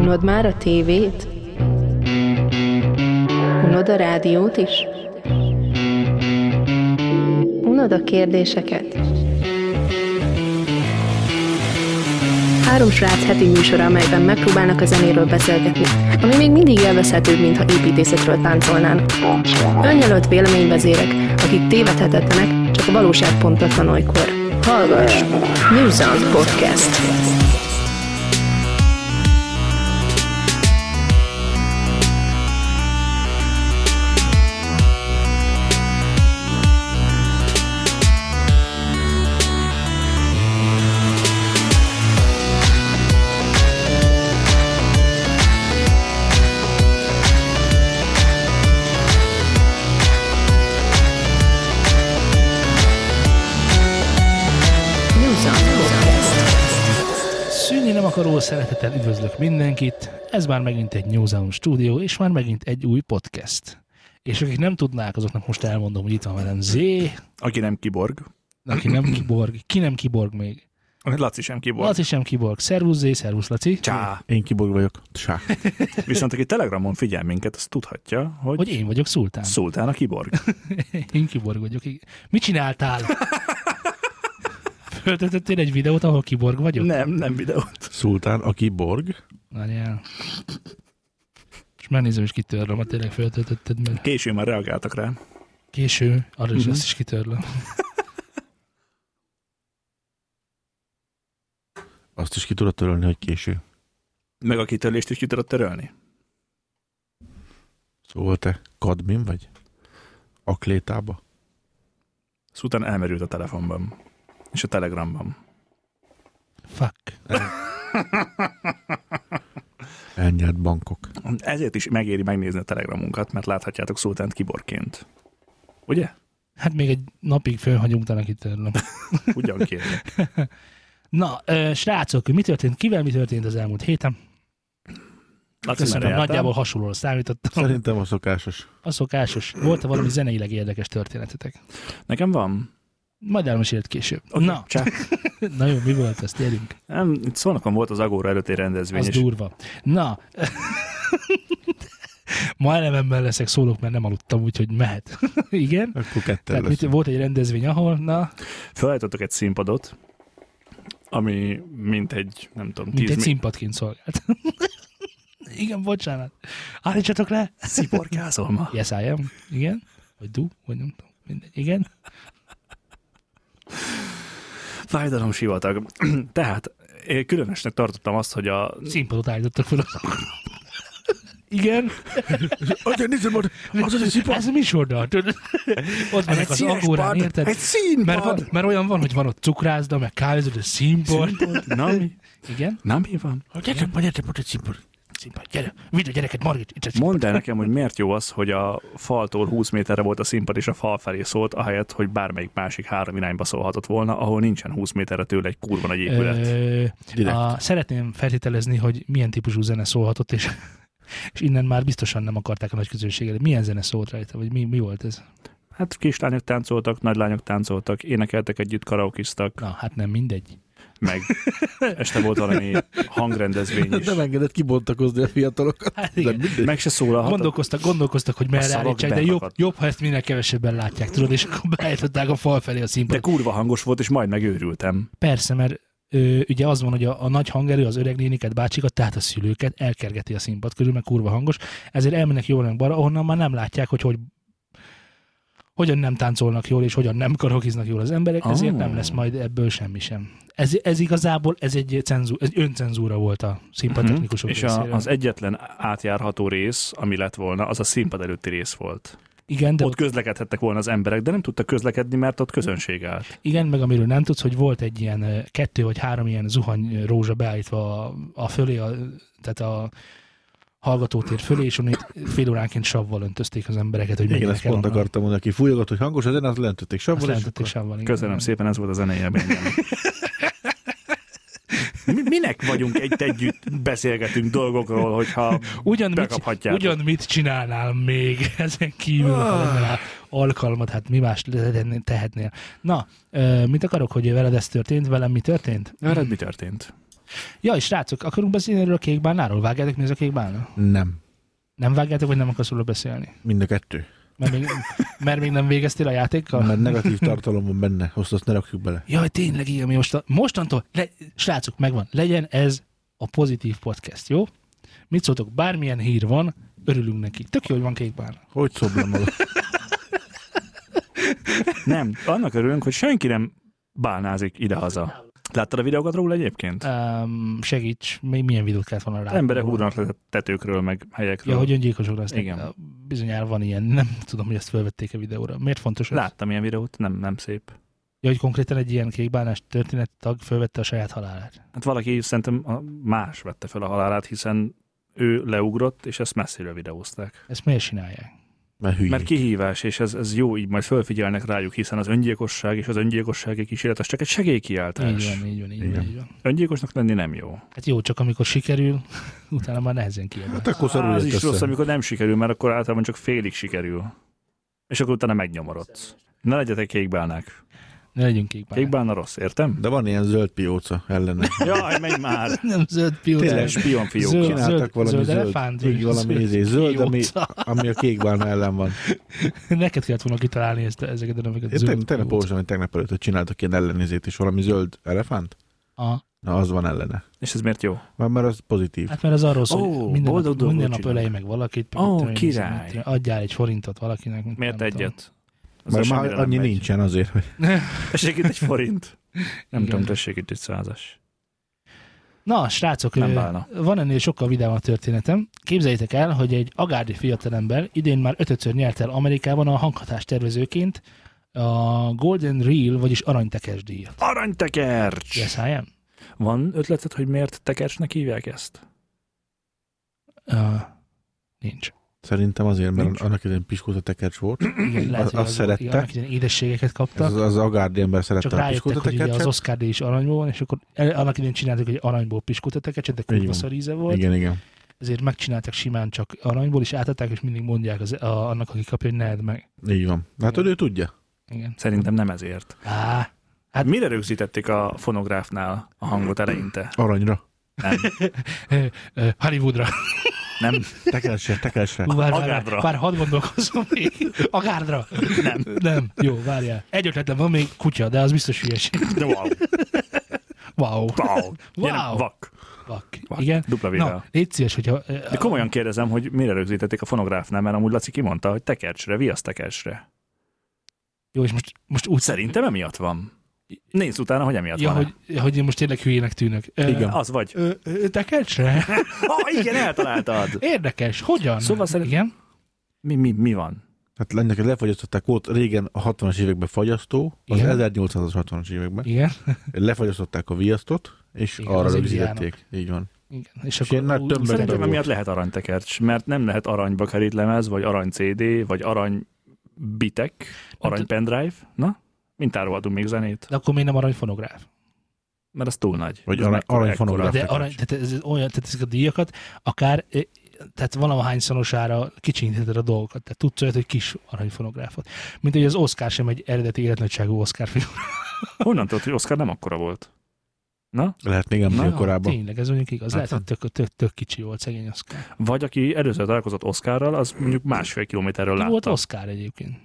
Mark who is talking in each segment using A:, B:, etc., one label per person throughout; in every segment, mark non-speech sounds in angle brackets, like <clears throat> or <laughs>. A: Unod már a tévét? Unod a rádiót is? Unod a kérdéseket? Három srác heti műsora, amelyben megpróbálnak a zenéről beszélgetni, ami még mindig élvezhetőbb, mintha építészetről táncolnának. Önjelölt véleményvezérek, akik tévedhetetlenek, csak a valóság pontatlan olykor. Hallgass! New Sound Podcast. New Sound Podcast.
B: Szűnni nem akaró szeretettel üdvözlök mindenkit. Ez már megint egy New Zealand stúdió, és már megint egy új podcast. És akik nem tudnák, azoknak most elmondom, hogy itt van velem Z,
C: Aki nem kiborg.
B: aki nem kiborg. Ki nem kiborg még?
C: Laci sem kiborg.
B: Laci sem kiborg. Szervusz Z, szervusz Laci.
C: Csá.
D: Én kiborg vagyok. Sá.
C: <laughs> Viszont aki Telegramon figyel minket, az tudhatja, hogy,
B: Hogy én vagyok Szultán.
C: Szultán a kiborg.
B: Én kiborg vagyok. igen. Mit csináltál? Föltöltöttél egy videót, ahol kiborg vagyok?
C: <laughs> nem, nem videót.
D: Szultán, a kiborg.
B: Várjál. És megnézem, is kitörlöm, ha tényleg föltöltötted, mert
C: Későn már reagáltak rá.
B: Késő, arra is
C: Mhm.
B: ezt is kitörlöm.
D: Azt is ki tudod törölni, hogy késő.
C: Meg a kitörlést is ki tudod törölni.
D: Szóval te kadmin vagy? Aklétába?
C: Szultán elmerült a telefonban. És a Telegramban.
B: Fuck.
D: Elnyert bankok.
C: Ezért is megéri megnézni a Telegramunkat, mert láthatjátok Szultánt kiborgként. Ugye?
B: Hát még egy napig fölhagyunk, utána kitörlöm.
C: Ugyan
B: <laughs>
C: kérlek.
B: Na, ö, srácok, mi történt? Kivel mi történt az elmúlt héten?
C: Laci, merre
B: Köszönöm,
C: jártál?
B: nagyjából hasonlóra számítottam.
D: Szerintem a szokásos.
B: A szokásos. Volt-e -e valami zeneileg érdekes történetetek?
C: Nekem van.
B: Majd elmeséled később.
C: Oké,
B: Na,
C: Csá.
B: na jó, mi volt ezt? Gyerünk.
C: Nem, itt szónokon volt az Agóra előtti rendezvény,
B: Az
C: és
B: durva. Na, ma elememmel leszek szólok, mert nem aludtam, úgyhogy mehet. <laughs> Igen.
D: Akkor ketten
C: Hát,
B: Tehát
D: lesz.
B: mit, volt egy rendezvény, ahol, na,
C: felállítottak egy színpadot, ami mint egy, nem tudom,
B: mint
C: 10
B: egy színpadként szolgált. <laughs> Igen, bocsánat. Állítsatok le!
C: <laughs> Sziporkázol ma?
B: Yes, I am. Igen. Vagy du, vagy nem tudom. Mindegy. Igen.
C: Fájdalom sivatag. <clears throat> Tehát én különösnek tartottam azt, hogy a...
B: Színpadot állítottak fel. Igen.
D: Atya, nézzed már! Az az egy szipar!
B: Ez mi sordal? Ott vannak az agórán, érted?
C: Egy színpad!
B: Mert, van, mert olyan van, hogy van ott cukrászda, meg kávézó, de színpad.
C: Na mi?
B: Igen.
C: Na mi van?
D: Gyertek, majd gyertek, most egy szipar.
B: Színpad. Gyere, vidd a gyereket, Margit. Itt a színpad.
C: Mondd el nekem, hogy miért jó az, hogy a faltól 20 méterre volt a színpad, és a fal felé szólt, ahelyett, hogy bármelyik másik három irányba szólhatott volna, ahol nincsen 20 méterre tőle egy kurva nagy épület.
B: Ö,
D: Direkt.
B: a, szeretném feltételezni, hogy milyen típusú zene szólhatott, és, és innen már biztosan nem akarták a nagy közönséget. Milyen zene szólt rajta, vagy mi, mi volt ez?
C: Hát kislányok táncoltak, nagylányok táncoltak, énekeltek együtt, karaokiztak,
B: Na, hát nem mindegy.
C: meg este volt valami hangrendezvény is.
D: Nem engedett kibontakozni a fiatalokat.
B: Hát
D: De
B: igen.
D: mindegy.
C: Meg se szólalhatott.
B: Gondolkoztak, gondolkoztak, hogy merre
C: szavak
B: állítsák, de
C: bent
B: jobb,
C: akadtak.
B: jobb, ha ezt minél kevesebben látják, tudod, és akkor beállították a fal felé a
C: De
B: színpadot.
C: kurva hangos volt, és majd megőrültem.
B: Persze, mert ö, ugye az van, hogy a, a nagy hangerő az öreg néniket, bácsikat, tehát a szülőket elkergeti a színpad körül, mert kurva hangos, ezért elmennek jól meg balra, ahonnan már nem látják, hogy, hogy hogyan nem táncolnak jól, és hogyan nem karokiznak jól az emberek, ezért
C: Ah.
B: nem lesz majd ebből semmi sem. Ez, ez igazából ez egy, cenzu, ez öncenzúra volt a színpadtechnikusok
C: Mhm. És
B: részéről.
C: a, az egyetlen átjárható rész, ami lett volna, az a színpad előtti rész volt.
B: Igen, de
C: De ott közlekedhettek volna az emberek, de nem tudtak közlekedni, mert ott közönség állt.
B: Igen, meg amiről nem tudsz, hogy volt egy ilyen ö, kettő vagy három ilyen zuhany ö, rózsa beállítva a, a fölé, a, tehát a hallgatótér fölé, és onnét fél óránként savval öntözték az embereket, hogy
D: Igen,
B: menjenek
D: ezt
B: el
D: pont
B: onnan.
D: akartam mondani, aki fújogat, hogy hangos, ezen azt lentötték
B: Azt
D: savval, és
B: lehetették
D: akkor
B: savval. igen.
C: Köszönöm szépen, ez volt a zenei élményem.
B: <laughs>
C: Mi, minek vagyunk egy együtt, beszélgetünk dolgokról, hogyha
B: Ugyan mit,
C: Bekaphatjátok.
B: ugyan mit csinálnál még <laughs> ezen kívül, ha lenne rá alkalmat, hát mi más le- tehetnél. Na, ö, mit akarok, hogy veled ez történt, velem mi történt?
C: veled mi történt?
B: Ja, és srácok, akarunk beszélni erről a kékbánáról? Vágjátok mi ez a kékbálna?
D: Nem.
B: Nem vágjátok, vagy nem akarsz róla beszélni?
D: Mind a kettő.
B: Mert még, mert még nem végeztél a játékkal?
D: Mert negatív tartalom van benne, azt azt ne rakjuk bele.
B: Jaj, tényleg igen, mi most, mostantól, le, srácok, megvan, legyen ez a pozitív podcast, jó? Mit szóltok, bármilyen hír van, örülünk neki. Tök jó, hogy van kékbálna.
D: Hogy szoblom magad?
C: Nem, annak örülünk, hogy senki nem bálnázik idehaza. Láttad a videókat róla egyébként?
B: Um, segíts, mi, milyen videót kellett volna rá?
C: Emberek húrnak le tetőkről, meg helyekről.
B: Ja, hogy öngyilkosok lesznek.
C: Igen.
B: Igen. Bizonyára van ilyen, <laughs> nem tudom, hogy ezt felvették a videóra. Miért fontos ez?
C: Láttam ilyen videót, nem, nem szép.
B: Ja, hogy konkrétan egy ilyen kékbánás történet tag felvette a saját halálát.
C: Hát valaki szerintem a- más vette fel a halálát, hiszen ő leugrott, és ezt messziről videózták.
B: Ezt miért csinálják?
D: Mert hülyék.
C: Mert kihívás, és ez, ez jó, így majd fölfigyelnek rájuk, hiszen az öngyilkosság és az öngyilkossági kísérlet az csak egy
B: Így
C: segélykiáltás.
B: van, így van, így
D: Igen.
B: van, így van.
C: Öngyilkosnak lenni nem jó.
B: Hát jó, csak amikor sikerül, <laughs> utána már nehezen kijön.
D: Hát akkor szarul
C: az
D: jött
C: is
D: össze.
C: rossz, amikor nem sikerül, mert akkor általában csak félig sikerül. És akkor utána megnyomorodsz. Ne legyetek kékbálnák.
B: Ne legyünk kékbánás.
C: Kékbálna rossz, értem?
D: De van ilyen zöld pióca ellene.
C: Jaj, menj már!
B: Nem zöld pióca.
C: Tényleg spionfiók.
B: Zöld-
D: Csináltak valami
B: zöld
D: zöld,
B: elefánt,
D: így
B: vagy
D: valami
B: zöld
D: izé, zöld, ami,
B: pióca.
D: ami a kékbálna ellen van.
B: Neked kellett volna kitalálni ezt, ezeket a neveket.
D: Én
B: Zöld
D: teg- tegnap
B: pióca.
D: olvastam, hogy tegnap előtt hogy csináltak ilyen ellenizét, és valami zöld elefánt?
B: Aha.
D: Na, az van ellene.
C: És ez miért jó?
D: Már, mert az pozitív.
B: Ah, Hát mert az arról szól,
C: Ó,
B: hogy minden
C: boldog
B: nap, minden
C: dolgot
B: nap
C: csinál.
B: ölej meg valakit.
C: Ó,
B: mit tudom én,
C: király.
B: mit tudom én, Adjál egy forintot valakinek. mit
C: Miért
B: nem tudom.
C: egyet? Azzal
D: Mert már
C: semmire nem
D: annyi
C: megy.
D: nincsen azért, hogy
C: Tessék itt egy forint. Nem
B: Igen.
C: tudom, tessék itt egy százas.
B: Na, srácok,
C: Nem
B: ö,
C: bálna.
B: van ennél sokkal vidámabb történetem. Képzeljétek el, hogy egy agárdi fiatalember idén már ötötször nyert el Amerikában a hanghatás tervezőként a Golden Reel, vagyis aranytekes díjat.
C: Aranytekercs!
B: Yes, I am.
C: Van ötleted, hogy miért tekercsnek hívják ezt?
B: Uh, nincs.
D: szerintem azért, mert
C: Nincs.
D: annak idején piskóta tekercs volt.
B: Igen,
D: Azt
B: hogy az
D: szerette.
B: volt, igen, annak idején édességeket
D: Ez az,
B: kaptak.
D: az Agárdi ember
B: Csak
D: szerette a
B: rájöttek,
D: piskóta
B: hogy ugye az
D: tekercset.
B: Oscar díj is aranyból van, és akkor el- annak idején csináltak egy aranyból piskótetekecset, de
D: Így
B: kurva
D: van.
B: szaríze volt.
D: Igen, igen.
B: Ezért megcsináltak simán csak aranyból, és átadták, és mindig mondják az, a, annak, aki kapja, hogy ne edd meg.
D: Így van. Hát
B: Igen.
D: ő tudja.
B: Igen.
C: Szerintem nem ezért.
B: Á,
C: Hát mire rögzítették a fonográfnál a hangot eleinte?
D: Aranyra.
C: Nem.
B: ö, Hollywoodra.
C: Nem.
B: <laughs>
D: Tekercsre, tekercsre.
B: Hú, várj, várj,
C: Agárdra.
B: várj, várj, hadd gondolkozom még. Agárdra.
C: Nem.
B: Nem. Jó, várjál. Egy ötletem van még kutya, de az biztos hülyeség.
C: De wow.
B: Wow.
C: Wow. Ilyen
B: Wow.
C: Vak.
B: Vak.
C: Vak.
B: Igen.
C: Dupla
B: Na,
C: védel.
B: légy szíves, hogyha... ö,
C: De komolyan kérdezem, hogy mire rögzítették a fonográfnál, mert amúgy Laci kimondta, hogy tekercsre, viasz tekercsre.
B: Jó, és most, most úgy...
C: Szerintem emiatt van. Nézd utána, hogy emiatt
B: Ja,
C: van.
B: hogy, hogy én most tényleg hülyének tűnök. Ö,
D: Igen.
C: Az vagy.
B: Ö, ö, tekercsre?
C: Ah, igen, eltaláltad.
B: Érdekes. Hogyan?
C: Szóval szerint-
B: Igen.
C: Mi, mi, mi van?
D: Hát lennek, lefagyasztották, volt régen a 60-as években fagyasztó, az
B: Igen.
D: 1800-as 60-as években.
B: Igen.
D: Lefagyasztották a viasztot, és
B: Igen,
D: arra
B: az
D: rögzítették. Így van.
B: Igen. És
D: És ilyen nagy
B: úgy-
D: tömbben
C: Szerintem
D: Benne
C: emiatt lehet aranytekercs, mert nem lehet aranyba kerít lemez, vagy arany CD, vagy arany bitek,
B: Hát
C: arany pendrive. Na, mintáról adunk még zenét,
B: De akkor még nem aranyfonográf.
C: mert az túl nagy.
D: Vagy
C: Ez
D: arany-
C: mekkora,
D: aranyfonográf.
C: ekkora.
B: De
D: Tekercs.
B: arany, tehát ez olyan, tehát ezek a díjakat akár ö, tehát valahány szanosára kicsinyítheted a dolgokat. Tehát tudsz olyat, hogy kis aranyfonográfot. Mint hogy az Oscar sem egy eredeti életnagyságú Oscar film.
C: Honnan tudod, hogy Oscar nem akkora volt?
D: Lehet még
C: Na,
D: emlél korábban.
B: Tényleg, ez mondjuk igaz. Lehet,
D: Hát,
B: hogy tök, tök, tök kicsi volt szegény Oscar.
C: Vagy aki először találkozott Oscarral, az mondjuk másfél kilométerről
B: Látta. Volt
C: látta.
B: Oscar egyébként.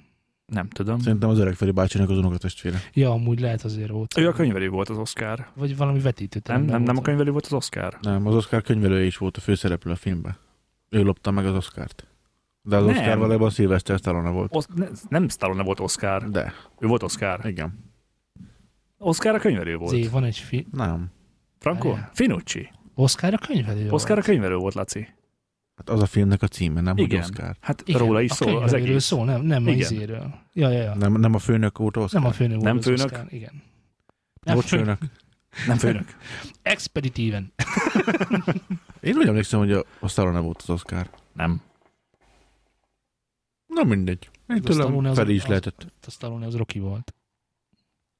C: Nem tudom.
D: Szerintem az öreg Feri bácsinak az unokatestvére.
B: Ja, amúgy lehet azért volt.
C: Ő a könyvelő volt az Oscar.
B: Vagy valami vetítő.
C: Nem, nem, nem a könyvelő volt az Oscar.
D: Nem, az Oscar könyvelője is volt a főszereplő a filmben. Ő lopta meg az Oscárt. De az
C: Nem.
D: Oscar valójában Sylvester Stallone volt.
C: Osz- ne, nem Stallone volt Oscar.
D: De,
C: Ő volt Oscar.
D: igen.
C: Oscar a könyvelő volt.
B: Zé, van egy fi...
D: Nem.
C: Franco?
B: Várjál.
C: Finucci.
B: Oscar a könyvelő.
C: Oscar a
B: volt.
C: könyvelő volt, Laci.
D: Hát az a filmnek a címe, nem hogy
C: Igen.
D: Oscar.
C: Hát
B: Igen,
C: róla is
B: a
C: szól az
B: könyvelőről
C: egész.
B: szól, nem, nem
C: Igen.
B: a izéről. Ja, ja, ja.
D: Nem, nem a főnök volt Oscar.
B: Nem a főnök
C: Nem
B: volt az
C: főnök?
B: Oscar, igen.
D: Nem Bocs, főnök.
C: Nem főnök.
B: Expeditíven.
D: Én úgy emlékszem, hogy a, a Stallone volt az Oscar.
C: Nem.
D: Na mindegy. Én
B: Az Stallone
D: tőlem
B: az-
D: Feri is
B: az-
D: lehetett.
B: A Stallone az Rocky volt.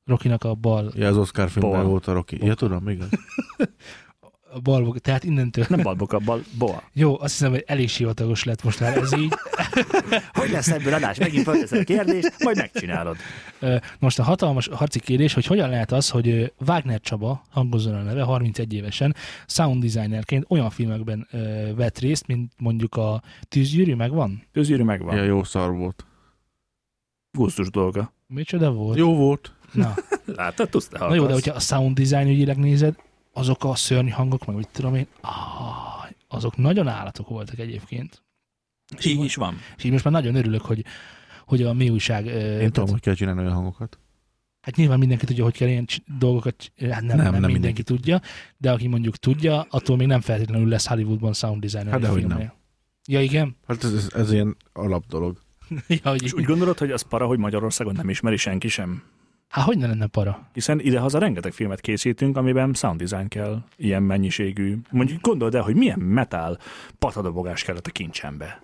B: Rokinak a bal,
D: Ja, az Oscar filmben
C: Bol.
D: volt a Rocky. Ja, tudom, igen.
B: a balbog, tehát innentől.
C: Nem balboka, bal, boa.
B: Jó, azt hiszem, hogy elég sivatagos lett most már ez így.
C: Hogy lesz ebből adás? Megint felteszed a kérdést, majd megcsinálod.
B: Ö, Most a hatalmas harci kérdés, hogy hogyan lehet az, hogy ö, Wagner Csaba, hangozzon a neve, 31 évesen, sound designerként olyan filmekben ö, vett részt, mint mondjuk a Tűzgyűrű, megvan?
C: Közgyűrű megvan.
D: Ja, jó szar volt.
C: Gusztus dolga.
B: Micsoda volt?
D: Jó volt.
B: Na,
C: Látod, tudsz te
B: na jó, de hogyha a sound design ügyileg nézed, azok a szörny hangok, meg mit tudom én, áh, azok nagyon állatok voltak egyébként. És
C: Így
B: mo-
C: is van.
B: És így most már nagyon örülök, hogy, hogy a mi újság... ö,
D: Én tudom, hogy kell csinálni olyan hangokat.
B: Hát nyilván mindenki tudja, hogy kell ilyen cs- dolgokat, cs- hát nem, nem, nem, nem mindenki, mindenki tudja, de aki mondjuk tudja, attól még nem feltétlenül lesz Hollywoodban sound designer.
D: Hát
B: egy
D: dehogy
B: filmnél. Ja,
D: <laughs>
B: igen?
D: Hát ez, ez, ez ilyen alap dolog.
B: ja, hogy,
C: És úgy gondolod, hogy az para, hogy Magyarországon nem ismeri senki sem?
B: hát hogy ne lenne para?
C: Hiszen idehaza rengeteg filmet készítünk, amiben sound design kell, ilyen mennyiségű. Mondjuk gondold el, hogy milyen metal patadobogás kellett a kincsembe.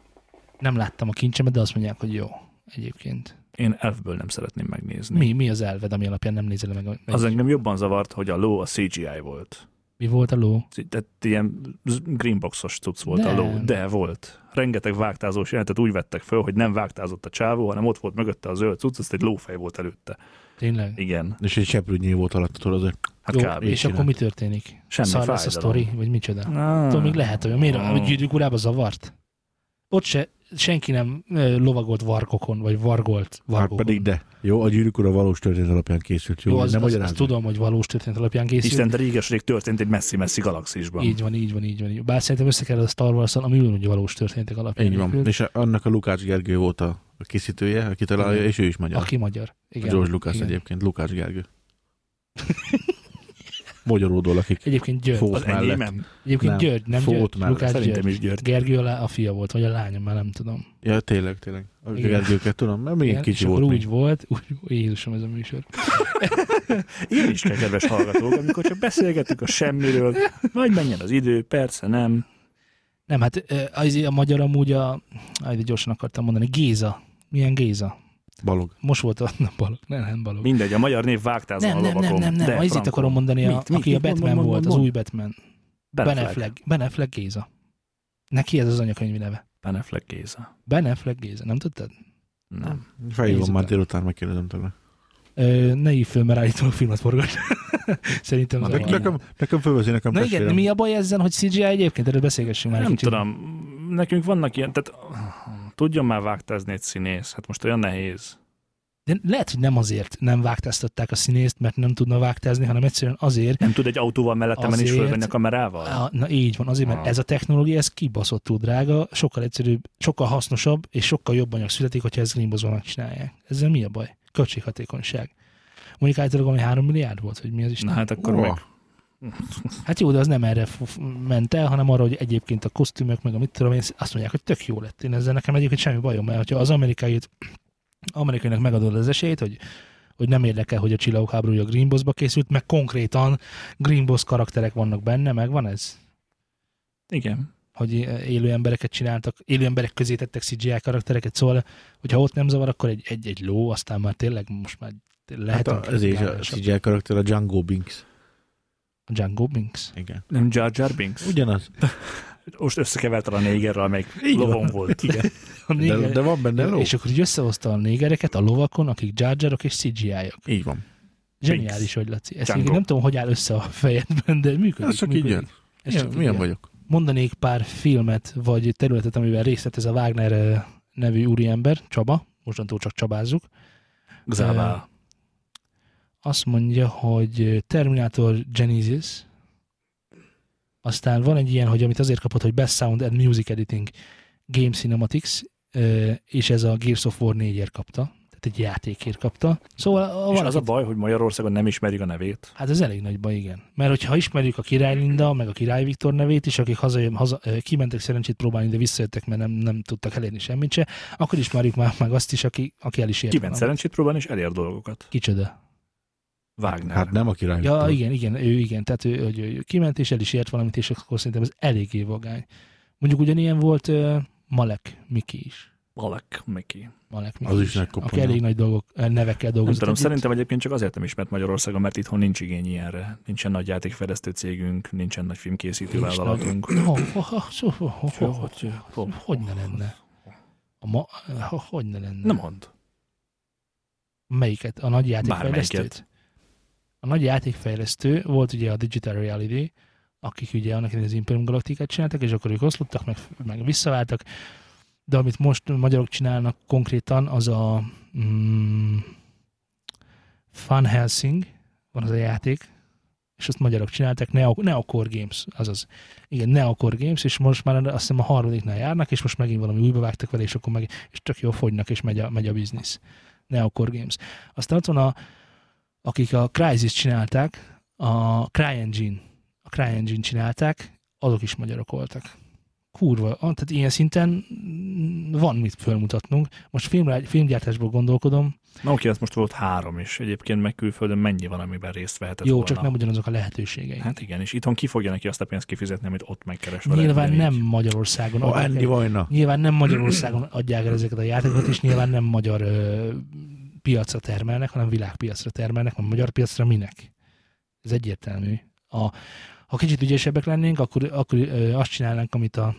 B: Nem láttam a kincsemet, de azt mondják, hogy jó egyébként.
C: Én elfből nem szeretném megnézni.
B: Mi, mi az elved, ami alapján nem nézel meg? meg
C: Az engem jobban zavart, hogy a ló a CGI volt.
B: Mi volt a ló?
C: Tehát ilyen z- greenboxos cucc volt a ló,
B: Nem.
C: de volt. Rengeteg vágtázós jelentet úgy vettek föl, hogy nem vágtázott a csávó, hanem ott volt mögötte a zöld cucc, azt egy lófej volt előtte.
B: Tényleg?
C: Igen,
D: És egy seprűnyé volt alattól azért.
C: hát
B: jó,
C: kb.
B: és
D: így
B: akkor mi történik?
C: Semmi
B: Szar lesz a
C: fájdalom.
B: sztori, vagy
D: Hmm.
B: micsoda?
C: Ah,
B: Tudom, még lehet olyan. Miért?
C: Ah.
B: Hogy gyűrűk urába zavart? Ott se, senki nem ö, lovagolt varkokon, vagy vargolt
D: Hát
B: vargókon.
D: pedig de. Jó, a gyűrűk ura valós történet alapján készült. Jó,
B: Jó, az,
D: nem
B: nem az, az
D: magyarázom.
B: tudom, hogy valós történet alapján készült.
C: Isten, de réges-rég történt egy messzi-messzi galaxisban.
B: Így van, így van, így van. így van. Bár szerintem össze kell a Star wars ami ugyanúgy valós történetek alapján.
D: Így van.
B: épült.
D: És a- annak a Lukács Gergő volt a a készítője, aki találja,
B: Igen.
D: és ő is magyar.
B: Aki magyar. Igen.
D: Igen. George Lucas
B: Igen.
D: Igen. egyébként, Lukács
B: <laughs>
D: Gergő. Magyaródól, akik
B: Egyébként György.
D: Fó-
C: Az
D: mellett.
C: enyémem.
B: Egyébként
D: nem.
B: György, nem
D: Fót
B: György.
D: mellett.
B: Lukács
C: Szerintem
B: György.
C: is György.
B: Gergő alá a fia volt, vagy a lánya, már nem tudom.
D: Ja, tényleg, tényleg. A
B: Igen.
D: Gergőket tudom, mert még
B: Igen, és
D: kicsi
B: akkor
D: volt
B: úgy
D: még.
B: volt, úgy, Jézusom ez a műsor.
C: Ilyen is kell, kedves hallgatók, amikor csak beszélgetünk a semmiről, majd menjen az idő, persze nem.
B: Nem, hát ö, az a magyar amúgy a, aj, de gyorsan akartam mondani, Géza. Milyen Géza?
D: Balog.
B: Most volt a <laughs> nem balog, nem, nem balog.
C: Mindegy, a magyar név vágtázon
B: Nem,
C: a
B: nem, nem,
C: lovakon.
B: nem, nem,
C: De,
B: az itt
C: Franco,
B: akarom mondani, a,
C: Mit, mit,
B: aki
C: mit?
B: a
C: Mond,
B: Batman
C: mond,
B: volt,
C: mond,
B: az
C: mond.
B: új Batman.
C: Ben
B: Ben
C: Affleck.
B: Affleck. Ben Affleck Géza. Neki ez az anyakönyvi neve.
C: Ben Affleck Géza.
B: Ben Affleck Géza, nem tudtad?
C: Nem.
D: Felhívom
B: Nézzük
D: már
B: el.
D: délután, megkérdezem tőle.
B: Ö, ne hívj föl, mert állítólag filmet forgat. <laughs> Szerintem
D: Na,
B: zavar.
D: ne- Nekem, nekem fölvezi, nekem
B: Na igen,
D: testvérem.
B: mi a baj ezzel, hogy CGI egyébként? Erről beszélgessünk már
C: Nem
B: egy kicsit.
C: tudom, nekünk vannak ilyen, tehát tudjon már vágtázni egy színész, hát most olyan nehéz.
B: De lehet, hogy nem azért nem vágtáztatták a színészt, mert nem tudna vágtázni, hanem egyszerűen azért,
C: Nem tud egy autóval mellettem menni és
B: Azért-
C: fölvenni a kamerával?
B: Á, na így van, azért, mert
C: Ah.
B: ez a technológia, ez kibaszottul drága, sokkal egyszerűbb, sokkal hasznosabb, és sokkal jobb anyag születik, hogyha ezt greenbozva megcsinálják. Ezzel mi a baj? Költséghatékonyság. Mondjuk általában valami 3 milliárd volt, hogy mi az is.
C: Na hát akkor
D: Ó,
C: meg.
B: Hát jó, de az nem erre f- f- ment el, hanem arra, hogy egyébként a kosztümök, meg a mit tudom én, azt mondják, hogy tök jó lett. Én ezzel nekem egyébként semmi bajom, mert ha az amerikait, amerikainak megadod az esélyt, hogy hogy nem érdekel, hogy a csillagok háborúja Green Boss-ba készült, meg konkrétan Green Boss karakterek vannak benne, meg van ez?
C: Igen.
B: Hogy élő embereket csináltak, élő emberek közé tettek CGI karaktereket, szóval hogyha ott nem zavar, akkor egy, egy, egy ló, aztán már tényleg most már
D: Hát
B: lehet
D: a, ez is a CGI karakter, a Django Binks.
B: a Django Binks.
D: Igen.
C: Nem Jar Jar Binks?
D: Ugyanaz.
C: Most összekeverted a négerrel, amelyik
D: Így van.
C: lovon volt. Igen.
D: <laughs> De, de van benne ló?
B: És akkor így összehozta a négereket a lovakon, akik Jar Jarok és CGI-ok.
D: Így van.
B: Zseniális vagy, Laci. Ezt
C: Django.
B: így nem tudom, hogy áll össze a fejedben, de működik.
D: Ez csak így
B: működik.
D: jön.
B: Ez
D: Ilyen-
B: csak így
D: Milyen
B: jön.
D: vagyok?
B: Mondanék pár filmet, vagy területet, amivel részt vett ez a Wagner eh, nevű úriember, Csaba. Mostantól csak Csabázzuk.
C: Zabá.
B: Azt mondja, hogy Terminator Genesis. Aztán van egy ilyen, hogy amit azért kapott, hogy Best Sound and Music Editing Game Cinematics, eh, és ez a Gears of War 4-ért kapta. Tehát egy játékért kapta. Szóval a-
C: És
B: valaki-
C: az a baj, hogy Magyarországon nem ismerik a nevét.
B: Hát ez elég nagy baj, igen. Mert hogyha ismerjük a király Linda, meg a király Viktor nevét is, akik haza, haza, ö, kimentek szerencsét próbálni, de visszajöttek, mert nem, nem tudtak elérni semmit se, akkor ismerjük már meg azt is, aki, aki el is ért.
C: Kiment
B: valamit.
C: szerencsét próbálni, és elér dolgokat.
B: Kicsoda.
C: Wagner.
D: Hát nem a király.
B: Ja,
D: Viktor.
B: igen, igen, ő igen. Tehát ő, ő, ő, ő kiment, és el is ért valamit, és akkor szerintem ez eléggé vagány. Mondjuk ugyanilyen volt ö, Malek Miki is.
C: Alek Miki.
B: Alek
D: Az is nagy
B: Aki
D: koponya.
B: elég nagy dolgok, eh, nevekkel
C: Nem
B: dolgozik.
C: tudom,
B: együtt.
C: szerintem egyébként csak azért nem ismert Magyarországon, mert itthon nincs igény ilyenre. Nincsen nagy játékfejlesztő cégünk, nincsen nagy filmkészítő
B: Nincs nagy-
C: vállalatunk.
B: Ho, ho, ho, so- ho, ho, ho, ho.
C: Hogy- hogy-
B: Hogy ne lenne? A ma, eh, ho- hogy ne lenne?
C: Nem mondd.
B: Melyiket? A nagy játékfejlesztőt?
C: Bármelyiket.
B: A nagy játékfejlesztő volt ugye a Digital Reality, akik ugye annak idején az Imperium Galaktikát csináltak, és akkor ők oszlottak, meg, meg visszaváltak, de amit most magyarok csinálnak konkrétan, az a mm, Fun Helsing, van az a játék, és azt magyarok csinálták, Neo, Neocore Games, azaz. Igen, Neocore Games, és most már azt hiszem a harmadiknál járnak, és most megint valami újba vágtak vele, és akkor meg, és tök jól fogynak, és megy a, megy a biznisz. Neocore Games. Aztán ott van a, akik a Crysis csinálták, a CryEngine, a CryEngine csinálták, azok is magyarok voltak. Kurva, ah, tehát ilyen szinten mm, van mit fölmutatnunk. Most filmre, filmgyártásból gondolkodom,
C: Na oké, ezt most volt három is. Egyébként meg külföldön mennyi van, amiben részt vehetett
B: jó,
C: volna?
B: csak nem ugyanazok a lehetőségei.
C: Hát igen, és itthon ki fogja neki azt a pénzt kifizetni, amit ott megkeres vele,
B: Nyilván nem
C: ugyanígy.
B: Magyarországon.
D: Ó,
B: adják
D: Andy
B: el-
D: Vajna.
B: Nyilván nem Magyarországon adják el ezeket a játékokat, és nyilván nem magyar ö, piacra termelnek, hanem világpiacra termelnek, mert magyar piacra minek? Ez egyértelmű. A, ha kicsit ügyesebbek lennénk, akkor, akkor ö, azt csinálnánk, amit a,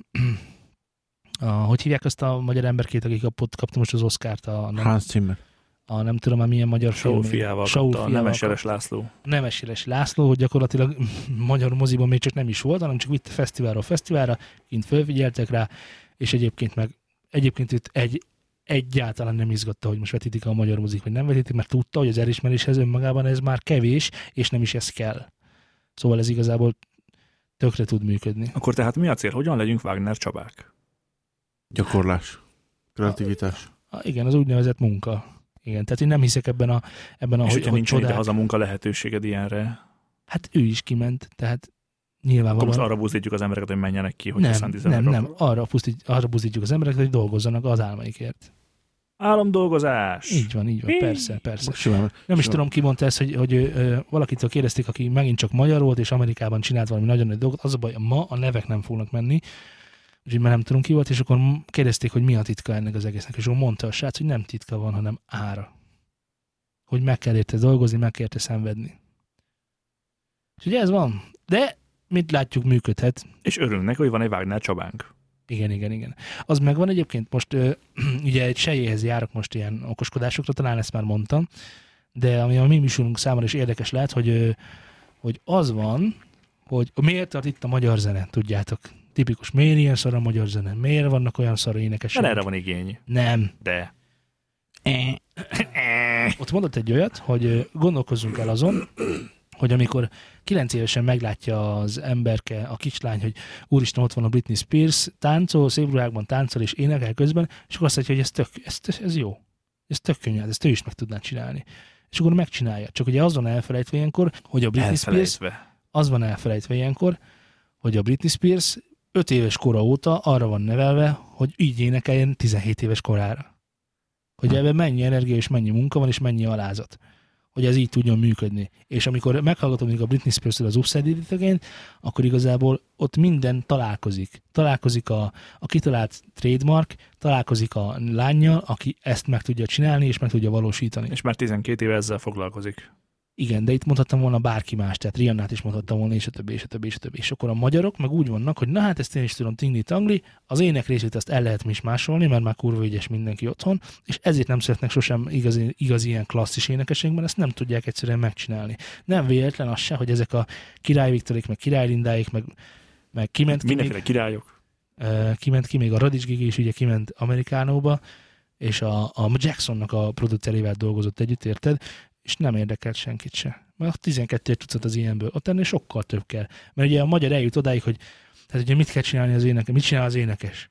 B: <clears throat> a hogy hívják azt a magyar emberkét, aki kapott, kapta most az Oszkárt, a nem,
D: Hans Zimmer.
B: a nem tudom már milyen magyar
C: Saul
B: filmért.
C: fiával
B: Saul
C: kapta,
B: fiával
C: nem eseres László.
B: Nemes Éles László, hogy gyakorlatilag <laughs> magyar moziban még csak nem is volt, hanem csak vitt fesztiválról fesztiválra, kint fölfigyeltek rá, és egyébként meg egyébként őt egy, egyáltalán nem izgatta, hogy most vetítik a magyar mozik, vagy nem vetítik, mert tudta, hogy az elismeréshez önmagában ez már kevés, és nem is ez kell. Szóval ez igazából tökre tud működni.
C: Akkor tehát mi a cél? Hogyan legyünk Wagner Csabák?
D: Gyakorlás. Kreativitás.
B: Ah, igen, az úgynevezett munka. Igen, tehát én nem hiszek ebben a, ebben a hogy,
C: és hogyha
B: hogy
C: nincs ide
B: csodák.
C: haza munka lehetőséged ilyenre,
B: Hát ő is kiment, tehát
C: akkor
B: nyilvánvalóan.
C: most arra buzdítjuk az embereket, hogy menjenek ki, hogy
B: nem, nem,
C: szándítanak.
B: nem, arra, pusztít, arra buzdítjuk az embereket, hogy dolgozzanak az álmaikért.
C: Államdolgozás!
B: Így van, így van,
C: Mi?
B: persze, persze.
D: Simán.
B: Nem is
D: Jó.
B: tudom, ki mondta ezt, hogy, hogy ö, ö, valakitől kérdezték, aki megint csak magyar volt, és Amerikában csinált valami nagyon nagy dolgot, az a baj, ma a nevek nem fognak menni, úgyhogy már nem tudom ki volt, és akkor m- kérdezték, hogy mi a titka ennek az egésznek, és akkor mondta a srác, hogy nem titka van, hanem ára. Hogy meg kell érte dolgozni, meg kell érte szenvedni. És ugye ez van. De, mit látjuk, működhet.
C: És örülnek, hogy van egy Wagner Csabánk.
B: Igen, igen, igen. Az megvan egyébként most, ö, <clears throat> ugye egy sejéhez járok most ilyen okoskodásokra, talán ezt már mondtam, de ami a mi műsorunk számára is érdekes lehet, hogy, ö, hogy az van, hogy miért tart itt a magyar zene, tudjátok. Tipikus, miért ilyen szar a magyar zene? Miért vannak olyan szar énekesek?
C: Mert erre van igény.
B: Nem.
C: De
B: Ott mondott egy olyat, hogy ö, gondolkozzunk el azon, hogy amikor kilenc évesen meglátja az emberke, a kislány, hogy úristen, ott van a Britney Spears, táncol, szép ruhákban táncol és énekel közben, és akkor azt mondja, hogy ez, tök, ez, ez jó. Ez tök könnyű, hát ezt ő is meg tudná csinálni. És akkor megcsinálja. Csak ugye az van elfelejtve ilyenkor, hogy a Britney Spears
C: elfelejtve.
B: az van elfelejtve ilyenkor, hogy a Britney Spears 5 éves kora óta arra van nevelve, hogy így énekeljen 17 éves korára. Hogy ebben mennyi energia és mennyi munka van, és mennyi alázat. Hogy ez így tudjon működni. És amikor meghallgatom mondjuk a Britney spears az Upside Down akkor igazából ott minden találkozik. Találkozik a, a kitalált trademark, találkozik a lányjal, aki ezt meg tudja csinálni, és meg tudja valósítani.
C: És már 12 éve ezzel foglalkozik.
B: Hát Igen, de itt mondhattam volna bárki más, tehát Riannát is mondhattam volna, és a többi, és a többi, és a többi. És akkor a magyarok meg úgy vannak, hogy na hát ezt én is tudom tingli tangli, az ének részét azt el lehet mi is másolni, mert már kurva ügyes mindenki otthon, és ezért nem szeretnek sosem igazi, igazi ilyen klasszis énekesség, mert ezt nem tudják egyszerűen megcsinálni. Nem véletlen az se, hogy ezek a király Viktorék, meg király Lindáik, meg, meg kiment ki, még,
C: Hát Mindenféle királyok.
B: ö, kiment ki még a Radics Gigi is, ugye kiment Amerikánóba, és a, a Jacksonnak a producerével dolgozott együtt, érted? és nem érdekelt senkit se. Mert 12 tucat az ilyenből. Ott ennél sokkal több kell. Mert ugye a magyar eljut odáig, hogy tehát ugye mit kell csinálni az énekes, mit csinál az énekes?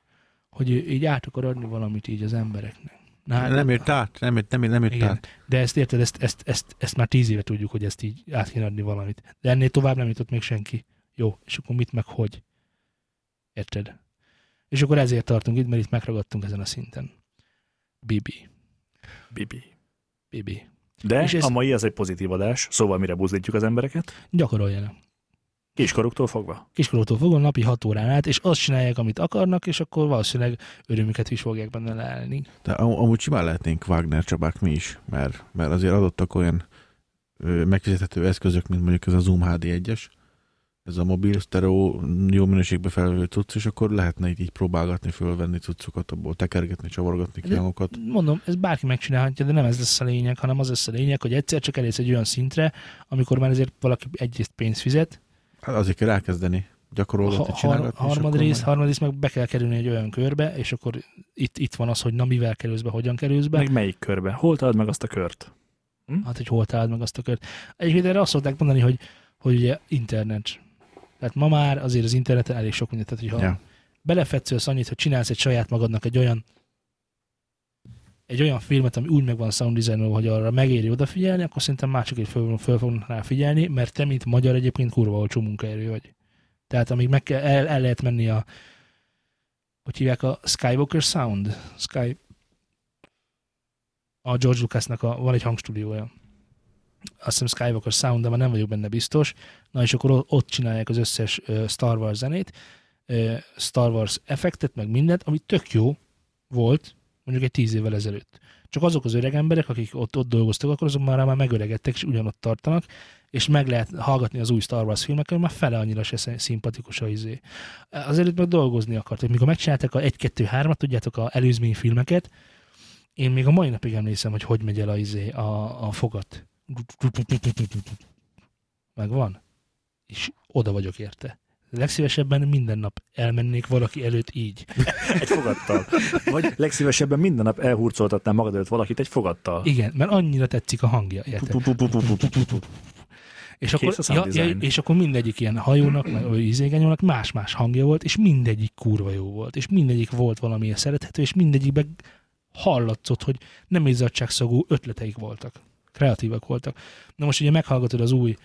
B: Hogy ő így át akar adni valamit így az embereknek. Na, hát-
D: Nem ért át, nem ért, nem ért, nem ért
B: igen,
D: át.
B: de ezt érted, ezt, ezt, ezt, ezt már tíz éve tudjuk, hogy ezt így át kéne adni valamit. De ennél tovább nem jutott még senki. Jó, és akkor mit meg hogy? Érted? És akkor ezért tartunk itt, mert itt megragadtunk ezen a szinten. Bibi.
C: Bibi.
B: Bibi.
C: De
B: És ez-
C: a mai az egy pozitív adás, szóval mire buzdítjuk az embereket?
B: Gyakoroljanak.
C: Kiskoruktól fogva.
B: Kiskorútól fogva napi 6 órán át, és azt csinálják, amit akarnak, és akkor valószínűleg örömüket is fogják benne lelni.
D: De am- amúgy simán lehetnénk Wagner Csabák mi is, mert, mert azért adottak olyan ö, megfizethető eszközök, mint mondjuk ez a Zoom HD1-es, ez a mobil stereo jó minőségbe felvevő cucc, és akkor lehetne így, így próbálgatni, fölvenni cuccokat, abból tekergetni, csavargatni
B: De-
D: kínálokat.
B: Mondom, ez bárki megcsinálhatja, de nem ez lesz a lényeg, hanem az lesz a lényeg, hogy egyszer csak elérsz egy olyan szintre, amikor már ezért valaki egyrészt pénzt fizet,
D: Hát azért kell elkezdeni gyakorolgatni,
B: Ha- har-
D: csinálgatni. és
B: harmad
D: akkor
B: rész,
D: majd-
B: harmad rész, meg be kell kerülni egy olyan körbe, és akkor itt, itt van az, hogy na mivel kerülsz be, hogyan kerülsz be,
C: Meg melyik körbe? Hol találd meg azt a kört?
B: hát hogy hol találd meg azt a kört. Egyébként erre azt szokták mondani, hogy, hogy ugye internet. Tehát ma már azért az interneten elég sok mindent, tehát hogyha
D: Ja.
B: ja. belefetszölsz annyit, hogy csinálsz egy saját magadnak egy olyan egy olyan filmet, ami úgy megvan sound designolva, hogy arra megéri odafigyelni, akkor szerintem mások is föl, föl fognak rá figyelni, mert te, mint magyar egyébként kurva olcsó munkaerő vagy. Tehát amíg meg kell, el, el lehet menni a hogy hívják a Skywalker Sound? Sky... A George Lucasnak a, van egy hangstúdiója. Azt hiszem Skywalker Sound, de már nem vagyok benne biztos. Na és akkor o- ott csinálják az összes ö, Star Wars zenét, ö, Star Wars effektet, meg mindent, ami tök jó volt, mondjuk egy tíz évvel ezelőtt. Csak azok az öreg emberek, akik ott, ott dolgoztak, akkor azok már, már megöregedtek, és ugyanott tartanak, és meg lehet hallgatni az új Star Wars filmeket, már fele annyira se sz- szimpatikus a izé azelőtt meg dolgozni akartak. Mikor megcsinálták a 1-2-3-at, tudjátok, a előzményfilmeket, én még a mai napig emlékszem, hogy hogy megy el a, izé, a, a fogat. Megvan? És oda vagyok érte. Legszívesebben minden nap elmennék valaki előtt így.
C: Egy fogattal. Vagy legszívesebben minden nap elhurcoltatnál magad előtt valakit egy fogattal.
B: Igen, mert annyira tetszik a hangja. Érted? És akkor,
C: Kész a sound
B: ja, ja,
C: design.
B: és akkor mindegyik ilyen hajónak, meg vagy ízégányónak más-más hangja volt, és mindegyik kurva jó volt, és mindegyik volt valamilyen szerethető, és mindegyikben hallatszott, hogy nem izzadságszagú ötleteik voltak. Kreatívak voltak. Na most ugye meghallgatod az új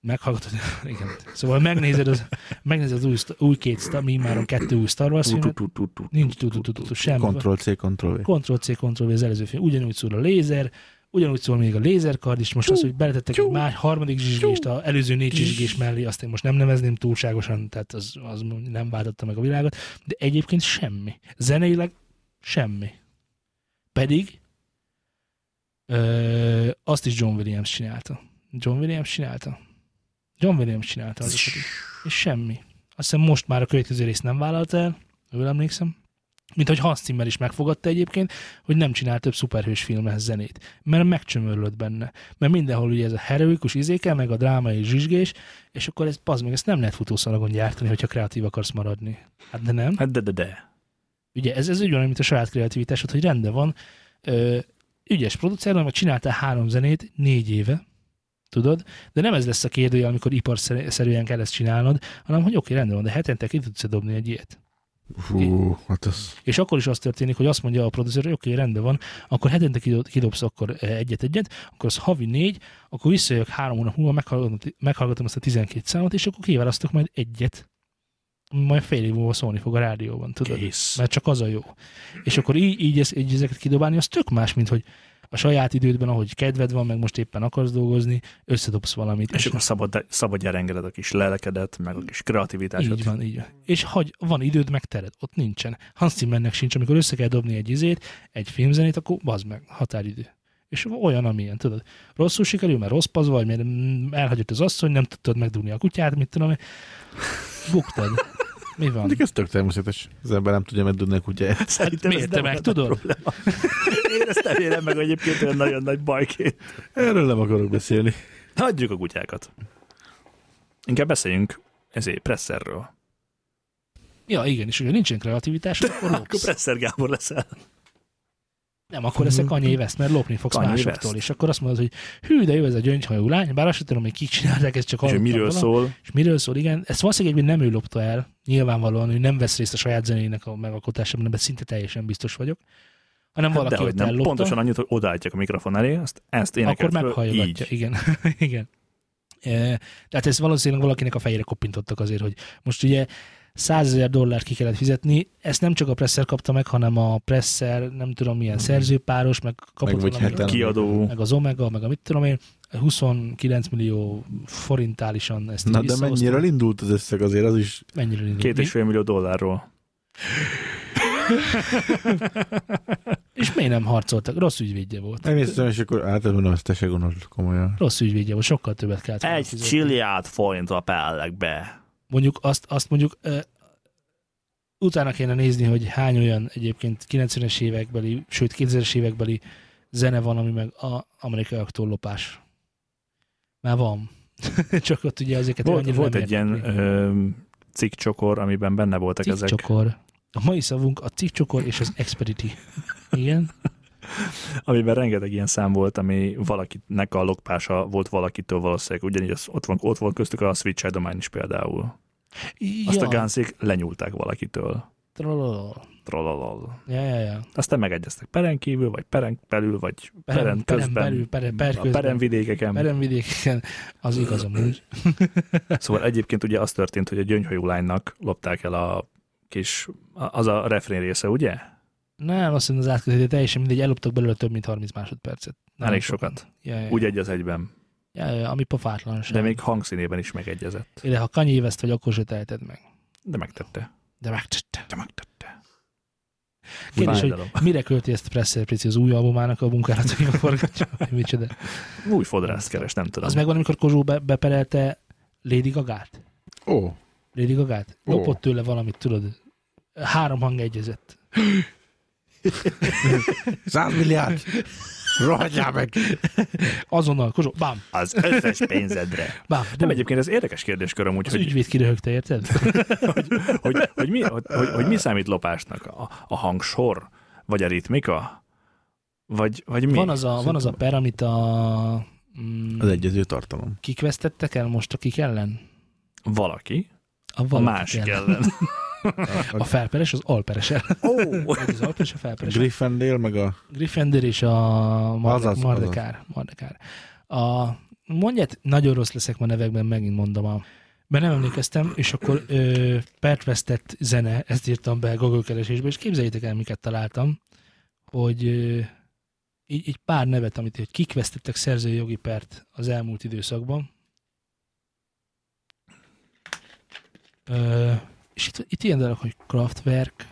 B: meghallgatod, <laughs> igen. Szóval megnézed az, megnézed az új, szta- új két, Star- mi már kettő új Star Wars filmet, nincs tututututu, semmi.
D: Ctrl-C, Ctrl-V.
B: Ctrl-C, Ctrl-V az előző film. Ugyanúgy szól a lézer, ugyanúgy szól még a lézerkard is, most az, hogy beletettek egy más harmadik zsizsgést a előző négy zsizsgés mellé, azt én most nem nevezném túlságosan, tehát az, az nem váltotta meg a világot, de egyébként semmi. Zeneileg semmi. Pedig ö, azt is John Williams csinálta. John Williams csinálta. John Williams csinálta azokat is. És semmi. Azt hiszem most már a következő részt nem vállalt el, jól emlékszem. Mint hogy Hans Zimmer is megfogadta egyébként, hogy nem csinál több szuperhős filmhez zenét. Mert megcsömörlött benne. Mert mindenhol ugye ez a heroikus izéke, meg a drámai zsizsgés, és akkor ez, bazd meg, ezt nem lehet futószalagon gyártani, hogyha kreatív akarsz maradni. Hát de nem.
C: Hát de, de, de.
B: Ugye ez, ez ugyanolyan, mint a saját kreativitásod, hogy rendben van, ö, ügyes producer, vagy csináltál három zenét négy éve, tudod? De nem ez lesz a kérdője, amikor iparszerűen kell ezt csinálnod, hanem hogy oké, rendben van, de hetente ki tudsz dobni egy ilyet.
D: Hú, hát az...
B: És akkor is az történik, hogy azt mondja a producer, hogy oké, rendben van, akkor hetente kidob- kidobsz akkor eh, egyet-egyet, akkor az havi négy, akkor visszajövök három hónap múlva, meghallgatom, meghallgatom azt a 12 számot, és akkor kiválasztok majd egyet, ami majd fél év múlva szólni fog a rádióban, tudod?
C: Kész.
B: mert csak az a jó. És akkor így, így, ez, így ezeket kidobálni, az tök más, mint hogy a saját idődben, ahogy kedved van, meg most éppen akarsz dolgozni, összedobsz valamit.
C: És akkor szabad, szabadjára engeded a kis lelkedet, meg a kis kreativitásod.
B: így van, így van. És hagy, van időd, meg tered. Ott nincsen. Hans Zimmernek sincs, amikor össze kell dobni egy izét, egy filmzenét, akkor bazd meg, határidő. És olyan, amilyen, tudod. Rosszul sikerül, mert rossz paz vagy, mert mm, elhagyott az asszony, nem tudtad megdugni a kutyát, mit tudom én. Buktad. Mi van?
D: Mondjuk ez tök természetes. Az ember nem tudja megdudni a kutyáját.
C: Szerintem
B: Hát Miért te
C: ez nem
B: meg
C: lenne
B: tudod?
C: probléma. <laughs> Én ezt nem élem meg egyébként olyan nagyon nagy bajként.
D: <laughs> Erről nem akarok beszélni.
C: Hagyjuk a kutyákat. Inkább beszéljünk ezért Presserről.
B: Ja, igen, és ugye nincsen kreativitás, akkor
C: <laughs> Akkor
B: lopsz.
C: Presser Gábor leszel.
B: Nem, akkor leszek Kanye West, mert lopni fogsz
C: Kanye
B: másoktól,
C: West.
B: és akkor azt mondod, hogy hű, de jó ez a gyöngyhajú lány, bár azt sem tudom, hogy kik csinálták, ezt csak
C: És hogy
B: hallottam róla.
C: miről szól?
B: És miről szól, igen. Ezt valószínűleg egyébként nem ő lopta el, nyilvánvalóan ő nem vesz részt a saját zenének a megalkotásában, ebben szinte teljesen biztos vagyok, hanem
C: Hát
B: valaki
C: dehogy
B: ott
C: nem.
B: ellopta,
C: Pontosan annyit, hogy odaállítják a mikrofon elé, azt, ezt énekelt
B: akkor
C: föl,
B: meghallgatja.
C: így.
B: Igen, <laughs> igen. E, tehát ezt valószínűleg valakinek a fejére koppintottak azért, hogy most ugye 100 ezer dollárt ki kellett fizetni, ezt nem csak a Presser kapta meg, hanem a Presser, nem tudom
C: Mhm.
B: milyen szerzőpáros, meg kapott
D: Meg vagy
B: valamit,
D: heten.
C: Kiadó.
B: meg az Omega, meg a mit tudom én, 29 millió forintálisan ezt
D: Na
B: így
D: de
B: visszahoztam.
D: mennyiről indult az összeg azért, az is
B: Mennyiről indult?
C: Két és
B: Mi?
C: fél millió dollárról.
B: és miért nem harcoltak? Rossz ügyvédje volt.
D: nem észre, és akkor hát mondom, ezt te se gondolod komolyan.
B: Rossz ügyvédje volt, sokkal többet kellett volna fizetni.
C: csilliárd forint a pellekbe.
B: Mondjuk azt, azt mondjuk ö, utána kéne nézni, hogy hány olyan egyébként 90-es évekbeli, sőt 2000-es évekbeli zene van, ami meg a amerikaiaktól lopás. Már van. <laughs> Csak ott ugye ezeket
C: Volt,
B: annyira
C: volt
B: nem
C: egy
B: értek
C: ilyen
B: még.
C: ö, cikkcsokor, amiben benne voltak ezek.
B: Cikkcsokor. A mai szavunk a cikkcsokor és az
C: <laughs>
B: expediti. Igen?
C: amiben rengeteg ilyen szám volt, ami valakinek a lokpása volt valakitől valószínűleg. Ugyanígy az, ott, van, ott volt köztük a Switch Edomány is például. Azt ja. a gánszék lenyúlták valakitől.
B: Trollolol.
C: Tralalal.
B: Ja, ja, ja.
C: Aztán megegyeztek peren kívül, vagy peren belül, vagy peren,
B: Perem, perem,
C: közben.
B: belül, perem, per
C: a
B: közben.
C: peremvidékeken.
B: Peremvidéken. Az igaz amúgy.
C: Szóval egyébként ugye az történt, hogy a gyöngyhajú lánynak lopták el a kis, a- az a refrén része, ugye?
B: Nem, azt hiszem az átkötője teljesen mindegy, eloptak belőle több mint 30 másodpercet. Nem
C: Elég sokat.
B: Ja, ja,
C: Úgy egy az egyben.
B: ja, ja, ami pofátlanság.
C: De még hangszínében is megegyezett.
B: De ha Kanye West vagy, akkor se teheted meg.
C: De megtette.
B: De
C: <laughs>
B: megtette.
C: De megtette.
B: Kérdés, hogy
C: Fájdalom.
B: mire költi ezt Presser Prici az új albumának a munkálataiba
C: <laughs>
B: forgatja? vagy Micsoda.
C: Új fodrászt keres, nem tudom.
B: Az megvan, amikor Kozsó be, beperelte Lady Gagát?
D: Ó,
B: Lady Gagát?
D: Ó.
B: Lopott tőle valamit, tudod? Három hang egyezett.
D: 100 milliárd! Rohadjál meg!
B: Azonnal, Kozsó, bám,
C: Az összes pénzedre.
B: bám.
C: Nem
B: bum.
C: egyébként ez érdekes kérdéskör amúgy,
B: Az
C: hogy,
B: ügyvéd kiröhögte, érted?
C: hogy, hogy, mi, hogy, hogy, hogy mi számít lopásnak? A, a hangsor? Vagy a ritmika? Vagy, vagy mi?
B: Van az, a, van az a per, amit a... Mm,
D: Az egyező tartalom.
B: Kik vesztettek el most, akik ellen?
C: Valaki,
B: A,
C: a
B: valakik
C: másik ellen.
B: A felperes, az alperes ellen.
C: Ó,
B: Vagy Az alperes, a felperes.
D: Griffendale, meg a...
B: Gryffindor és a Mardek,
D: Azaz, azaz.
B: Mardekár. Mardekár. A, mondját, nagyon rossz leszek ma nevekben, megint mondom a mert nem emlékeztem, és akkor ö, pert vesztett zene, ezt írtam be Google keresésbe, és képzeljétek el, miket találtam, hogy ö, így, így pár nevet, amit hogy kik vesztettek szerzői jogi pert az elmúlt időszakban. Ö, és itt, itt ilyen dolog, hogy Kraftwerk,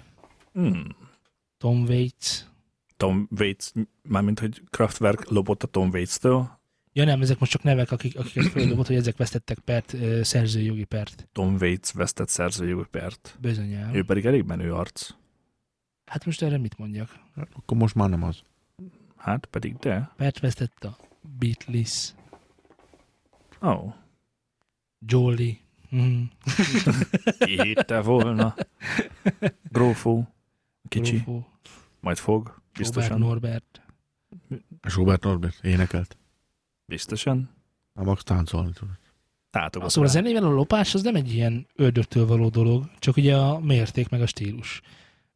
C: Hmm.
B: Tom Waits,
C: Tom Waits, mármint, hogy Kraftwerk lopott a Tom Waits-től.
B: Ja nem, ezek most csak nevek, akik, akiket földobott, hogy ezek vesztettek pert, ö, szerzői jogi pert.
C: Tom Waits vesztett szerzőjogi pert.
B: Bizonyám.
C: Ő pedig elég menő arc.
B: Hát most erre mit mondjak?
D: Akkor most már nem az.
C: Hát pedig de.
B: Pert vesztett a Beatles,
C: Ó, oh,
B: Jolly, mm,
C: ki hitte
B: <laughs>
C: volna. Grófó, kicsi, Grófó.
B: Rofo,
C: majd fog,
B: Robert
C: biztosan.
B: Norbert.
D: A Sobert Norbert énekelt.
C: Biztosan.
D: A Max táncolni tudott.
C: Tátogat
B: Szóval a
C: rá.
B: zenével a lopás az nem egy ilyen ördögtől való dolog, csak ugye a mérték meg a stílus.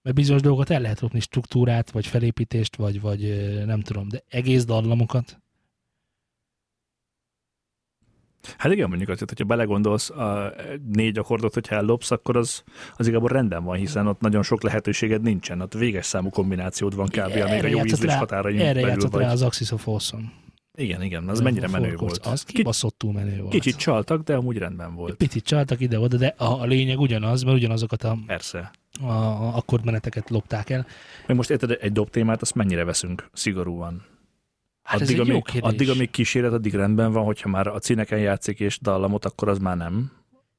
B: Mert bizonyos dolgokat el lehet lopni, struktúrát, vagy felépítést, vagy, vagy ö, nem tudom, de egész dallamokat.
C: Hát igen, mondjuk azért, hogyha belegondolsz a eh, négy akkordot, hogyha ellopsz, akkor az, az igazából rendben van, hiszen ott nagyon sok lehetőséged nincsen. Ott véges számú kombinációd van kb. amíg a
B: Erre
C: jó
B: játszott
C: ízlés
B: rá-
C: határain
B: Erre
C: belül
B: játszott
C: vagy.
B: rá az Axis of Awesome.
C: Igen, igen, az
B: Vagy
C: mennyire
B: a
C: menő
B: Four Chords.
C: volt.
B: Az
C: Kicsit-
B: kibaszottul menő volt.
C: Kicsit csaltak, de amúgy rendben volt.
B: Picit csaltak ide-oda, de a, a lényeg ugyanaz, mert ugyanazokat a,
C: Persze.
B: a, a akkordmeneteket lopták el.
C: Meg most érted, egy dobtémát azt mennyire veszünk szigorúan?
B: Hát ez
C: addig,
B: egy jó
C: amíg,
B: kérdés.
C: addig, amíg kíséret, addig rendben van, hogyha már a cíneken játszik és dallamot, akkor az már nem.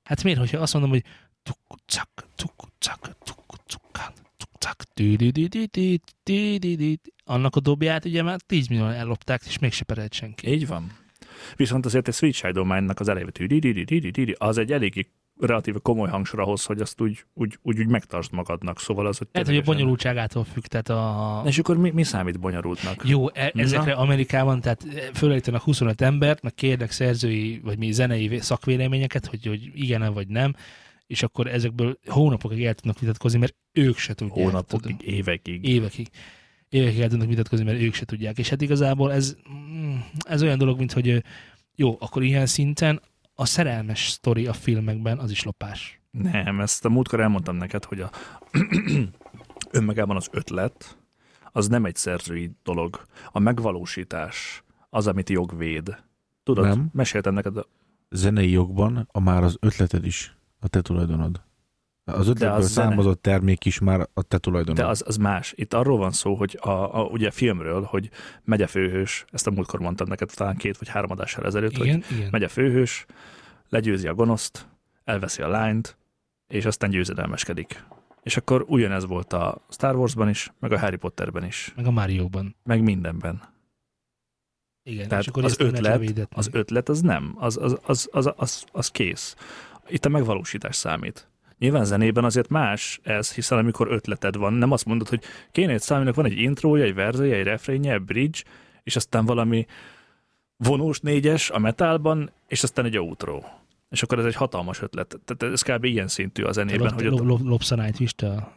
B: Hát miért, hogyha azt mondom, hogy tukkucak, tukkucak, tukkucakán, tukkucak, tüdüdüdüdüd, tüdüdüd. annak a dobját ugye már 10 millió ellopták, és mégse perelt senki.
C: Így van. Viszont azért egy Switch Shadow Mine-nak az elejétű, az egy eléggé relatíve komoly hangsor ahhoz, hogy azt úgy, úgy, úgy, úgy megtartsd magadnak. Szóval az, hogy...
B: Lehet, hogy a
C: ténylegesen-
B: bonyolultságától függ, tehát a...
C: És akkor mi, mi számít bonyolultnak?
B: Jó, e- ezekre Amerikában, tehát e, fölállítanak 25 embert, meg kérnek szerzői, vagy mi zenei vé- szakvéleményeket, hogy, hogy igen vagy nem, és akkor ezekből hónapokig el tudnak vitatkozni, mert ők se tudják. tudod.
C: Hónapokig, évekig.
B: Évekig. Évekig el tudnak vitatkozni, mert ők se tudják. És hát igazából ez, mm, ez olyan dolog, mint hogy ö, jó, akkor ilyen szinten a szerelmes sztori a filmekben az is lopás.
C: Nem, ezt a múltkor elmondtam neked, hogy a <clears throat> önmagában az ötlet, az nem egy szerzői dolog. A megvalósítás az, amit jog véd. Tudod,
D: Nem.
C: nem. meséltem neked, de
D: Zenei jogban a már az ötleted is a te tulajdonod. Az ötletből
C: az zene.
D: származott termék is már a te tulajdonod.
C: de az, az más. Itt arról van szó, hogy a, a, ugye a filmről, hogy megy a főhős, ezt a múltkor mondtam neked talán két vagy három adással ezelőtt, hogy
B: Igen, igen.
C: megy a főhős, legyőzi a gonoszt, elveszi a lányt, és aztán győzedelmeskedik. És akkor ugyanez volt a Star Warsban is, meg a Harry Potterben is,
B: Meg a Márióban.
C: meg mindenben.
B: Igen,
C: Tehát
B: és akkor
C: az
B: ezt nem lehet
C: ötlet,
B: levédetni.
C: Az ötlet az nem, az, az, az, az, az, az kész. Itt a megvalósítás számít. Nyilván zenében azért más ez, hiszen amikor ötleted van, nem azt mondod, hogy kéne egy száminak van egy intrója, egy verzője, egy refrénje, egy bridge, és aztán valami vonós négyes a metálban, és aztán egy outro. És akkor ez egy hatalmas ötlet. Tehát ez kb. ilyen szintű a
B: Te
C: zenében,
B: lob-
C: hogy
B: lob-
C: ott
B: lob- Lopsz a Night Wish-t a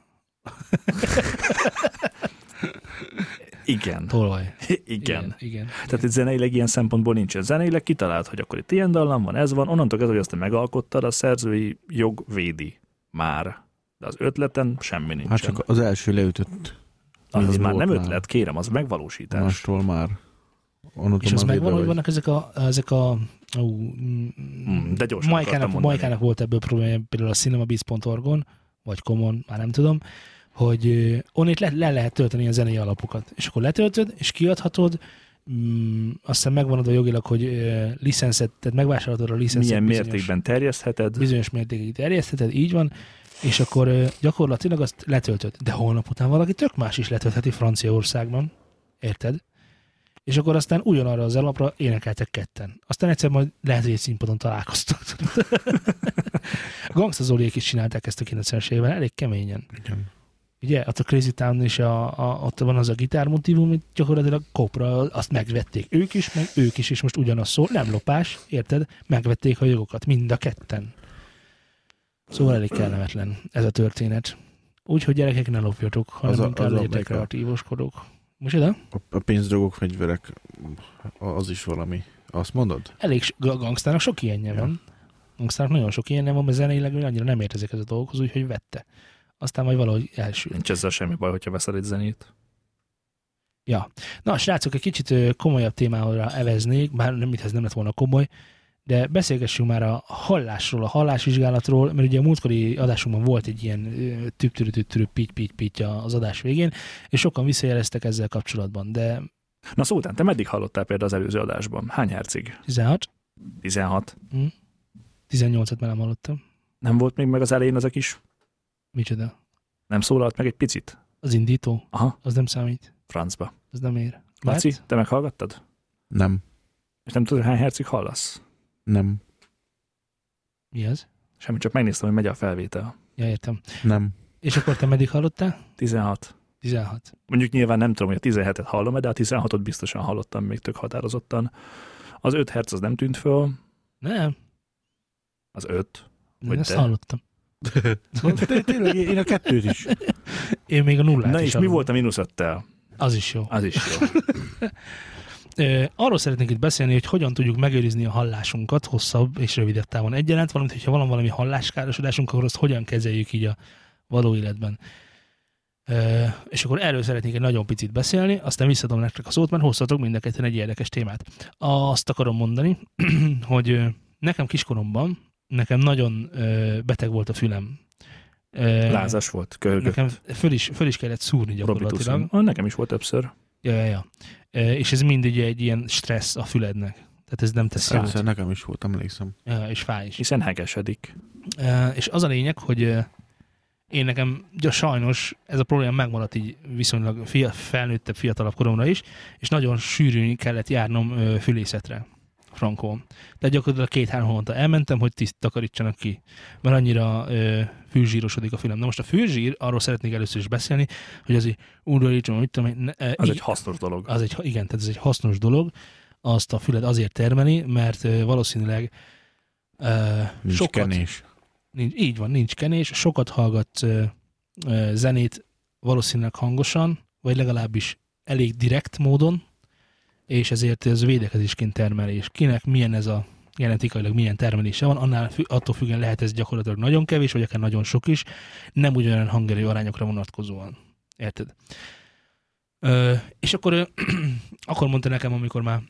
C: igen,
B: tolvaj.
C: igen.
B: igen.
C: Tehát itt zeneileg ilyen szempontból nincsen. Zeneileg kitalált, hogy akkor itt ilyen dallam van, ez van, onnantól kezdve, hogy azt te megalkottad, a szerzői jog védi már. De az ötleten semmi nincsen.
D: hát csak az első leütött
C: az, az
D: mindig
C: már
D: volt
C: nem
D: nálam.
C: ötlet, kérem, az megvalósítás.
D: mástól már. Onnantól
B: És az
D: már védve
B: megvan, hogy
D: vagy.
B: vannak ezek a... Ezek a ú, mm,
C: Mm, de gyorsan akartam
B: Majkának,
C: mondani.
B: Majkának volt ebből problémája például a cinemabiz.org-on, vagy komon, már nem tudom, hogy ö, onnét le, le lehet tölteni a zenei alapokat. És akkor letöltöd, és kiadhatod, mm, aztán megvanod a jogilag, hogy ö, licenszet, tehát megvásárolod a licenszet
C: Milyen
B: bizonyos-
C: mértékben terjesztheted.
B: bizonyos mértékig terjesztheted, így van, és akkor ö, gyakorlatilag azt letöltöd. De holnap után valaki tök más is letöltheti Franciaországban, érted? És akkor aztán ugyanarra az alapra énekeltek ketten. Aztán egyszer majd lehet, hogy egy színpadon találkoztak. Gangsta Zoliék is csinálták ezt a 90-es évben, elég keményen.
D: Igen.
B: Ugye, ott a Crazy Town is, a, a, ott van az a gitármotívum, amit gyakorlatilag kopra, azt megvették ők is, meg ők is, és most ugyanaz szól, nem lopás, érted? Megvették a jogokat, mind a ketten. Szóval elég kellemetlen ez a történet. Úgyhogy gyerekek, ne lopjatok, hanem
D: Az a-
B: az inkább
D: az a-
B: legyetek kreatívoskodók. Most ide?
D: A, a pénzdrogok, fegyverek, az is valami. Azt mondod?
B: elég so- a gangstának sok ilyenje
D: Ja.
B: van. Gangstának nagyon sok ilyenje van, mert zeneileg ő annyira nem ért ezekhez a dolgokhoz, úgyhogy vette. Aztán majd valahogy elsült.
C: Nincs ezzel semmi baj, hogyha veszel egy zenét.
B: Na, srácok, egy kicsit ö, komolyabb témára eveznék, bár nem, ez nem lett volna komoly, de beszélgessünk már a hallásról, a hallásvizsgálatról, mert ugye a múltkori adásunkban volt egy ilyen tüptürü-tüptürü pitty pitty pitty az adás végén, és sokan visszajeleztek ezzel kapcsolatban, de
C: Na szó után, te meddig hallottál például az előző adásban? Hány hercig?
B: 16,
C: 16.
B: 18-at már nem hallottam.
C: Nem volt még meg az elején ezek is?
B: Micsoda?
C: Nem szólalt meg egy picit?
B: Az indító,
C: Aha,
B: az nem számít,
C: francba.
B: az nem ér. Mert?
C: Laci, te meghallgattad?
D: Nem.
C: És nem tudod, hány hercig hallasz?
D: Nem.
B: Mi az?
C: Semmi, csak megnéztem, hogy megy a felvétel.
B: Ja, értem.
D: Nem.
B: És akkor te meddig hallottál?
C: 16.
B: 16.
C: mondjuk nyilván nem tudom, hogy a 17-et hallom de a 16-ot biztosan hallottam még tök határozottan. Az 5 herc az nem tűnt föl,
B: Nem,
C: az 5.
B: Hogy
C: Hogy
B: ezt
C: te?
B: hallottam.
D: Tényleg, én a kettőt is.
B: Én még a nullát
C: Na
B: is
C: és mi
B: hallom.
C: volt a mínusz 5
B: Az is jó.
C: Az is
B: <laughs>
C: jó.
B: Ö, arról szeretnék itt beszélni, hogy hogyan tudjuk megőrizni a hallásunkat hosszabb és rövidebb távon egyaránt, valamint, hogyha van valami halláskárosodásunk, akkor azt hogyan kezeljük így a való életben. Ö, és akkor erről szeretnék egy nagyon picit beszélni, aztán visszadom nektek a szót, mert hoztatok mind a ketten egy érdekes témát. Azt akarom mondani, <clears throat> hogy ö, nekem kiskoromban, nekem nagyon ö, beteg volt a fülem. Ö,
C: Lázas volt, köhögött.
B: Nekem föl is, föl is kellett szúrni gyakorlatilag.
C: Robitusson. Ah, nekem is volt többször.
B: Ja, ja, ja. E, És ez mindig egy ilyen stressz a fülednek. Tehát ez nem tesz jót.
D: Egyszer nekem is volt, emlékszem.
B: Ja, és fáj is.
C: Hiszen hegesedik.
B: E, És az a lényeg, hogy e, én nekem ja, sajnos ez a probléma megmaradt így viszonylag fia, felnőttebb, fiatalabb koromra is, és nagyon sűrűn kellett járnom ö, fülészetre frankon. Tehát gyakorlatilag két-három hónapta elmentem, hogy tiszt takarítsanak ki, mert annyira ö, fülzsírosodik a fülem. Na most a fülzsír, arról szeretnék először is beszélni, hogy az így undorítson, hogy tudom, én, ne, ö,
C: Az
B: így-
C: egy hasznos dolog.
B: az egy, igen, tehát ez egy hasznos dolog, azt a füled azért termeli, mert ö, valószínűleg ö,
D: Nincs
B: sokat,
D: kenés.
B: Nincs, így van, nincs kenés, sokat hallgat ö, ö, zenét valószínűleg hangosan, vagy legalábbis elég direkt módon, és ezért ez védekezésként termeli, és kinek milyen ez a genetikailag milyen termelése van, annál fü- attól függően lehet ez gyakorlatilag nagyon kevés, vagy akár nagyon sok is, nem ugyanolyan hangerő arányokra vonatkozóan. Érted? Ö, <clears throat> és akkor, ő- akkor mondta nekem, amikor már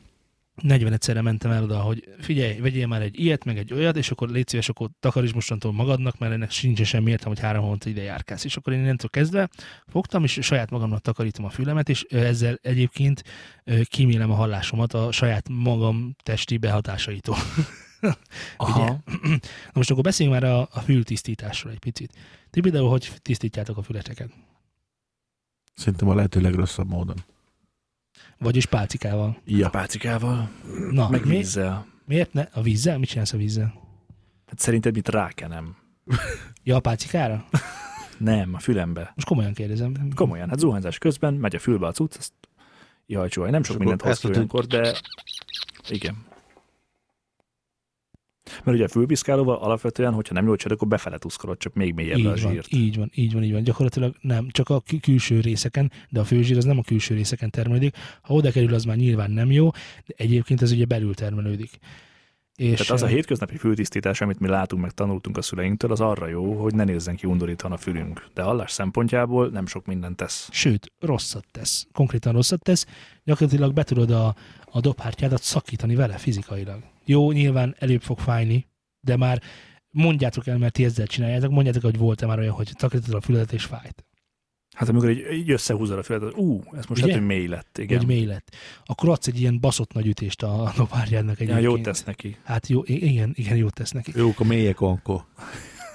B: 41-szerre mentem el oda, hogy figyelj, vegyél már egy ilyet, meg egy olyat, és akkor légy szíves, akkor takaríts mostantól magadnak, mert ennek sincs semmi értelme, hogy három hónapot ide járkálsz. És akkor én innentől kezdve fogtam, és saját magamnak takarítom a fülemet, és ö, ezzel egyébként ö, kímélem a hallásomat a saját magam testi behatásaitól. Ugye? Na most akkor beszéljünk már a, a fültisztításról egy picit. Ti például hogy tisztítjátok a fületeket?
D: Szerintem a lehető legrosszabb módon.
B: Vagyis pálcikával.
D: Ja.
C: Pácikával,
B: Na,
C: meg
B: mi,
C: vízzel.
B: miért ne? A vízzel? Mit csinálsz a vízzel?
C: Hát szerinted mit rákenem?
B: Ja, a pálcikára?
C: Nem, a fülembe.
B: Most komolyan kérdezem.
C: Komolyan, hát zuhanyzás közben megy a fülbe a cucc, azt jaj, csúly, nem sok
D: És
C: mindent
D: akkor
C: hoz ki
D: ezt tudod-
C: olyankor, de igen. Mert ugye a fülpiszkálóval alapvetően, hogyha nem jól csinálod, akkor befele tuszkolod, csak még mélyebbre a
B: Így van,
C: zsírt.
B: így van, így van, így van. Gyakorlatilag nem, csak a kü- külső részeken, de a főzsír az nem a külső részeken termelődik. Ha oda kerül, az már nyilván nem jó, de egyébként ez ugye belül termelődik. És
C: Tehát az a
B: eh,
C: hétköznapi fültisztítás, amit mi látunk, meg tanultunk a szüleinktől, az arra jó, hogy ne nézzen ki undorítan a fülünk. De hallás szempontjából nem sok mindent tesz.
B: Sőt, rosszat tesz. Konkrétan rosszat tesz. Gyakorlatilag be tudod a, a dobhártyádat szakítani vele fizikailag. Jó, nyilván előbb fog fájni, de már mondjátok el, mert ti ezzel csináljátok, mondjátok, hogy volt-e már olyan, hogy takarítod a füledet és fájt,
C: Hát amikor így, így összehúzod a fület, az ú, ez most
B: Ugye?
C: hát, hogy mély lett. Igen.
B: hogy mély lett. Akkor adsz egy ilyen baszott nagy ütést a, a dobhártyádnak
C: ja,
B: egyébként.
C: jót tesz neki.
B: Hát jó, i- igen, igen, jót tesz neki.
D: Jók a mélyek onkó.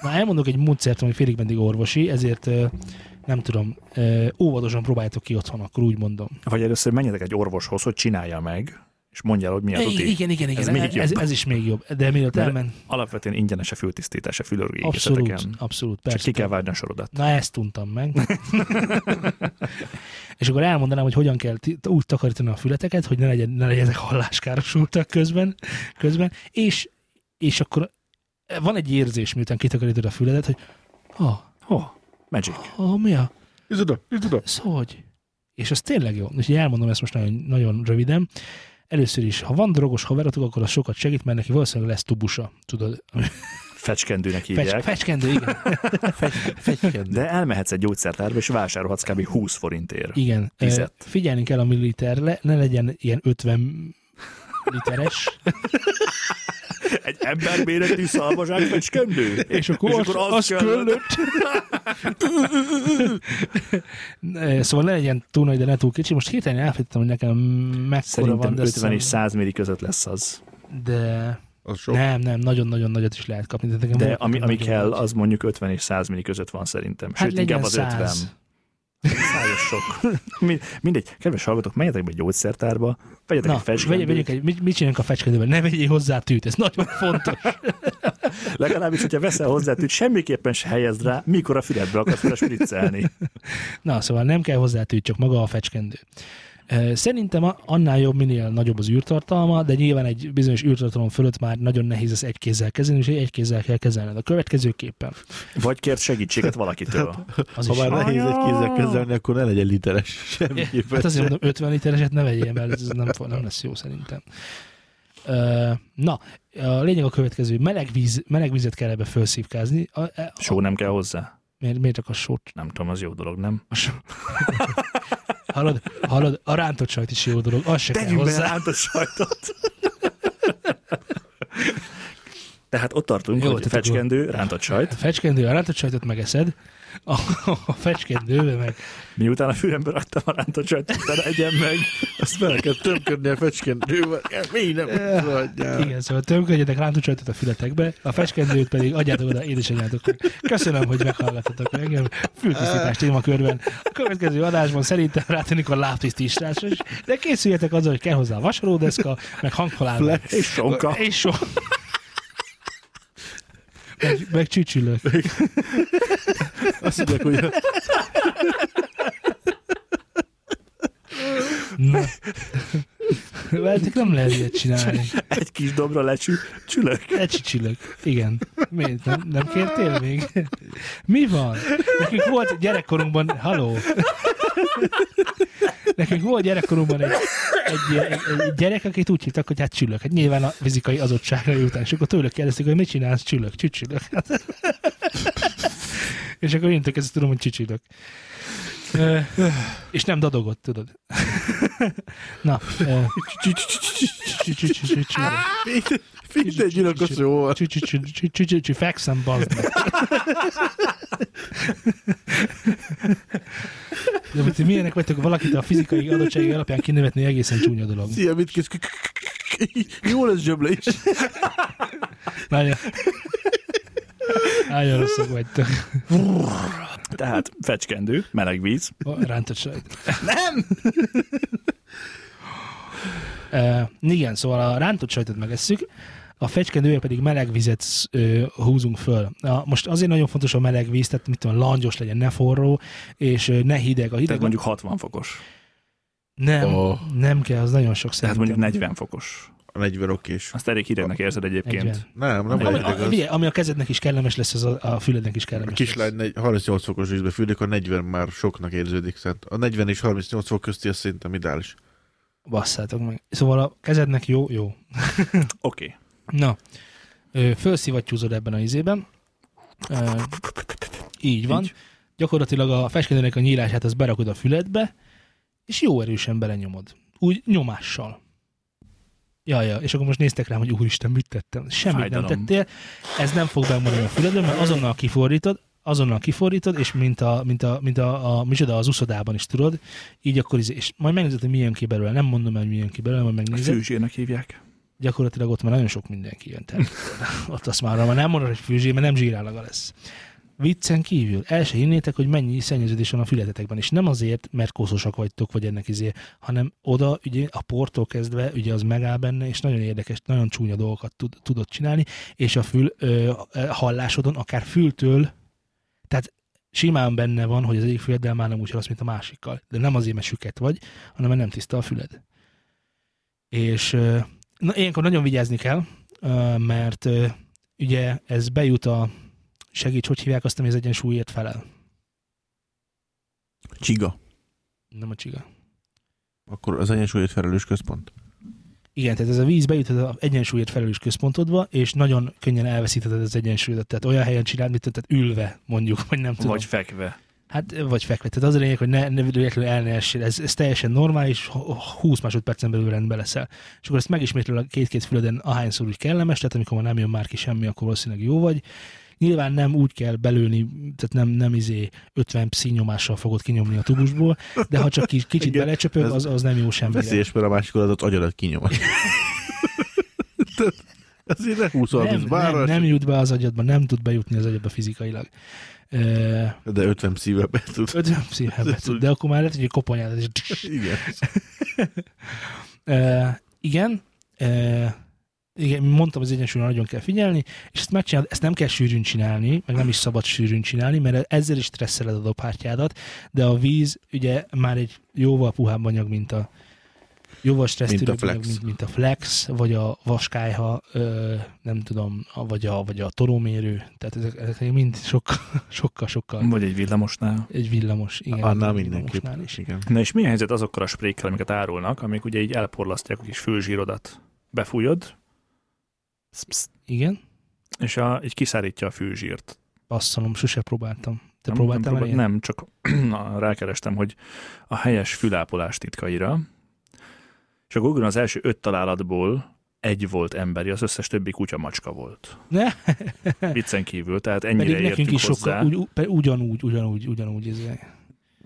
B: Na, elmondok egy módszert, ami félig meddig orvosi, ezért ö, nem tudom, ö, óvatosan próbáljátok ki otthon, akkor úgy mondom.
C: Vagy először menjetek egy orvoshoz, hogy csinálja meg, és mondja el, hogy mi a
B: I-
C: tuti.
B: igen, igen, igen,
C: Ez
B: ez,
C: még
B: ez, ez,
C: jobb.
B: is még jobb. De mielőtt
C: Mert
B: elmen,
C: Alapvetően ingyenes a fültisztítás a
B: abszolút,
C: fülörgékezeteken.
B: abszolút,
C: Csak
B: persze.
C: ki kell vágni a sorodat.
B: Na, ezt tuntam
C: <laughs>
B: meg. És akkor elmondanám, hogy hogyan kell ti- úgy takarítani a fületeket, hogy ne, legyen, ne legyenek halláskárosultak közben, közben. És, és akkor van egy érzés, miután kitakarítod a füledet, hogy ha,
C: Oh, magic.
B: ha, mi a,
D: Ez oda, ez oda.
B: Ez hogy? És ez tényleg jó. Úgyhogy elmondom ezt most nagyon, nagyon röviden. Először is, ha van drogos haverotok, akkor az sokat segít, mert neki valószínűleg lesz tubusa. Tudod,
C: Fecskendőnek
B: fecs,
C: hívják.
B: fecskendő, igen.
C: De elmehetsz egy gyógyszertárba, és vásárolhatsz kb. 20 forintért.
B: igen.
C: Tizet.
B: Ö, Figyelni kell a milliliterre, ne legyen ilyen 50 literes.
C: Egy emberméretű szalmazsák fecskendő?
B: És akkor,
C: És akkor
B: az,
C: az
B: az
C: kellett.
B: <laughs> köllött. szóval ne legyen túl nagy, de ne túl kicsi. Most hirtelen elfelejtettem, hogy nekem mekkora van.
C: Szerintem
B: de
C: 50 és
B: szem-
C: 100 milli között lesz az.
B: De
D: Az sok.
B: nem, nem, nagyon-nagyon nagyot is lehet kapni. De, nekem
C: De
B: volt
C: ami,
B: nagyon
C: ami kell,
B: nagy. Hát
C: az mondjuk 50 és 100 milli között van szerintem. Sőt,
B: legyen
C: inkább az 50.
B: 100.
C: Szájos sok. <laughs> Mind- Mindegy, kedves hallgatók, menjetek be egy gyógyszertárba, vegyetek egy
B: Na, vegy, vegyünk
C: fecskendőt.
B: egy, mit, mit csináljunk a fecskendővel? Ne vegyél hozzá tűt, ez
C: <laughs>
B: nagyon fontos.
C: Legalábbis, hogyha veszel hozzá tűt, semmiképpen se helyezd rá, mikor a füledbe akarsz vele spriccelni.
B: Na, szóval nem kell hozzá tűt, csak maga a fecskendő. Ö, Szerintem a- annál jobb, minél nagyobb az űrtartalma, de nyilván egy bizonyos űrtartalom fölött már nagyon nehéz ezt egy kézzel kezelni, és egy kézzel kell kezelned. A következőképpen.
C: Vagy kért segítséget valakitől.
B: Az
D: Ha
B: is
D: már
B: jó.
D: nehéz egy kézzel kezelni, akkor ne legyen literes semmiképpen.
B: Hát
D: se.
B: azért mondom, 50 litereset ne vegyél, mert ez nem, fog- nem lesz jó szerintem. Ö, Na, a lényeg a következő. Meleg, víz, meleg vizet kell ebbe felszívkázni. A, a, a,
C: Só nem kell hozzá?
B: miért, miért csak a sót
C: Nem tudom, az jó dolog, nem?
B: A so... hallod, hallod, a rántott sajt is jó dolog, az se kell
C: Tegyünk bele
B: hozzá.
C: ránt a sajtot. Tehát ott tartunk,
B: Jó,
C: hogy
B: tehát
C: fecskendő, rántott
B: A
C: sajt,
B: fecskendő, a rántott sajtot megeszed, a, a fecskendőbe meg
C: miután a fülembe raktam a rántott sajtot, utána egyen meg.
D: Azt bele kell tömködni a fecskendővel. Még nem adjál.
B: Igen, szóval tömködjetek rántucsajtot a fületekbe, a fecskendőt pedig adjátok oda édesanyjátoknak. Köszönöm, hogy meghallgattatok engem. Fültisztítás témakörben. A következő adásban szerintem rátennék a lábtisztításra is, de készüljetek azzal, hogy kell hozzá a vasalódeszka, meg hanghalálva.
C: És sonka.
B: És so... Meg, meg csücsülök.
D: Azt mondják, hogy
B: Na. Veltek nem lehet ilyet csinálni.
C: Egy kis dobra lecsű, csülök.
B: Ecsicsülök. Igen. Miért? Nem, nem kértél még? Mi van? Nekünk volt gyerekkorunkban, haló. Nekünk volt gyerekkorunkban egy, egy, ilyen- egy, egy gyerek, akit úgy hívtak, hogy hát csülök. Hát nyilván a fizikai azottságra jután, és akkor tőle kérdeztük, hogy mit csinálsz, csülök, csücsülök. és akkor én ezt tudom, hogy csücsülök. Ö, És nem dadogott, tudod. Na, ö, csücsülök.
D: Minden gyilkos jó volt.
B: Csücsücsücsücsücsücsü, fekszem, bazd meg. De hogy ti milyenek vagytok, valakit a fizikai adottsági alapján kinevetni egészen csúnya dolog.
D: Szia, mit kész? Jó lesz zsöble is.
B: Nagyon, nagyon rosszak vagytok.
C: Tehát fecskendő, meleg víz.
B: A Rántott sajt.
C: Nem!
B: E, igen, szóval a rántott sajtot megesszük, a fecskendőért pedig meleg vizet ö, húzunk föl. A, most azért nagyon fontos a meleg víz, tehát mit tudom, langyos legyen, ne forró, és ö, ne hideg. A hideg
C: Tehát mondjuk 60 fokos.
B: nem,
D: Ó.
B: nem kell, az nagyon sok
C: Tehát
B: szerintem.
C: mondjuk 40 fokos.
D: A 40 okés.
C: Azt elég hidegnek érzed egyébként.
B: 40.
D: Nem, nem
B: Ami,
D: elég
B: a,
D: az.
B: figyelj, ami a kezednek is kellemes lesz, az a, a fülednek is
D: A
B: kellemes
D: kislány negy- 38 fokos vízbe fürdik, a 40 már soknak érződik. Tehát a 40 és 38 fok közti az szerintem ideális.
B: lesz. Basszátok meg. Szóval a kezednek jó, jó.
C: Oké. Okay.
B: Na, ö, felszivattyúzod ebben a izében. Ö, így van. Így.
C: Így.
B: Gyakorlatilag a feskendőnek a nyílását az berakod a füledbe, és jó erősen belenyomod. Úgy nyomással. Ja, ja, és akkor most néztek rám, hogy úristen, mit tettem. Semmit
C: Fájdalom.
B: nem tettél. Ez nem fog bemaradni a füledben, mert azonnal kifordítod, azonnal kifordítod, és mint a, mint a, mint a, a micsoda az uszodában is tudod, így akkor izé, és majd megnézed, hogy milyen ki belőle. Nem mondom el, hogy milyen ki belőle, majd megnézed
C: Fűzsérnek hívják.
B: gyakorlatilag ott már nagyon sok mindenki jön. Tehát ott azt már, már nem mondod, hogy fűzsé, mert nem zsírállaga lesz. Viccen kívül, el se hinnétek, hogy mennyi szennyeződés van a fületetekben, és nem azért, mert kószosak vagytok, vagy ennek izé, hanem oda ugye a portól kezdve ugye az megáll benne, és nagyon érdekes, nagyon csúnya dolgokat tud, tudod csinálni, és a fül ö, ö, hallásodon, akár fültől, tehát simán benne van, hogy az egyik füleddel már nem úgy hallasz, mint a másikkal. De nem azért, mert süket vagy, hanem mert nem tiszta a füled. És ö, Na, ilyenkor nagyon vigyázni kell, ö, mert ö, ugye ez bejut a segíts, hogy hívják azt, ami az egyensúlyért felel.
D: Csiga.
B: Nem a csiga.
D: Akkor az egyensúlyért felelős központ.
B: Igen, tehát ez a víz bejut az egyensúlyért felelős központodba, és nagyon könnyen elveszítheted az egyensúlyodat. Tehát olyan helyen csináld, mint tehát ülve, mondjuk, vagy nem tudom.
C: Vagy fekve.
B: Hát, vagy fekve. Tehát az a lényeg, hogy ne, ne véletlenül el ne essél. Ez, ez teljesen normális, h- 20 másodpercen belül rendbe leszel. És akkor ezt megismétled a két-két füleden ahányszor úgy kellemes, tehát amikor már nem jön már ki semmi, akkor valószínűleg jó vagy. Nyilván nem úgy kell belőni, tehát nem, nem izé 50 pszinnyomással fogod kinyomni a tubusból, de ha csak kis- kicsit
D: Igen,
B: belecsöpög,
D: ez
B: az, az nem jó semmi.
D: Veszélyes, mert a másik oldalt agyadat kinyom.
B: <laughs>
D: Tehát Azért ne húszol a
B: Nem, nem,
D: vízbára,
B: nem jut be az agyadba, nem tud bejutni az agyadba fizikailag. Ö,
D: de 50 szívvel be tud.
B: 50 pszichebet, de akkor már lehet, hogy egy koponyádat is
D: Igen.
B: Uh, igen, uh, igen, mondtam, az egyensúlyra nagyon kell figyelni, és ezt megcsinálod, ezt nem kell sűrűn csinálni, meg nem is szabad sűrűn csinálni, mert ezzel is stresszeled a dobhártyádat, de a víz ugye már egy jóval puhább anyag, mint a jóval stressztűrőbb
D: Mint a
B: anyag,
D: flex.
B: mint, mint, a flex, vagy a vaskályha, ö, nem tudom, a- vagy a, vagy a torómérő, tehát ezek, ezek mind sokkal, <laughs> sokkal, sokkal
C: Vagy egy villamosnál.
B: egy villamos, igen.
D: Hm. Annál
B: egy
D: mindenképp.
B: villamosnál is.
D: Igen.
C: Na és mi a helyzet azokkal a sprékkel, amiket árulnak, amik ugye így elporlasztják a kis fülzsírodat? Befújod, psz, psz,
B: Igen,
C: és a, így kiszárítja a fülzsírt.
B: passzolom, sose próbáltam. Te
C: Nem-
B: próbáltál
C: nem,
B: már
C: próbál-
B: ilyet?
C: nem, csak <clears throat> na, rákerestem, hogy a helyes fülápolás titkaira. És a Google az első öt találatból egy volt emberi, az összes többi kutya macska volt.
B: Ne?
C: Viccen kívül, tehát ennyire
B: Pedig nekünk
C: értünk
B: is
C: hozzá.
B: sokkal, ugy, ugy- pe- ugyanúgy, ugyanúgy, ugyanúgy. Ez.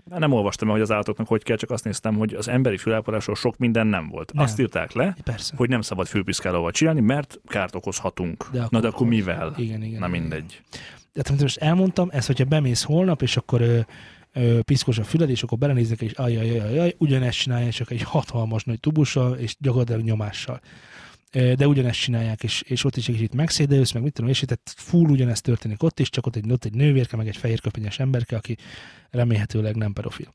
C: Hát Nem olvastam el, hogy az állatoknak hogy kell, csak azt néztem, hogy az emberi fülápolásról sok minden nem volt.
B: Nem.
C: Nem. Azt írták le,
B: Persze.
C: hogy nem szabad fülpiszkálóval csinálni, mert kárt okozhatunk.
B: De
C: De
B: akkor-
C: akkor, Na de akkor mivel? Igen,
B: Igen, igen.
C: Na
B: igen.
C: mindegy.
B: Tehát amit most elmondtam, ezt, hogyha bemész holnap, és akkor ö, ö, piszkos a füled, és akkor belenéznek, és ajajajajaj, ugyanezt csinálják, csak egy hatalmas nagy tubussal, és gyakorlatilag nyomással. Ö, De ugyanezt csinálják, és, és ott is egy kicsit megszédelősz, meg mit tudom, és tehát full ugyanezt történik ott is, csak ott egy, ott egy nővérke, meg egy fehér köpenyes emberke, aki remélhetőleg nem pedofil.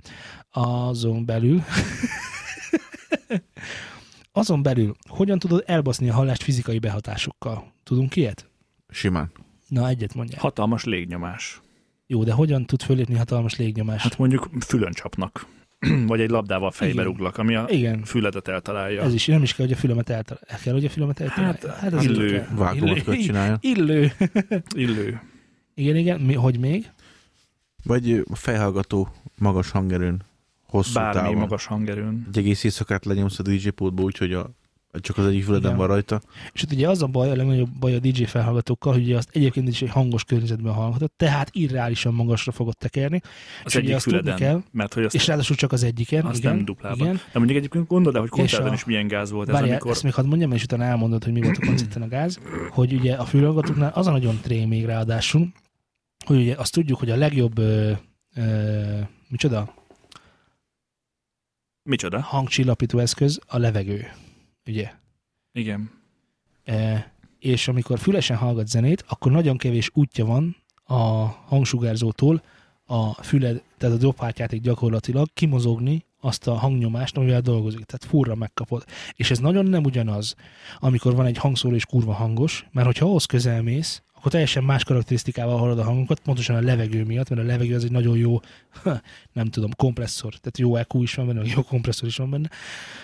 B: Azon belül <laughs> azon belül, hogyan tudod elbaszni a hallást fizikai behatásokkal? Tudunk ilyet?
D: Simán.
B: Na, egyet mondják.
C: Hatalmas légnyomás.
B: Jó, de hogyan tud fölépni hatalmas légnyomás?
C: Hát mondjuk Hát fülön csapnak. <clears throat> vagy egy labdával fejbe
B: Igen.
C: rúglak, ami a
B: Igen.
C: füledet eltalálja.
B: Ez is, nem is kell, hogy a fülemet eltalálja. Kell, hogy a fülemet eltalálja.
C: Hát, illő.
B: kell.
D: Vágómat kell csinálja.
B: Illő.
C: Illő.
B: Igen, igen. Mi, hogy még?
D: Vagy a fejhallgató magas hangerőn, hosszú
C: Bármi
D: távon.
C: magas hangerőn.
D: Egy egész éjszakát lenyomsz a DJ pultba úgy, hogy a, csak az egyik füleden
B: Igen.
D: van rajta.
B: És itt ugye az a baj, a legnagyobb baj a DJ felhallgatókkal, hogy ugye azt egyébként is egy hangos környezetben hallgatod, tehát irreálisan magasra fogod tekerni.
C: Az
B: És ugye
C: egyik
B: azt tudni
C: füleden.
B: kell.
C: Mert hogy azt,
B: És ráadásul csak az egyiken.
C: azt
B: igen,
C: nem duplában.
B: Igen.
C: De mondjuk egyébként gondolod el, hogy koncerten
B: a-
C: is milyen gáz volt ez,
B: Várjál,
C: amikor...
B: ezt még hadd mondjam, és utána elmondod, hogy mi volt a koncerten a gáz, hogy ugye a fülhallgatóknál az a nagyon trém még ráadásul, hogy ugye azt tudjuk, hogy a legjobb ö, ö, micsoda
C: Micsoda?
B: hangcsillapító eszköz a levegő, ugye?
C: Igen.
B: E, és amikor fülesen hallgat zenét, akkor nagyon kevés útja van a hangsugárzótól a füled, tehát a dobhártyáték gyakorlatilag kimozogni azt a hangnyomást, amivel dolgozik. Tehát furra megkapod. És ez nagyon nem ugyanaz, amikor van egy hangszóró és kurva hangos, mert hogyha ahhoz közel mész, akkor teljesen más karakterisztikával hallod a hangokat, pontosan a levegő miatt, mert a levegő az egy nagyon jó, <laughs> nem tudom, kompresszor, tehát jó EQ is van benne, jó kompresszor is van benne,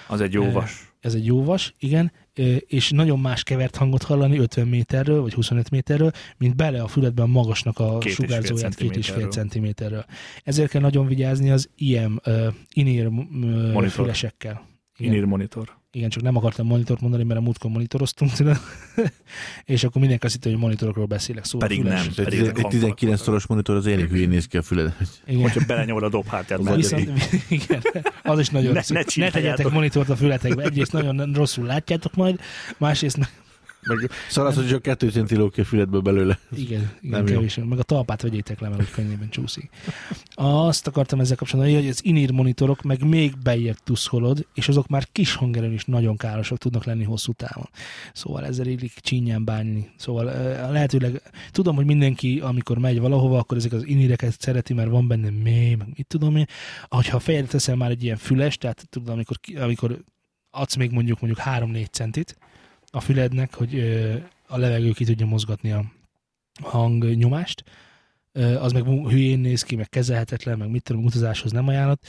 C: Az egy
B: Ö,
C: jó vas.
B: ez egy jó vas, igen, ö, és nagyon más kevert hangot hallani 50 méterről, vagy 25 méterről, mint bele a füledben magasnak a
C: Két és fél
B: sugárzóját két és fél
C: centiméterről.
B: centiméterről. Ezért kell nagyon vigyázni az ilyen uh, inér uh,
C: Monitor.
B: fülesekkel. Igen.
C: Inír monitor.
B: Igen, csak nem akartam monitort mondani, mert a múltkor monitoroztunk, tudod? <laughs> és akkor mindenki azt hitte, hogy monitorokról beszélek. Szóval
C: Pedig
B: füles.
C: nem.
D: És egy,
C: Pedig ezek
D: egy 19 szoros monitor az elég hülyén néz ki a füleden.
B: Igen.
C: Hogyha belenyomod a dobhártyát,
D: Az
C: meg
B: Viszont, <laughs> igen, az is nagyon
C: Ne-
B: rossz.
C: ne
B: ne
C: csináljátok.
B: tegyetek monitort a fületekbe. Egyrészt nagyon rosszul látjátok majd, másrészt
D: Meg szarasz, hogy csak kettő centi ló ki a füledből belőle.
B: Igen, igen
D: Nem jó.
B: kevés. Meg a talpát vegyétek le, mert úgy könnyebben csúszik. Azt akartam ezzel kapcsolatban, hogy az inír monitorok meg még beljebb tuszkolod, és azok már kis hangerőn is nagyon károsak tudnak lenni hosszú távon. Szóval ezzel illik csínyen bánni. Szóval eh, lehetőleg, tudom, hogy mindenki, amikor megy valahova, akkor ezek az iníreket szereti, mert van benne mély, meg mit tudom én. Hogyha a fejedre teszel már egy ilyen füles, tehát tudod, amikor, ki- amikor adsz még mondjuk mondjuk 3-4 centit a fülednek, hogy eh, a levegő ki tudja mozgatni a, hangnyomást, Ö, az meg mu- hülyén néz ki, meg kezelhetetlen, meg mit tudom, utazáshoz nem ajánlott,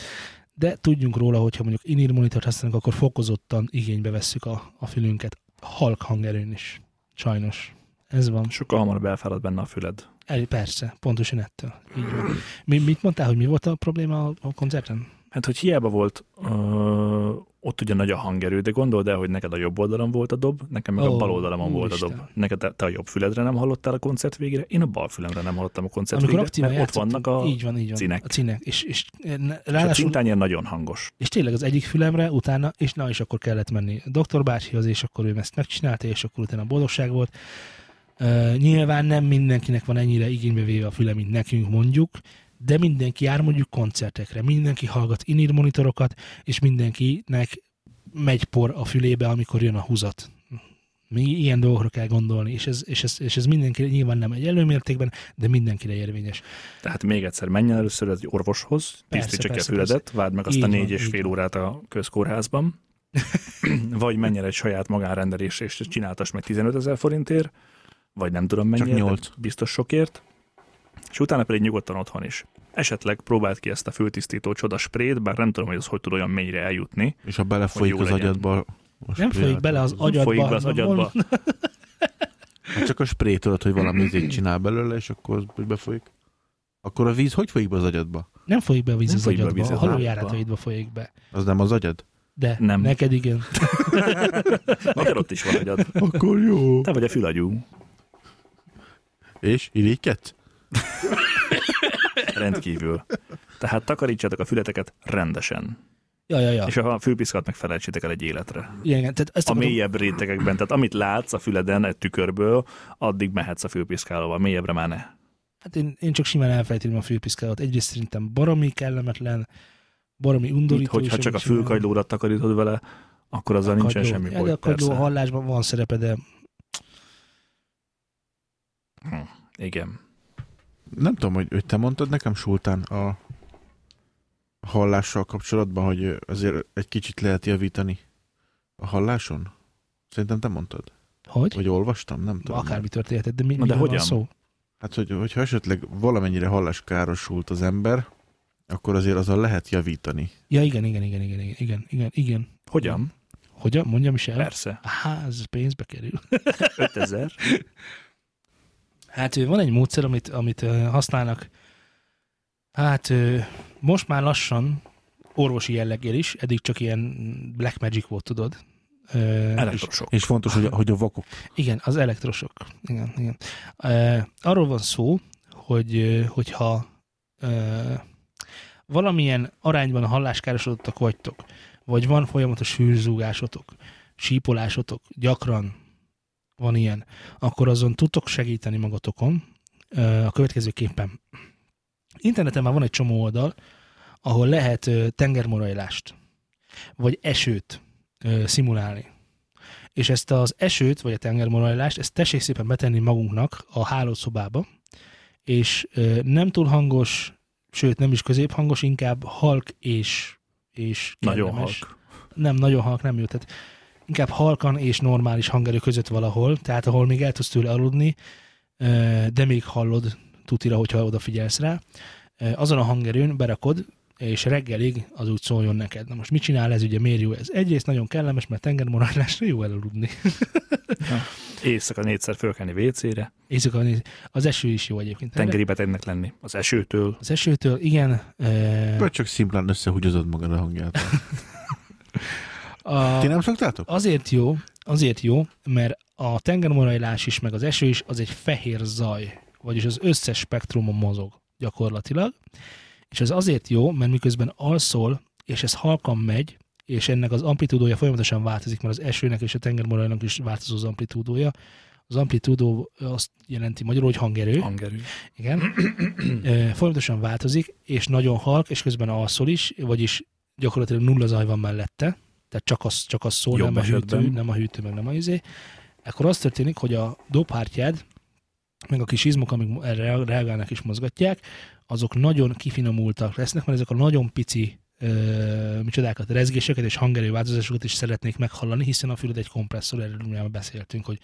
B: de tudjunk róla, hogyha mondjuk in-ear monitort használunk, akkor fokozottan igénybe vesszük a, a fülünket. Halk hangerőn is. Sajnos. Ez van.
C: sokkal hamarabb elfárad benne a füled.
B: El, persze, pontosan ettől. Így van. Mi, mit mondtál, hogy mi volt a probléma a, a koncerten?
C: Hát, hogy hiába volt ö, ott ugye nagy a hangerő, de gondold el, hogy neked a jobb oldalon volt a dob, nekem meg
B: Ó,
C: a bal oldalamon volt a dob.
B: úristen.
C: Neked te- te a jobb füledre nem hallottál a koncert végére, én a bal fülemre nem hallottam a koncert
B: Amikor
C: végére,
B: aktívan
C: mert ott vannak a,
B: így van, így van,
C: cinek.
B: A cinek. És, és, e, ne-
C: és a
B: ráadásul
C: cintányér nagyon hangos.
B: És tényleg az egyik fülemre, utána, és na, és akkor kellett menni a doktor bácsihoz, és akkor ő ezt megcsinálta, és akkor utána boldogság volt. Uh, nyilván nem mindenkinek van ennyire igénybe véve a füle, mint nekünk mondjuk, de mindenki jár mondjuk koncertekre, mindenki hallgat inír monitorokat, és mindenkinek megy por a fülébe, amikor jön a húzat. Mi ilyen dolgokra kell gondolni, és ez, és ez, és ez mindenki nyilván nem egy előmértékben, de mindenkire érvényes.
C: Tehát még egyszer menjen először egy orvoshoz,
B: Persze,
C: tisztítsa ki a
B: persze,
C: füledet, várd meg azt
B: Így
C: a
B: van,
C: négy és
B: így
C: fél
B: van.
C: órát a
B: <clears throat>
C: közkórházban, vagy menjen egy saját magánrendelést, és csináltas meg 15 ezer forintért, vagy nem tudom
D: Csak
C: mennyire, de
D: nyolc.
C: biztos sokért, és utána pedig nyugodtan otthon is. Esetleg próbáld ki ezt a fültisztító csoda sprayt, bár nem tudom, hogy az hogy tud olyan mélyre eljutni.
D: És ha belefolyik
C: Hogy jó
D: az
C: legyen.
D: agyadba... Most
B: Nem folyik bele az agyadba.
C: Agyadba, Folyik be az
B: hanem
C: agyadba. <laughs>
B: mond-
D: Hát csak a spré tudod, hogy valami ízét csinál belőle, és akkor az hogy befolyik. Akkor a víz hogy folyik be az agyadba?
B: Nem folyik be a víz
C: Nem
B: az
C: folyik be a
B: agyadba,
C: víz
B: a
C: az
B: halójárataidba folyik be.
D: Az nem az agyad?
B: De
C: Nem.
B: nem. neked igen.
C: Akár ott is van agyad.
D: Akkor jó.
C: Te vagy a fülagyú.
D: És irigykedsz?
C: Rendkívül. Tehát takarítsátok a fületeket rendesen.
B: Ja, ja, ja.
C: És ha a fülpiszkat meg felejtsétek el egy életre.
B: Igen, igen. Tehát ezt
C: a
B: akarom-
C: mélyebb rétegekben, tehát amit látsz a füleden egy tükörből, addig mehetsz a fülpiszkálóval, mélyebbre már ne.
B: hát én, én, csak simán elfelejtem a fülpiszkálót. Egyrészt szerintem baromi kellemetlen, baromi
C: Itt,
B: undorító. is,
C: hogyha csak a
B: amit csinálnak.
C: fülkagylódat takarítod vele, akkor azzal nincsen
B: Kagyló.
C: semmi
B: Ja,
C: baj.
B: de a kagyló
C: persze.
B: hallásban van szerepe, de
C: Igen.
D: Nem tudom, hogy, hogy te mondtad nekem, Sultán, a hallással kapcsolatban, hogy ö, azért egy kicsit lehet javítani a halláson? Szerintem te mondtad.
B: hogy?
D: Vagy olvastam? Nem tudom.
B: Akármi történhetett, de mi,
C: Na,
B: miről
C: de
B: van
C: hogyan?
B: szó?
D: Hát, hogy, hogyha esetleg valamennyire halláskárosult az ember, akkor azért azzal lehet javítani.
B: Ja, igen, igen, igen, igen, igen, igen, igen, igen.
C: Hogyan?
B: Hogyan? Mondjam is el.
C: Persze.
B: Á, ez pénzbe kerül. <laughs>
C: 5000.
B: Hát ö, van egy módszer, amit, amit ö, használnak. Hát ö, most már lassan orvosi jelleggel is, eddig csak ilyen black magic volt, tudod. Ö, és-
C: Elektrosok.
D: És fontos, hogy, a- hogy a vakok.
B: Igen, az elektrosok. Igen, igen. Uh, arról van szó, hogy ö, hogyha uh, valamilyen arányban halláskárosodottak vagytok, vagy van folyamatos hűrzúgásotok, sípolásotok, gyakran van ilyen, akkor azon tudtok segíteni magatokon uh, a következőképpen. Interneten már van egy csomó oldal, ahol lehet uh, tengermorajlást, vagy esőt uh, szimulálni és ezt az esőt, vagy a tengermorajlást, ezt tessék szépen betenni magunknak a hálószobába, és ö, nem túl hangos, sőt nem is középhangos, inkább halk és, és
C: Nagyon
B: kellemes.
C: halk.
B: Nem, nagyon halk nem jó, tehát inkább halkan és normális hangerő között valahol, tehát ahol még el tudsz tőle aludni, ö, de még hallod tutira, hogyha odafigyelsz rá. Ö, Azon a hangerőn berakod, és reggelig az úgy szóljon neked. Na most mit csinál ez, ugye miért jó ez? Egyrészt nagyon kellemes, mert tengermaradásra jó elaludni.
C: Éjszaka négyszer fölkelni WC-re.
B: Éjszaka néz- az eső is jó egyébként.
C: Tengeri betegnek lenni. Az esőtől.
B: Az esőtől, igen. ö,
D: Vagy csak szimplán összehúgyozod magad a hangját.
B: <laughs> a-
D: Ti nem szoktátok?
B: Azért jó, azért jó, mert a tengermorajlás is, meg az eső is, az egy fehér zaj, vagyis az összes spektrumon mozog gyakorlatilag, és ez azért jó, mert miközben alszol, és ez halkan megy, és ennek az amplitúdója folyamatosan változik, mert az esőnek és a tengermorajnak is változó az amplitúdója. Az amplitúdó azt jelenti magyarul, hogy hangerő.
C: Hangerű.
B: Igen. <clears throat> Ö, Folyamatosan változik, és nagyon halk, és közben alszol is, vagyis gyakorlatilag nulla zaj van mellette, tehát csak az, csak az szól,
C: Jobb
B: nem a, hűtő,
C: esetben.
B: nem a hűtő, meg nem a izé. Akkor az történik, hogy a dobhártyád, meg a kis izmok, amik erre reagálnak és mozgatják, azok nagyon kifinomultak lesznek, mert ezek a nagyon pici ö, micsodákat, rezgéseket és hangerő változásokat is szeretnék meghallani, hiszen a füled egy kompresszor, erről már beszéltünk, hogy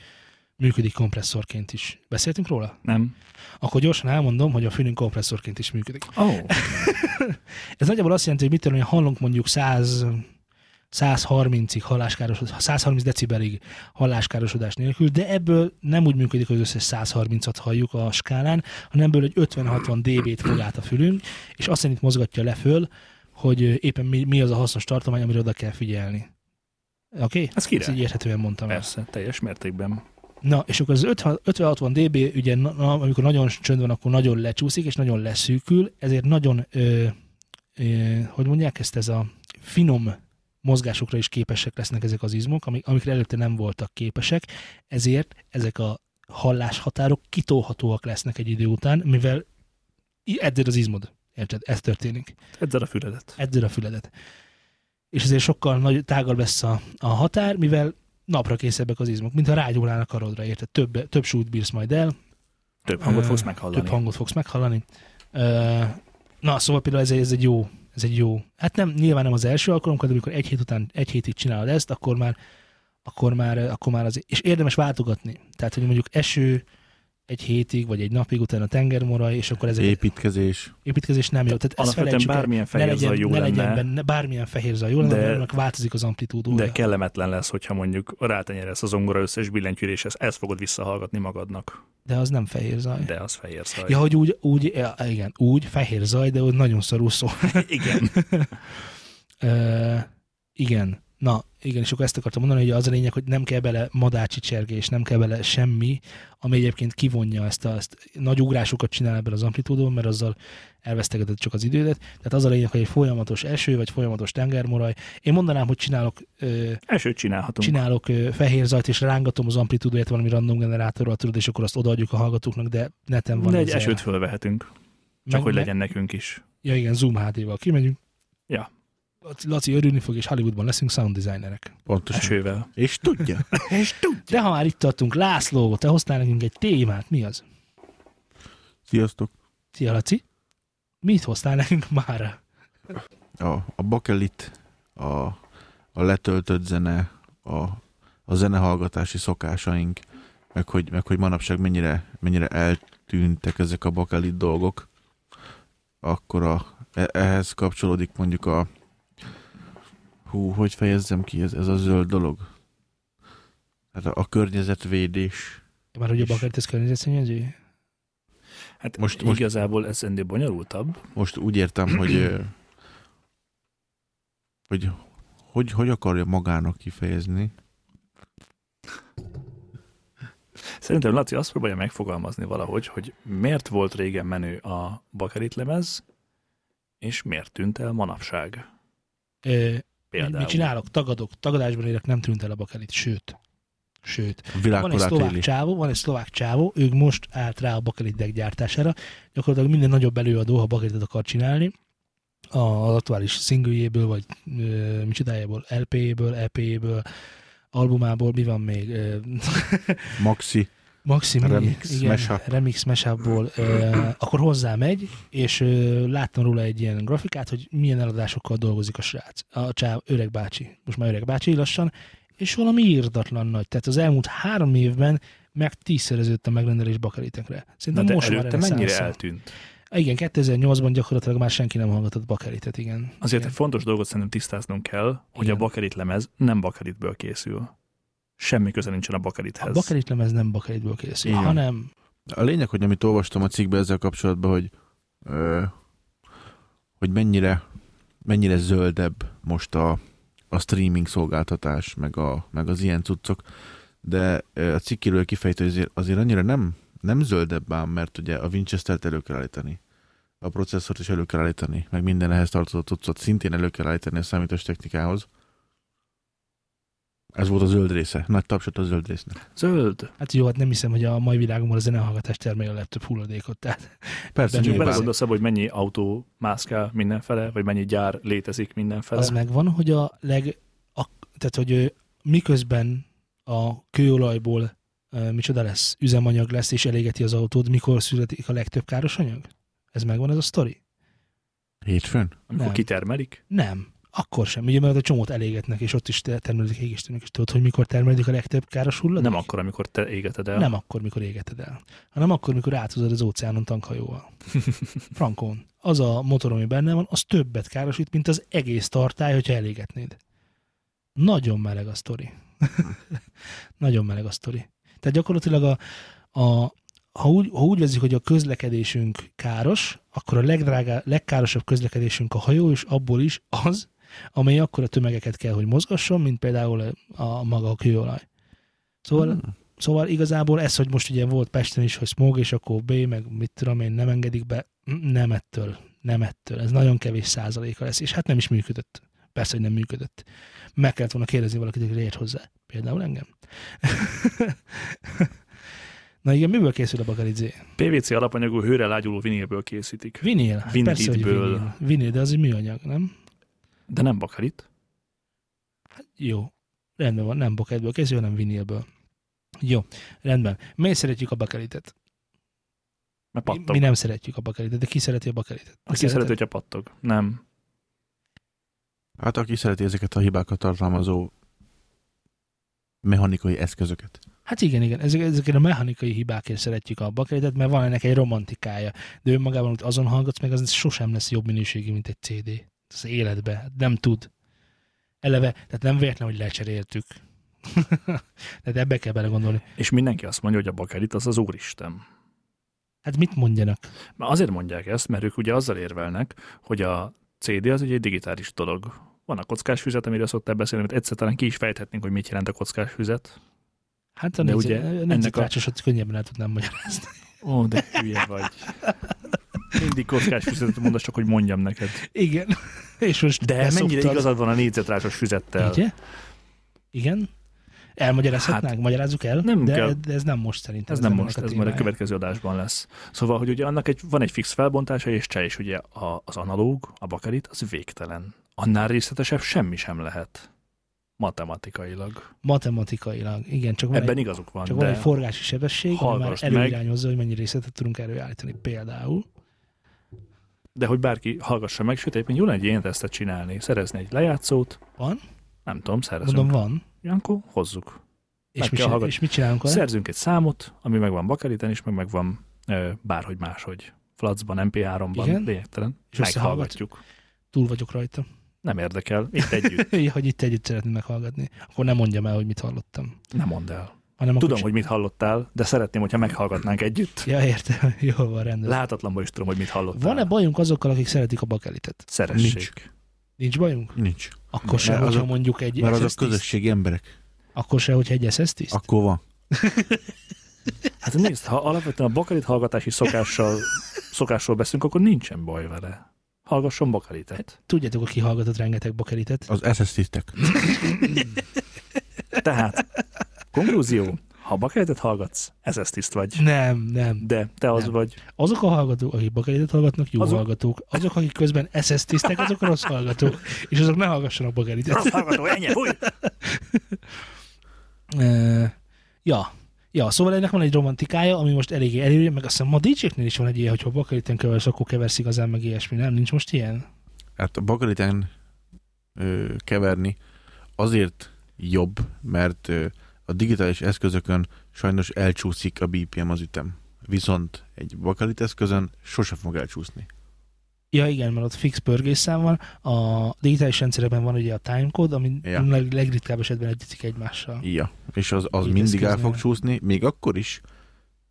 B: működik kompresszorként is. Beszéltünk róla?
C: Nem?
B: akkor gyorsan elmondom, hogy a fülünk kompresszorként is működik.
C: Ó. Oh.
B: Ez nagyjából azt jelenti, hogy mit tudom, én, hallunk mondjuk 100 130-ig halláskáros, 130 decibelig halláskárosodás nélkül, de ebből nem úgy működik, hogy az összes 130-at halljuk a skálán, hanem ebből egy 50-60 dB-t fog át a fülünk, és azt szerint mozgatja le föl, hogy ö, éppen mi, mi az a hasznos tartomány, amire oda kell figyelni. Oké? Okay?
C: Ez
B: Ezt így
C: király.
B: érthetően mondtam el.
C: Persze, teljes mértékben.
B: Na, és akkor az 50 50-60 dB, ugye, na, na, amikor nagyon csönd van, akkor nagyon lecsúszik, és nagyon leszűkül, ezért nagyon, ö, ö, hogy mondják ezt, ez a finom mozgásokra is képesek lesznek ezek az izmok, amik, amikre előtte nem voltak képesek, ezért ezek a halláshatárok kitolhatóak lesznek egy idő után, mivel i- edzed az izmod. Érted? Ez történik.
C: Edzel a füledet.
B: Edzed a füledet. És ezért sokkal nagy, tágabb lesz a, a határ, mivel napra készebbek az izmok, mintha rágyulnának karodra, érted? Több, több súlyt bírsz majd el,
C: Több hangot
B: Ö,
C: fogsz meghallani.
B: több hangot fogsz meghallani. Ö, Na, szóval például ez, egy- ez egy jó, ez egy jó. Hát nem, nyilván nem az első alkalom, de amikor egy hét után, egy hétig csinálod ezt, akkor már, akkor már, akkor már az, és érdemes váltogatni. Tehát, hogy mondjuk eső egy hétig, vagy egy napig utána tengermoraj, és akkor ez egy
D: Építkezés.
B: építkezés nem jó. Tehát ezt
C: Alapvetően
B: felejtsük el.
C: bármilyen
B: Ne
C: fehér
B: legyen,
C: zaj jó
B: ne legyen
C: lenne,
B: benne, bármilyen fehér zaj jó lenne,
C: De-
B: mert annak változik az amplitúdója.
C: de kellemetlen lesz, hogyha mondjuk rátenyeresz az ongora összes billentyűréshez, ezt fogod visszahallgatni magadnak,
B: de az nem fehér zaj.
C: de az fehér zaj.
B: Ja, hogy úgy, úgy, ja, igen, úgy, fehér zaj, de úgy nagyon szarul szó.
C: <laughs>
B: <laughs>
C: Igen.
B: Ö, igen. Na, igen, és akkor ezt akartam mondani, hogy az a lényeg, hogy nem kell bele madácsi csergés, nem kell bele semmi, ami egyébként kivonja ezt a ezt nagy ugrásokat csinál ebben az amplitúdón, mert azzal elvesztegeted csak az idődet. Tehát az a lényeg, hogy egy folyamatos eső, vagy folyamatos tengermoraj. Én mondanám, hogy csinálok ö,
C: Esőt csinálhatunk.
B: csinálok ö, fehér zajt, és rángatom az amplitúdóját valami random generátorral, tudod, és akkor azt odaadjuk a hallgatóknak, de neten van.
C: de egy
B: ez
C: esőt
B: el.
C: fölvehetünk, csak
B: Meg-
C: hogy
B: meg-
C: legyen nekünk is.
B: Ja igen, Zoom HD-val kimegyünk.
C: Ja.
B: Laci, Laci örülni fog, és Hollywoodban leszünk sound designerek.
D: Pontosan.
C: Esővel.
D: És
B: <laughs>
D: tudja.
C: És tud.
B: De ha már itt tartunk, László, te hoztál nekünk egy témát, mi az?
D: Sziasztok.
B: Szia, Laci. Mit hoztál nekünk mára?
D: A, a bakelit, a, a letöltött zene, a, a zenehallgatási szokásaink, meg hogy, meg hogy manapság mennyire, mennyire eltűntek ezek a bakelit dolgok, akkor a E- ehhez kapcsolódik mondjuk a hú, hogy fejezzem ki ez, ez a zöld dolog? Hát a, a környezetvédés.
B: Már hogy jobban kertesz környezetszennyező?
C: Hát most,
D: Most-
C: most
D: most-
C: igazából ez ennél bonyolultabb.
D: Most úgy értem, hogy, ö, hogy hogy, hogy akarja magának kifejezni.
C: Szerintem Laci azt próbálja megfogalmazni valahogy, hogy miért volt régen menő a bakelit lemez, és miért tűnt el manapság
B: Ö, mit,
C: például.
B: mit csinálok? Tagadok. Tagadásban élek, nem tűnt el a bakelit. Sőt. Sőt.
D: A
B: van egy
D: világkorát
B: szlovák
D: éli.
B: csávó, van egy szlovák csávó, ők most állt rá a bakelitdek gyártására. Gyakorlatilag minden nagyobb előadó, ha bakelitet akar csinálni, a- az aktuális szingőjéből, vagy ö, micsodájából, LP-jéből, EP-jéből, albumából, mi van még? Ö,
D: Maxi.
B: Maxim,
D: Remix,
B: igen,
D: mashup.
B: remix mesából, akkor hozzá megy, és ö, láttam róla egy ilyen grafikát, hogy milyen eladásokkal dolgozik a srác, a csáv, öreg bácsi, most már öreg bácsi lassan, és valami írdatlan nagy. Tehát az elmúlt három évben meg tízszereződött a megrendelés bakelitekre.
C: Na
B: Szerintem
C: de
B: most már
C: előtte mennyire
B: reneszánsz.
C: eltűnt?
B: Igen, 2008-ban gyakorlatilag már senki nem hallgatott bakelitet, igen.
C: Azért egy
B: igen.
C: fontos dolgot szerintem tisztáznunk kell, hogy
B: Igen.
C: a bakelit lemez nem bakelitből készül. Semmi köze nincsen a bakelithez.
B: A bakelitlemez nem bakelitből készül,
D: Igen.
B: hanem
D: A lényeg, hogy amit olvastam a cikkbe ezzel kapcsolatban, hogy ö, hogy mennyire, mennyire zöldebb most a, a streaming szolgáltatás, meg, a, meg az ilyen cuccok, de ö, a cikkiről kifejtő, hogy azért, azért annyira nem, nem zöldebb ám, mert ugye a Winchester-t elő kell állítani, a processzort is elő kell állítani, meg minden ehhez tartozó cuccot szintén elő kell állítani a számítás technikához. Ez volt a zöld része. Nagy tapsot a zöld résznek.
C: Zöld.
B: Hát jó, hát nem hiszem, hogy a mai világunkban a zenehallgatás termelje a legtöbb hulladékot. Tehát
D: Persze,
B: De
C: Csak
B: Nyilván.
C: belegondolsz abba, hogy mennyi autó mászkál mindenfele, vagy mennyi gyár létezik mindenfele.
B: az megvan, hogy a leg... A, tehát, hogy ö, miközben a kőolajból ö, micsoda lesz, üzemanyag lesz, és elégeti az autód, mikor születik a legtöbb káros anyag? Ez megvan ez a sztori?
D: Hétfőn?
C: Amikor
B: nem.
C: kitermelik,
B: Nem. Akkor sem. Ugye, mert a csomót elégetnek, és ott is te- termelik égistőnök, és tudod, hogy mikor termelik a legtöbb káros hulladék?
C: nem akkor, amikor te égeted el.
B: Nem akkor, mikor égeted el, hanem akkor, mikor áthozod az óceánon tankhajóval. Frankon. Az a motor, ami benne van, az többet károsít, mint az egész tartály, hogyha elégetnéd. Nagyon meleg a sztori. Nagyon meleg a sztori. Tehát gyakorlatilag a, a, ha, úgy, ha úgy vezik, hogy a közlekedésünk káros, akkor a legdrágá, legkárosabb közlekedésünk a hajó, és abból is az, amely akkora tömegeket kell, hogy mozgasson, mint például a, a maga a kőolaj. Szóval Szóval igazából ez, hogy most ugye volt Pesten is, hogy smog, és akkor B, meg mit tudom én, nem engedik be, mm, nem ettől, nem ettől. Ez nagyon kevés százaléka lesz, és hát nem is működött. Persze, hogy nem működött. Meg kellett volna kérdezni valakit, hogy ért hozzá. Például engem. <laughs> Na igen, miből készül a bakalizé?
C: PVC alapanyagú hőre lágyuló vinilből készítik.
B: Vinél? Hát persze, hogy
C: Vinilből.
B: vinél. Vinél, de az egy műanyag, nem?
C: De nem bakelit.
B: Jó. Rendben van, nem boketből készül, hanem vinilből. Jó, rendben. Miért szeretjük a bakelitet?
C: Mert
B: Mi,
C: pattog.
B: mi nem szeretjük a bakelitet, de ki szereti a bakelitet? Te
C: Aki
B: szereted?
C: szereti, hogyha pattog. Nem.
D: Hát aki szereti ezeket a hibákat tartalmazó mechanikai eszközöket.
B: Hát igen, igen, ezek, ezekért a mechanikai hibákért szeretjük a bakelitet, mert van ennek egy romantikája. De önmagában, amit azon hallgatsz meg, az sosem lesz jobb minőségű, mint egy CD. Az életbe. Hát Nem tud. Eleve, tehát nem véletlen, hogy lecseréltük. <laughs> tehát ebbe kell belegondolni.
C: És mindenki azt mondja, hogy a bakelit az az úristen.
B: Hát mit mondjanak?
C: Már azért mondják ezt, mert ők ugye azzal érvelnek, hogy a CD az ugye egy digitális dolog. Van a kockás füzet, amiről szoktál beszélni, mert egyszer talán ki is fejthetnénk, hogy mit jelent a kockás füzet.
B: Hát a
C: De
B: néző,
C: ugye
B: ugye
C: ennek a-
B: ennek a... könnyebben el tudnám magyarázni. <laughs>
C: Ó, de hülye vagy. Mindig kockás füzetet mondasz, csak hogy mondjam neked.
B: Igen. <laughs> És most
C: De
B: beszoktad.
C: mennyire igazad van a négyzetrásos füzettel?
B: Ugye? Igen? Elmagyarázhatnánk? Hát, Magyarázzuk el?
C: nem
B: de,
C: kell.
B: de ez nem most szerintem.
C: Ez nem
B: ennek
C: most,
B: a
C: ez majd a
B: témája.
C: következő adásban lesz. Szóval, hogy ugye annak egy, van egy fix felbontása és cseh, és ugye a, az analóg, a bakelit, az végtelen. Annál részletesebb semmi sem lehet. Matematikailag.
B: Matematikailag, igen, csak van
C: Ebben
B: egy,
C: igazuk van,
B: csak
C: de
B: van egy forgási sebesség, ami már
C: Hallgass meg.
B: előirányozza, hogy mennyi részletet tudunk előállítani például.
C: de hogy bárki hallgassa meg, sőt, egyébként jó lenne egy ilyen tesztet csinálni, szerezni egy lejátszót.
B: Van?
C: Nem tudom, szerezünk.
B: Mondom, van.
C: Ilyenkor hozzuk.
B: És
C: Meg
B: mit,
C: kell
B: csinál,
C: hallgatni.
B: és mit csinálunk vele?
C: Szerzünk egy számot, ami megvan bakeliten, és meg megvan ö, bárhogy máshogy. flacban, MP3-ban,
B: Igen.
C: lényegtelen.
B: És
C: Meghallgatjuk.
B: Túl vagyok rajta.
C: Nem érdekel, itt együtt.
B: Ja, hogy itt együtt szeretném meghallgatni. Akkor nem mondjam el, hogy mit hallottam.
C: Nem mondd el.
B: Hanem akkor
C: Tudom, hogy mit hallottál, de szeretném, hogyha meghallgatnánk együtt.
B: Ja, értem. <laughs> Jó van, rendben.
C: Láthatatlanban is tudom, hogy mit hallottál.
B: Van-e bajunk azokkal, akik szeretik a bakelitet?
C: Szeressék.
D: Nincs.
B: Nincs bajunk?
D: Nincs.
B: Akkor
D: Mert
B: se, hogyha
D: azok-
B: mondjuk egy
D: Mert azok
B: SS-tiszt.
D: közösségi emberek.
B: Akkor se, hogyha egy ss tiszt
D: Akkor van.
C: Hát nézd, ha alapvetően a bakalit hallgatási szokással, szokásról beszélünk, akkor nincsen baj vele. Hallgasson bakalitet.
B: Tudjátok, aki hallgatott rengeteg bakelitet?
D: Az SS tisztek.
C: Tehát, konklúzió, ha bakalitet hallgatsz, ez ezt tiszt vagy.
B: Nem, nem.
C: De te az
B: Nem. <laughs>
C: vagy.
B: Azok a hallgatók, akik bakelitet hallgatnak, jó azok...
C: Azok-
B: hallgatók. Azok, akik közben SS tisztek, azok rossz hallgatók. És azok ne hallgassanak bakelitet.
C: Rossz hallgató, ennyi, fúj!
B: Ö, ja. Ja, szóval ennek van egy romantikája, ami most eléggé előjön, meg azt hiszem ma DJ-knél is van egy ilyen, hogyha bakeliten keversz, akkor keversz igazán meg ilyesmi, nem? Nincs most ilyen?
D: Hát a bakeliten ö, keverni azért jobb, mert ö, a digitális eszközökön sajnos elcsúszik a BPM az ütem. Viszont egy bakelit eszközön sose fog elcsúszni.
B: Ja igen, mert ott fix pörgésszám van, a digitális rendszerekben van ugye a timecode, ami
D: Ja.
B: ja. leg, legritkább esetben egyezik egymással.
D: Ja. És az, az
B: Így
D: mindig el
B: eszközön.
D: fog csúszni, még akkor is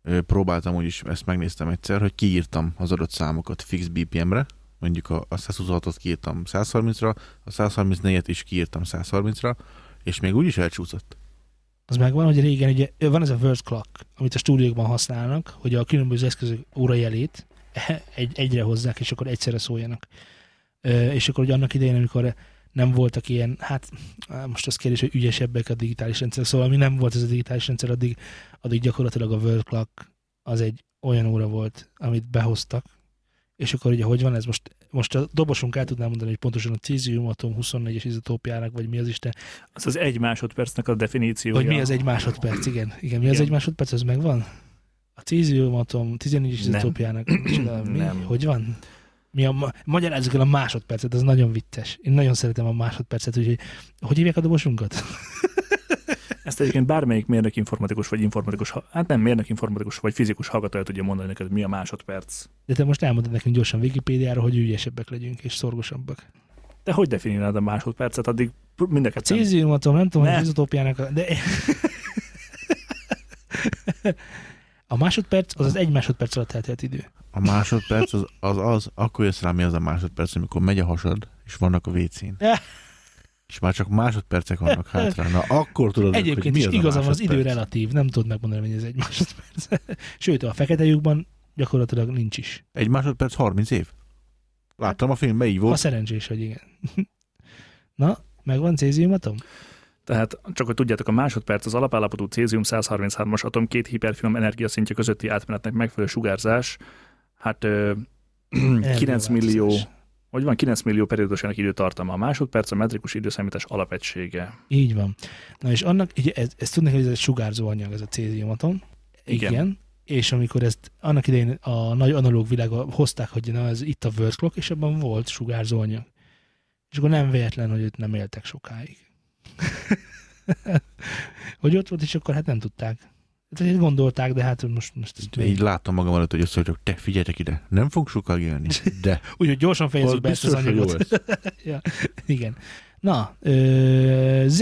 D: ö, próbáltam úgyis, ezt megnéztem egyszer, hogy kiírtam az adott számokat fix BPM-re, mondjuk a, a 126-ot kiírtam 130-ra, a 134-et is kiírtam 130-ra, és még úgyis elcsúszott.
B: Az megvan, hogy régen ugye ö, van ez a word clock, amit a stúdiókban használnak, hogy a különböző eszközök órajelét egy, egyre hozzák, és akkor egyszerre szóljanak. Ö, És akkor ugye annak idején, amikor nem voltak ilyen, hát á, most az kérdés, hogy ügyesebbek a digitális rendszer, szóval ami nem volt ez a digitális rendszer, addig, addig gyakorlatilag a word clock az egy olyan óra volt, amit behoztak, és akkor ugye hogy van ez most, most a dobosunk el tudná mondani, hogy pontosan a cézium atom 24-es izotópjának, vagy mi az Isten,
C: Az az egy másodpercnek a definíciója.
B: hogy mi az egy másodperc, igen. Igen, mi az
C: Igen.
B: egy másodperc, az megvan? A céziumatom 14
C: Nem.
B: izotópjának. micsoda, mi?
C: Nem.
B: Hogy van? Mi a, ma- magyarázzuk el a másodpercet, az nagyon vicces. Én nagyon szeretem a másodpercet, úgyhogy hogy hívják a dobosunkat?
C: Ezt egyébként bármelyik mérnök informatikus vagy informatikus, ha- hát nem mérnök informatikus vagy fizikus hallgató el tudja mondani neked, mi a másodperc.
B: De te most elmondod nekünk gyorsan Wikipédiára, hogy ügyesebbek legyünk és szorgosabbak.
C: De hogy definiálnád a másodpercet, addig mind a
B: A
C: ketten
B: céziumatom, nem tudom, hogy az
C: Nem.
B: izotópjának, a- de... A másodperc az az egy másodperc alatt eltelt idő.
D: A másodperc az az, az akkor jössz rá, mi az a másodperc, amikor megy a hasad, és vannak a vécén. És már csak másodpercek vannak hátra. Na, akkor tudod, hogy
B: Egyébként
D: mi
B: is
D: az
B: igaza van,
D: a
B: az
D: másodperc.
B: idő relatív, nem tudod megmondani, hogy ez egy másodperc. <laughs> Sőt, a fekete lyukban gyakorlatilag nincs is.
D: Egy másodperc 30 év. Láttam a filmben, így
B: Ha
D: volt.
B: szerencsés, hogy igen. <laughs> Na, megvan céziumatom?
C: Tehát csak hogy tudjátok, a másodperc az alapállapotú cézium 133-as atom két hiperfinom energiaszintje közötti átmenetnek megfelelő sugárzás. Hát ö, <clears throat> 9 millió, hogy van 9 millió periódusának időtartama. A másodperc a metrikus időszámítás alapegysége.
B: Így van. Na és annak, ugye ez, ezt tudni, hogy ez egy sugárzó anyag, ez a céziumatom. Igen.
C: Igen.
B: igen. És amikor ezt annak idején a nagy analóg világba hozták, hogy na, ez itt a word clock, és abban volt sugárzó anyag. És akkor nem véletlen, hogy őt nem éltek sokáig. <laughs> hogy ott volt, és akkor hát nem tudták. Hát így gondolták, de hát most, most ezt
D: Így láttam magam előtt, hogy összeültök, te figyeljetek ide, nem fog sokáig élni,
B: <laughs>
D: de
B: Úgyhogy gyorsan
D: az
B: fejezzük be ezt az
D: biztos, hogy jó
B: anyagot.
D: lesz.
B: <laughs> Igen. Na, ö, Z,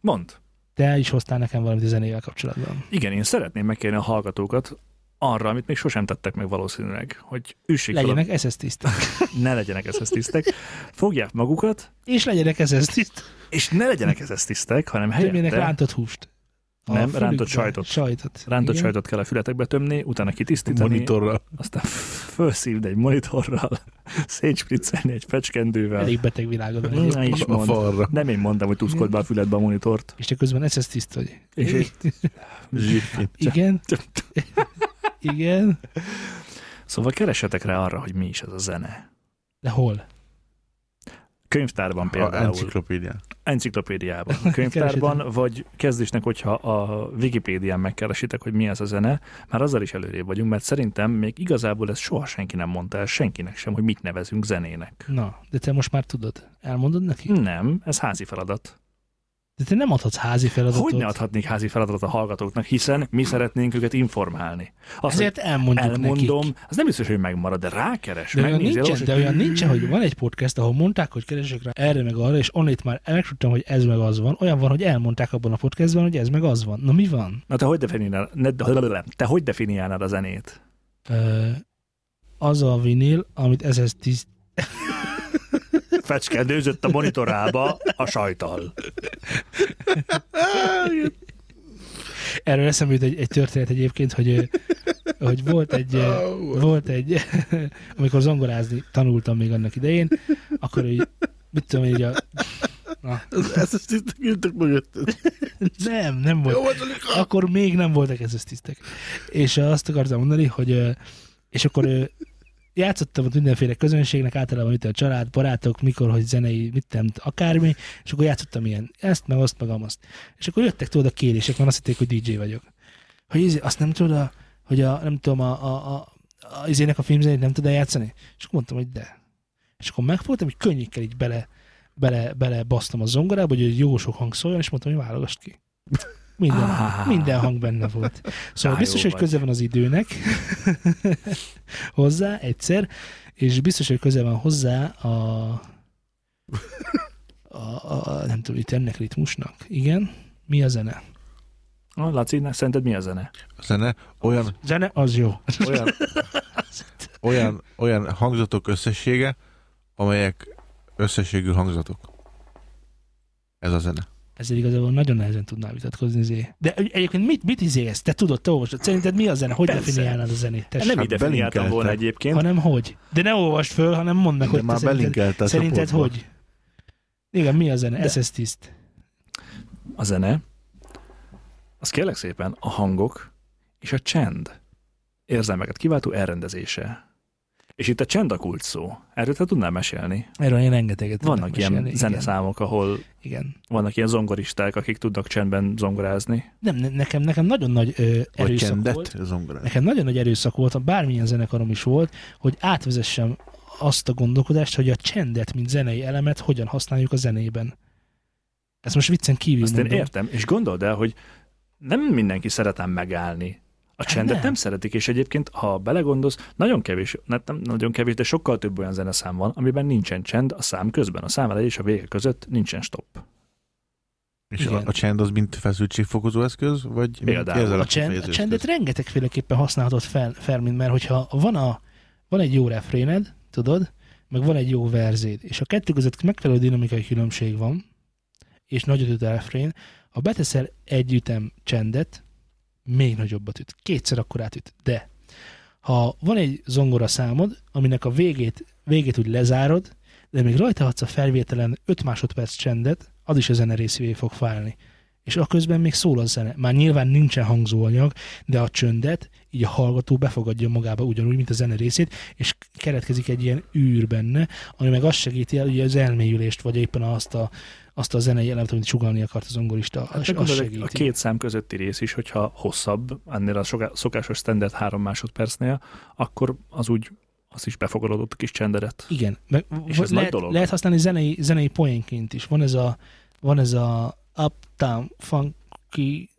C: Mond.
B: te is hoztál nekem valamit a zenével kapcsolatban.
C: Igen, én szeretném megkérni a hallgatókat arra, amit még sosem tettek meg valószínűleg, hogy üssék fel a-
B: Legyenek ez tiszták.
C: ne legyenek ezhez tisztek, fogják magukat,
B: És legyenek ez tiszták.
C: és ne legyenek ezhez tisztek, hanem
B: Tömjenek
C: helyette
B: rántott húst. A
C: Nem,
B: fülükbe.
C: rántott sajtot.
B: Sajtot.
C: rántott
B: Igen.
C: sajtot kell a fületekbe tömni, utána kitisztítani,
D: Monitorra.
C: aztán felszívd egy monitorral, szétspriccelni egy fecskendővel.
B: Elég beteg világod van.
C: Na
B: egyébként.
C: is
D: A
C: mond.
D: falra.
C: Nem én mondtam, hogy tuszkold be a füledbe a monitort.
B: És te közben ez tiszt vagy.
C: És én-
D: Zsiffin.
C: <laughs>
B: Igen. <laughs> Igen.
C: Szóval keresetek rá arra, hogy mi is ez a zene.
B: De hol?
C: Könyvtárban
D: A
C: például,
D: enciklopédia.
C: enciklopédiában, könyvtárban, vagy kezdésnek, hogyha a Wikipédián megkeresitek, hogy mi ez a zene, már azzal is előrébb vagyunk, mert szerintem még igazából ezt soha senki nem mondta el senkinek sem, hogy mit nevezünk zenének.
B: Na, de te most már tudod. Elmondod neki?
C: Nem, ez házi feladat.
B: De te nem adhatsz házi feladatot.
C: Hogy ne adhatnék házi feladatot a hallgatóknak, hiszen mi szeretnénk őket informálni. Azt, hogy
B: Ezért elmondjuk
C: elmondom,
B: nekik.
C: az nem biztos, hogy megmarad, de rákeres,
B: De olyan,
C: megnézi,
B: nincsen,
C: elolvas,
B: de
C: hogy-
B: olyan nincsen, hogy van egy podcast, ahol mondták, hogy keresek rá erre meg arra, és onnét már megtudtam, hogy ez meg az van. Olyan van, hogy elmondták abban a podcastban, hogy ez meg az van. Na mi van?
C: Na te hogy definiálnád, ne, te hogy definiálnád a zenét?
B: Ö, az a vinil, amit ez 10
C: Fecskendőzött a monitorába a sajtal.
B: Erről eszembe jut egy, egy történet egyébként, hogy, ö, hogy volt egy, ö, volt egy, <laughs> amikor zongorázni tanultam még annak idején, akkor így, mit tudom én, így a,
D: Ez ezt itt ültök mögött.
B: nem, nem volt,
D: Jó volt, Alika!
B: akkor még nem voltak ez tisztek. És eh, azt akartam mondani, hogy ö, és akkor ö, játszottam ott mindenféle közönségnek, általában itt a család, barátok, mikor, hogy zenei, mit nem, akármi, és akkor játszottam ilyen, ezt, meg azt, meg azt. És akkor jöttek tudod a kérések, mert azt hitték, hogy DJ vagyok. Hogy izé, azt nem tudod, a- hogy a, nem tudom, a, a, a, a izének a filmzenét nem tudod játszani? És akkor mondtam, hogy de. És akkor megfogtam, hogy könnyékkel így bele, bele, bele basztam a zongorába, hogy jó sok hang szóljon, és mondtam, hogy válogass ki. Minden,
C: Ah.
B: minden hang benne volt. Szóval
C: Á,
B: biztos,
C: jó
B: hogy
C: vagy.
B: köze van az időnek <laughs> hozzá egyszer, és biztos, hogy köze van hozzá a, a, a nem tudom, itt ennek ritmusnak. Igen? Mi a zene?
C: Na, Laci, na, szerinted mi a zene?
D: A zene olyan,
B: <laughs> Zene az jó.
D: olyan, olyan, olyan hangzatok összessége, amelyek összességű hangzatok. Ez a zene.
B: Ezzel igazából nagyon nehezen tudnál vitatkozni. Zé. De egy- egyébként mit, mit izé ezt? Te tudod, te olvasod. Szerinted mi a zene? Hogy
C: Persze.
B: definiálnád a zenét? Tessék.
C: Hát Nem így definiáltam
D: belinkeltem.
C: volna egyébként.
B: Hanem hogy. De ne olvasd föl, hanem mondd meg,
D: De
B: hogy te
D: már
B: szerinted,
D: belinkelte a
B: szerinted
D: csoportba.
B: hogy? Igen, mi a zene? SS tiszt.
C: A zene, az kérlek szépen a hangok és a csend érzelmeket kiváltó elrendezése. És itt a csend a kulcs szó. Erről te tudnál mesélni?
B: Erről én rengeteget tudok
C: Vannak ilyen
B: mesélni.
C: zeneszámok, ahol
B: Igen. igen.
C: vannak ilyen zongoristák, akik tudnak csendben zongorázni.
B: Nem, ne- nekem, nekem nagyon nagy ö,
D: Vagy
B: erőszak volt.
D: csendet zongorán.
B: Nekem nagyon nagy erőszak volt, bármilyen zenekarom is volt, hogy átvezessem azt a gondolkodást, hogy a csendet, mint zenei elemet hogyan használjuk a zenében. Ezt most viccen kívül
C: Azt én
B: mondom.
C: értem, és gondold el, hogy nem mindenki szeretem megállni. A csendet nem.
B: Hát nem.
C: nem szeretik, és egyébként, ha belegondolsz, nagyon kevés, ne- nem nagyon kevés, de sokkal több olyan zeneszám van, amiben nincsen csend a szám közben, a szám elejé és a vége között nincsen stop. Hát
D: És a,
B: Igen.
D: a csend az mint feszültségfokozó eszköz, vagy mint
C: Például.
D: érzelem
B: a, csend, a
D: kifejező
B: csendet
D: eszköz?
B: rengetegféleképpen használhatod fel, Fermin, mert hogyha van, a, van egy jó refréned, tudod, meg van egy jó verzéd, és a kettő között megfelelő dinamikai különbség van, és nagyot üt a refrén, ha beteszel egy ütem csendet, még nagyobbat üt. Kétszer akkor átüt. De ha van egy zongora számod, aminek a végét, végét úgy lezárod, de még rajta adsz a felvételen 5 másodperc csendet, az is a zene részévé fog válni. És a közben még szól a zene. Már nyilván nincsen hangzóanyag, de a csöndet így a hallgató befogadja magába ugyanúgy, mint a zene részét, és keretkezik egy ilyen űr benne, ami meg azt segíti el, ugye az elmélyülést, vagy éppen azt a, azt a zenei elemet, amit sugalni akart az zongorista,
C: Hát
B: hát,
C: te
B: azt
C: gondolod, a
B: segíti.
C: két szám közötti rész is, hogyha hosszabb, ennél a soká- szokásos standard három másodpercnél, akkor az úgy az is befogadott a kis csendedet.
B: Igen, meg
C: És
B: v-
C: ez nagy
B: lehet,
C: dolog.
B: lehet használni zenei, zenei poénként is. Van ez a, van ez a uptown funky,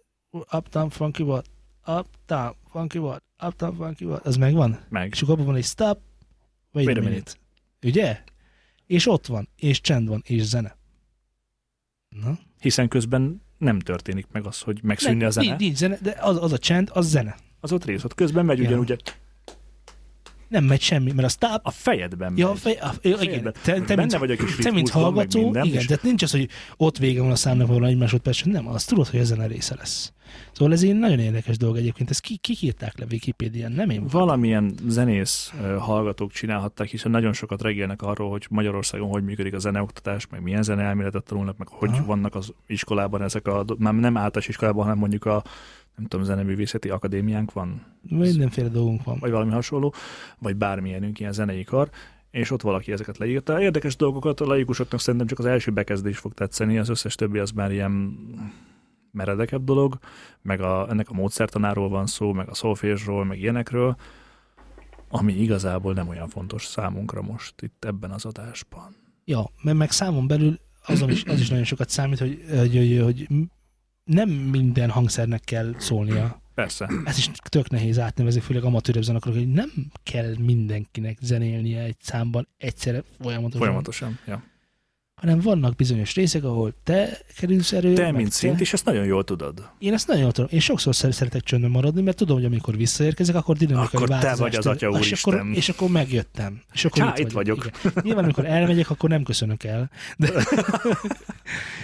B: uptown funky what, uptown funky what, uptown funky what, az megvan?
C: Meg.
B: És akkor abban van egy stop, wait,
C: Wait
B: a
C: a
B: minute.
C: minute.
B: Ugye? És ott van, és csend van, és zene. Na?
C: Hiszen közben nem történik meg az, hogy megszűnni
B: Nem,
C: a zene.
B: Nincs, nincs zene, de az, az a csend, az zene.
C: Az ott rész, ott közben megy
B: Ja.
C: ugyanúgy a-
B: Nem megy semmi, mert a stop,
C: a fejedben
B: ja,
C: megy.
B: fej, a, ja, igen,
C: Fejedben.
B: te, te,
C: Benne
B: mint,
C: vagy a kis
B: te, mint
C: ritmusban, meg
B: hallgató,
C: minden,
B: igen,
C: és-
B: tehát nincs az, hogy ott vége van a számnak, ahol egy másodperc, nem, azt tudod, hogy ezen a része lesz. Szóval ez egy nagyon érdekes dolog egyébként, ezt ki, kik írták le Wikipédián, nem én voltam.
C: Valamilyen zenész ö, hallgatók csinálhatták, hiszen nagyon sokat regélnek arról, hogy Magyarországon hogy működik a zeneoktatás, meg milyen zeneelméletet tanulnak, meg hogy
B: Aha.
C: vannak az iskolában ezek a, do- már nem általános iskolában, hanem mondjuk a nem tudom, zeneművészeti akadémiánk van,
B: Mindenféle dolgunk van.
C: vagy valami hasonló, vagy bármilyenünk ilyen zenei kar, és ott valaki ezeket leírta. Érdekes dolgokat a laikusoknak szerintem csak az első bekezdés fog tetszeni, az összes többi az már ilyen meredekebb dolog, meg a, ennek a módszertanáról van szó, meg a szolfésról, meg ilyenekről, ami igazából nem olyan fontos számunkra most itt ebben az adásban.
B: Ja, mert meg számon belül azon is, az is nagyon sokat számít, hogy, hogy, hogy, hogy nem minden hangszernek kell szólnia.
C: Persze.
B: Ez is tök nehéz átnevezni, főleg amatőrebb zenekarok, hogy nem kell mindenkinek zenélnie egy számban egyszerre folyamatosan.
C: Folyamatosan. Ja.
B: Hanem vannak bizonyos részek, ahol te kerülsz erő.
C: Te,
B: meg
C: mint szint, és ezt nagyon jól tudod.
B: Én ezt nagyon jól tudom. Én sokszor szer- szeretek csöndben maradni, mert tudom, hogy amikor visszaérkezek, akkor dinamikai
C: Akkor te
B: változás
C: vagy az
B: tör-
C: Atya
B: és akkor,
C: Úristen.
B: és akkor megjöttem. És akkor
C: Csá, itt vagyok.
B: Igen. Nyilván, amikor elmegyek, akkor nem köszönök el.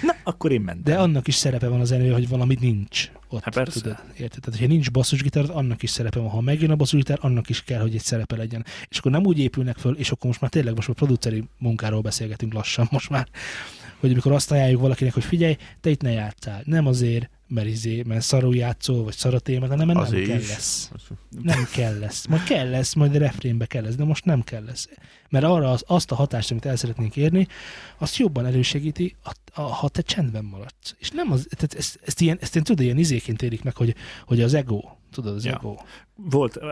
C: Na, akkor én mentem.
B: De annak is szerepe van az elő, hogy valami nincs ott.
C: Hát persze.
B: Tudod, érted? Tehát, hogyha nincs basszusgitár, annak is szerepe van. Ha megjön a basszusgitár, annak is kell, hogy egy szerepe legyen. És akkor nem úgy épülnek föl, és akkor most már tényleg most már produceri munkáról beszélgetünk lassan most már, hogy amikor azt ajánljuk valakinek, hogy figyelj, te itt ne játszál. Nem azért, mert izé, mert szarul játszol, vagy szar a témát, hanem mert nem
D: Azért
B: kell
D: is.
B: lesz. Nem kell lesz. Majd kell lesz, majd a refrénbe kell lesz, de most nem kell lesz. Mert arra az, azt a hatást, amit el szeretnénk érni, azt jobban elősegíti, a, a, ha te csendben maradsz. És nem az, tehát ezt, ezt, ilyen, ezt én tudod, ilyen izéként érik meg, hogy, hogy az ego, tudod, az
C: Ja.
B: ego.
C: Volt eh,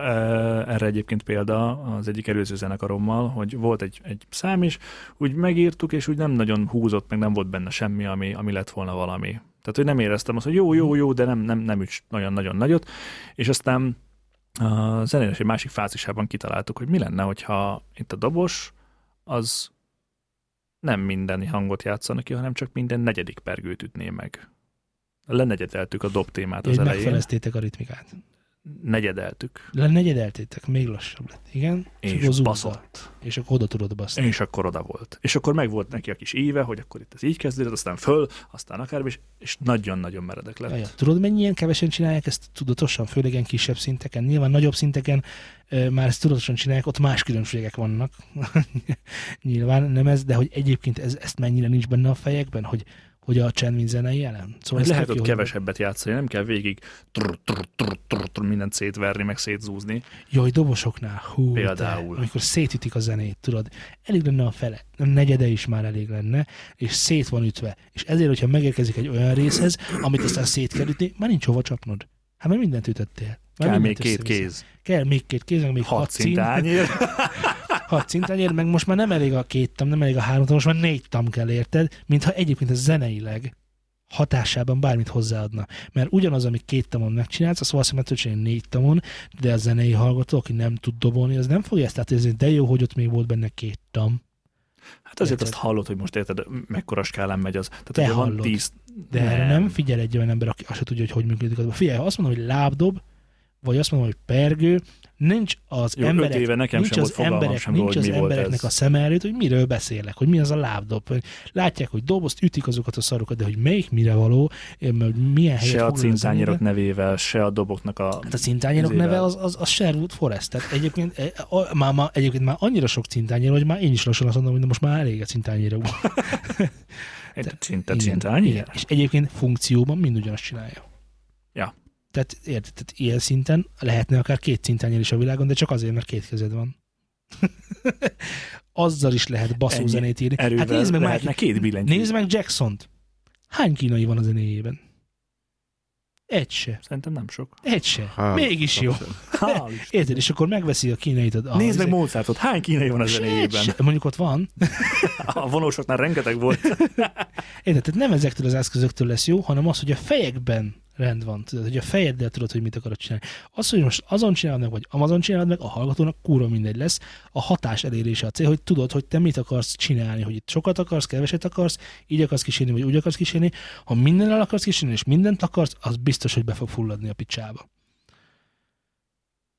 C: erre egyébként példa az egyik előző zenekarommal, hogy volt egy, egy szám is, úgy megírtuk, és úgy nem nagyon húzott, meg nem volt benne semmi, ami, ami lett volna valami. Tehát, hogy nem éreztem azt, hogy jó, jó, jó, de nem, nem, nem üts nagyon-nagyon nagyot. És aztán a zenélés egy másik fázisában kitaláltuk, hogy mi lenne, hogyha itt a dobos az nem minden hangot játszana ki, hanem csak minden negyedik pergőt ütné meg. Lenegyedeltük a dob témát az
B: Hogy
C: elején.
B: megfeleztétek a ritmikát.
C: Negyedeltük.
B: Le negyedeltétek, még lassabb lett. Igen?
C: És
B: akkor zúzza.
C: baszott.
B: És akkor oda tudod baszni.
C: És akkor oda volt. És akkor megvolt neki a kis éve, hogy akkor itt ez így kezdődött, aztán föl, aztán akármi, és, és nagyon-nagyon meredek lett.
B: Jaj, tudod, mennyien kevesen csinálják ezt tudatosan, főleg ilyen kisebb szinteken. Nyilván nagyobb szinteken ö, már ezt tudatosan csinálják, ott más különbségek vannak. <laughs> Nyilván nem ez, de hogy egyébként ez, ezt mennyire nincs benne a fejekben, hogy, hogy a csend mint zenei jelen. Szóval
C: Hogy
B: ez
C: Hát lehet
B: tök
C: ott
B: jó, hogy-
C: kevesebbet játszani, nem kell végig trr, trr, trr, trr, trr, mindent szétverni, meg szétzúzni.
B: Jaj, dobosoknál, hú,
C: Például.
B: Te, amikor szétütik a zenét, tudod, elég lenne a fele, a negyede is már elég lenne, és szét van ütve. És ezért, hogyha megérkezik egy olyan részhez, amit aztán szét kell ütni, már nincs hova csapnod. Hát már mindent ütöttél. Már
C: Kell még
B: mindent
C: két
B: össze-vissza.
C: kéz,
B: Kell még két kéz, meg még hat,
C: hat
B: cint.
C: szintányér.
B: <laughs> Hat cintányér, meg most már nem elég a két tam, nem elég a három tam, most már négy tam kell érted, mintha egyébként ez zeneileg hatásában bármit hozzáadna. Mert ugyanaz, amit két tamon megcsinálsz, azt valószínűleg meg tudod csinálni négy tamon, de a zenei hallgató, aki nem tud dobolni, az nem fogja ezt átérezni, de jó, hogy ott még volt benne két tam.
C: Hát azért
B: Érted?
C: azt hallod, hogy most érted, mekkora skálán megy az. Tehát,
B: Te
C: hogyha van
B: hallod.
C: tíz...
B: De nem. erre nem figyel egy olyan ember, aki azt se tudja, hogy hogy működik az. Figyelj, ha azt mondom, hogy lábdob, vagy azt mondom, hogy pergő, nincs az
C: Jó, öt
B: emberek
C: éve nekem
B: nincs
C: sem
B: az
C: volt fogalmam
B: emberek,
C: sem,
B: nincs
C: hogy
B: az
C: mi volt
B: embereknek
C: ez.
B: a szem előtt, hogy miről beszélek, hogy mi az a lábdob. Hogy Látják, hogy dobozt ütik azokat a szarokat, de hogy melyik mire való, em, hogy milyen helyet
C: Se a
B: foglal
C: cintányérok
B: zenében.
C: nevével, se a doboknak a...
B: Hát a cintányérok
C: izével.
B: neve az, az, az Sherwood Forest. Tehát egyébként, e, a, már, már, egyébként már annyira sok cintányér, hogy már én is lassan azt mondom, hogy na most már elég a cintányéra.
C: Egy cinta,
B: Igen,
C: cintányér?
B: igen. És egyébként funkcióban mind ugyanazt csinálja.
C: Ja.
B: Tehát, érted, tehát ilyen szinten lehetne akár két szintányér is a világon, de csak azért, mert két kezed van. <laughs> Azzal is lehet basszú
C: Ennyi
B: zenét írni.
C: Erővel
B: hát nézd meg,
C: lehetne
B: Michael-
C: két billentyű.
B: nézd meg Jackson-t. Hány kínai van a zenéjében? Egy se.
C: Szerintem nem sok.
B: Egy se. Mégis jó.
C: Hál'
B: Érted, és akkor megveszi a kínait. A, a-
C: Nézd meg Mozartot, hány kínai van a
B: Se-
C: zenéjében?
B: se. Mondjuk ott van.
C: A vonósoknál rengeteg volt.
B: Érted? Tehát nem ezektől az eszközöktől lesz jó, hanem az, hogy a fejekben rend van, tudod, hogy a fejeddel tudod, hogy mit akarod csinálni. Az, hogy most azon csinálod meg, vagy amazon csinálod meg, a hallgatónak kúra mindegy lesz. A hatás elérése a cél, hogy tudod, hogy te mit akarsz csinálni, hogy itt sokat akarsz, keveset akarsz, így akarsz kísérni, vagy úgy akarsz kísérni. Ha mindennel akarsz kísérni, és mindent akarsz, az biztos, hogy be fog fulladni a picsába.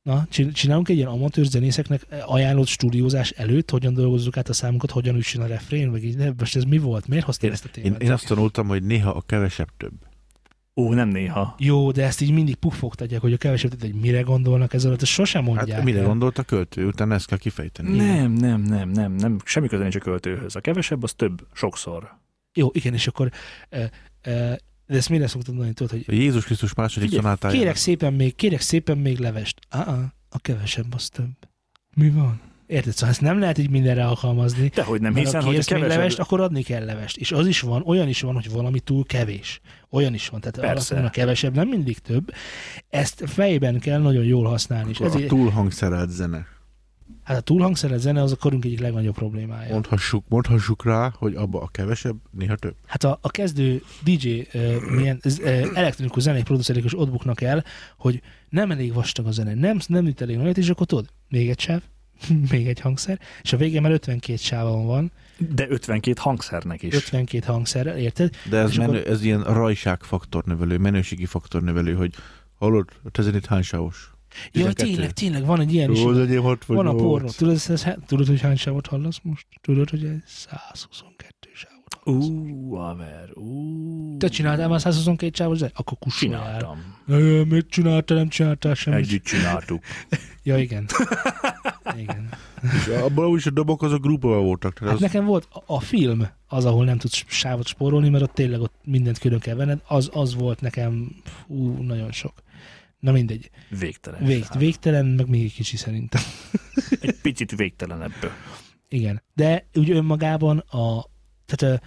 B: Na, csin- csinálunk egy ilyen amatőr zenészeknek ajánlott stúdiózás előtt, hogyan dolgozzuk át a számunkat, hogyan üssön a refrén, meg így, de most ez mi volt? Miért hoztál ezt a témát?
D: Én, én azt tanultam, hogy néha a kevesebb több.
C: Ó, nem néha.
B: Jó, de ezt így mindig puffogtatják, hogy a kevesebb, tehát, hogy mire gondolnak ezzel, ezt sosem
D: Hát
B: mondják.
D: mire
B: el.
D: gondolt a költő, utána ezt kell kifejteni.
C: Nem, nem, nem, nem, nem. Semmi köze nincs a költőhöz. A kevesebb, az több, sokszor.
B: Jó, igen, és akkor ö, ö, de ezt mire szoktad mondani, tudod, hogy
D: A Jézus Krisztus második
B: Figyelj,
D: szonátája.
B: kérek szépen még, kérek szépen még levest. Ah, a kevesebb az több. Mi van? Érted? Szóval ezt nem lehet így mindenre alkalmazni.
C: Dehogy nem,
B: Mert
C: hiszen,
B: ha
C: hogy a
B: kérsz még
C: kevesebb...
B: levest, akkor adni kell levest. És az is van, olyan is van, hogy valami túl kevés. Olyan is van, tehát
C: Persze.
B: alapvetően a kevesebb nem mindig több. Ezt fejben kell nagyon jól használni. És
D: a
B: ezért
D: túlhangszerelt zene.
B: Hát a túlhangszeres zene az a korunk egyik legnagyobb problémája.
D: Mondhassuk, mondhassuk rá, hogy abba a kevesebb, néha több.
B: Hát a, a kezdő DJ ö, milyen ö, elektronikus zenei producerek is ott buknak el, hogy nem elég vastag a zene, nem, nem üt elég nagyot, és akkor tudod, még egy sáv, <laughs> még egy hangszer, és a végén már 52 sávon van,
C: De 52 hangszernek is.
B: 52 hangszerrel, érted?
D: De ez,
B: És akkor-
D: menő, ez ilyen rajság faktornövelő, menőségi faktornövelő, hogy hallod, hát ez itt hány sávos?
B: Jaj,
D: 12.
B: tényleg, tényleg, van egy ilyen is.
D: Jó, az enyém hat vagy
B: Van a
D: nyolc.
B: pornó. Tudod, ez, ez, tudod, hogy hány sávot hallasz most? Tudod, hogy egy 122 sávot hallasz.
C: Ú, haver, ú.
B: Te csináltál már 122 sávot? zenét? Akkor kussolj el.
C: Csináltam.
B: Ö, Mit csináltál, nem csináltál semmit.
C: Együtt csináltuk.
B: Ja, igen. <laughs> igen.
D: És <laughs> abban úgyis a dobok azok grúpban voltak. Tehát
B: Hát
D: az,
B: nekem volt a, a film, az, ahol nem tudsz sávot spórolni, mert ott tényleg ott mindent külön kell venned, az, az volt nekem fú, nagyon sok. Na mindegy.
C: Végtelen.
B: Vég,
C: sáv.
B: végtelen, meg még egy kicsi szerintem. <laughs>
C: Egy picit végtelenebb.
B: Igen. De úgy önmagában a, tehát ö,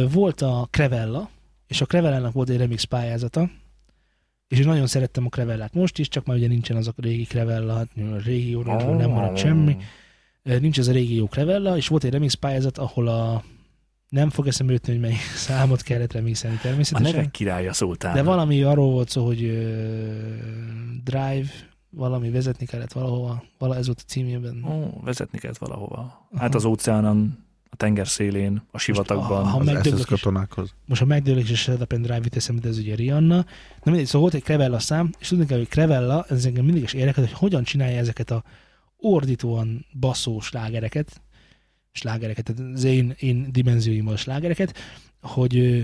B: ö, volt a Crevella, és a Crevellának volt egy remix pályázata, és én nagyon szerettem a Crevellát most is, csak már ugye nincsen az a régi Crevella, hát a régi jó nem
C: Ah.
B: maradt semmi. Ö, Nincs ez a régi jó Crevella, és volt egy remix pályázat, ahol a nem fog eszembe jutni, hogy melyik <laughs> számot kellett remixelni
C: A
B: természetesen.
C: nevek királya szóltál.
B: De valami arról volt szó, hogy ö, drive, valami vezetni kellett valahova, vala ez volt a címében.
C: Ó, vezetni kellett valahova. Hát
B: Aha.
C: az óceánon, a tenger szélén, a sivatagban.
B: ha- ha-
D: az
B: megdöblök
D: SS
B: is.
D: katonákhoz.
B: most a megdőlés és Shut Up and Drive jut eszembe, de ez ugye Rihanna. Na mindegy, szóval volt egy Crevella szám, és tudni kell, hogy Crevella, ez engem mindig is érdekel, hogy hogyan csinálja ezeket a ordítóan baszó slágereket, slágereket, tehát az én, én dimenzióimmal slágereket, hogy ö,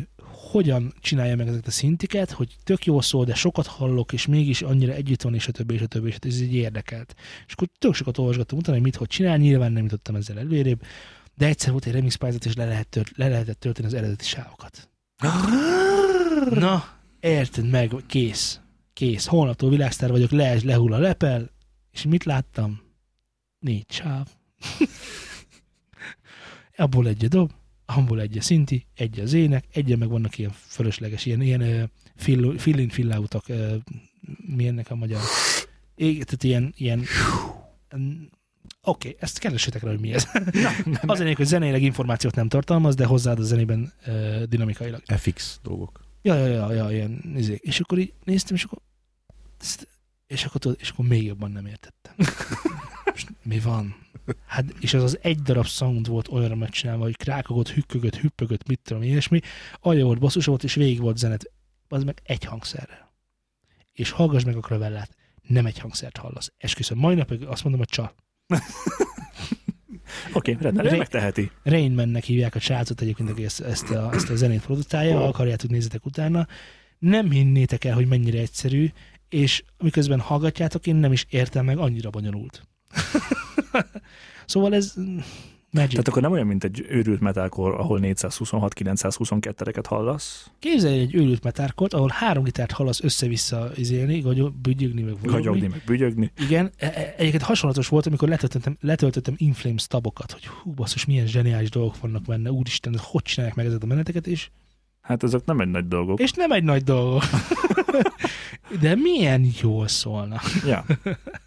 B: hogyan csinálja meg ezeket a szintiket, hogy tök jól szól, de sokat hallok, és mégis annyira együtt van, és a többi, és a többi, és a többi, ez így érdekelt. És akkor tök sokat olvasgattam utána, hogy mit, hogy csinál, nyilván nem jutottam ezzel előrébb, de egyszer volt egy remix pályázat, és le, lehet tört, le lehetett tölteni az eredeti sávokat. Na, érted meg, kész. Kész. Holnaptól világsztár vagyok, le, lehull a lepel, és mit láttam? Négy sáv. <laughs> Abból egy a dob, abból egy a szinti, egy az ének, egyen meg vannak ilyen fölösleges, ilyen, ilyen ö, fill, fill in, fill out-ak, ö, mi ennek a magyar? Ég, tehát ilyen, ilyen Mm, Oké, okay, ezt keresetek rá, hogy mi ez. <laughs> Az ennél, hogy zeneileg információt nem tartalmaz, de hozzáad a zenében ö, dinamikailag.
D: FX dolgok.
B: Ja, ja, ja, ja, ilyen izék. És akkor így néztem, és akkor ezt- és akkor, tudod, és akkor még jobban nem értettem. Most mi van? Hát, és az az egy darab sound volt olyanra megcsinálva, hogy krákogott, hükkögött, hüppögött, mit tudom, ilyesmi. Alja volt, basszus volt, és végig volt zenet. Az meg egy hangszerrel. És hallgass meg a kravellát. Nem egy hangszert hallasz. Esküszöm, mai napig azt mondom, hogy csal.
C: Oké, rendben, ő
B: Ré-
C: megteheti.
B: Rainmannek hívják a srácot egyébként, aki ezt, ezt, a, ezt a zenét produkálja, ha akarjátok, nézzetek utána. Nem hinnétek el, hogy mennyire egyszerű, és miközben hallgatjátok, én nem is értem meg, annyira bonyolult. szóval ez mm, magic.
C: Tehát akkor nem olyan, mint egy őrült metalkor, ahol 426-922-eket hallasz.
B: Képzelj egy őrült metárkot, ahol három gitárt hallasz össze-vissza izélni, gagyog- bügyögni, meg
C: Hagyogni,
B: vújogni.
C: meg bügyögni.
B: Igen, e- e- egyébként hasonlatos volt, amikor letöltöttem, letöltöttem Inflames tabokat, hogy hú, basszus, milyen zseniális dolgok vannak benne, úristen, hogy csinálják meg ezeket a meneteket, és
C: Hát ezek nem egy nagy dolgok.
B: És nem egy nagy dolog. De milyen jól szólna.
C: Ja,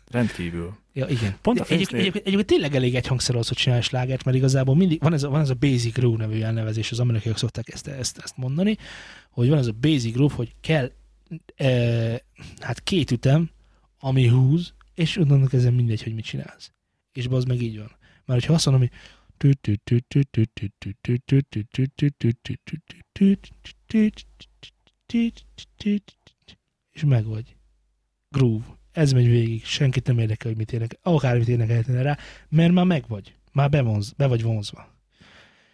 C: rendkívül.
B: Ja, igen.
C: Pont a
B: De egyébként,
C: Prince-nél-
B: egyébként, egyébként tényleg elég egy hangszer ahhoz, hogy csinálj slágert, mert igazából mindig van ez a, van ez a basic groove nevű elnevezés, az amerikaiak szokták ezt, ezt, ezt mondani, hogy van ez a basic groove, hogy kell e, hát két ütem, ami húz, és onnan kezdve mindegy, hogy mit csinálsz. És az meg így van. Mert hogyha azt mondom, hogy és meg vagy. Groove. Ez megy végig. Senkit nem érdekel, hogy mit énekel. Akármit énekelhetne rá, mert már meg vagy. Már be, vonz, be vagy vonzva.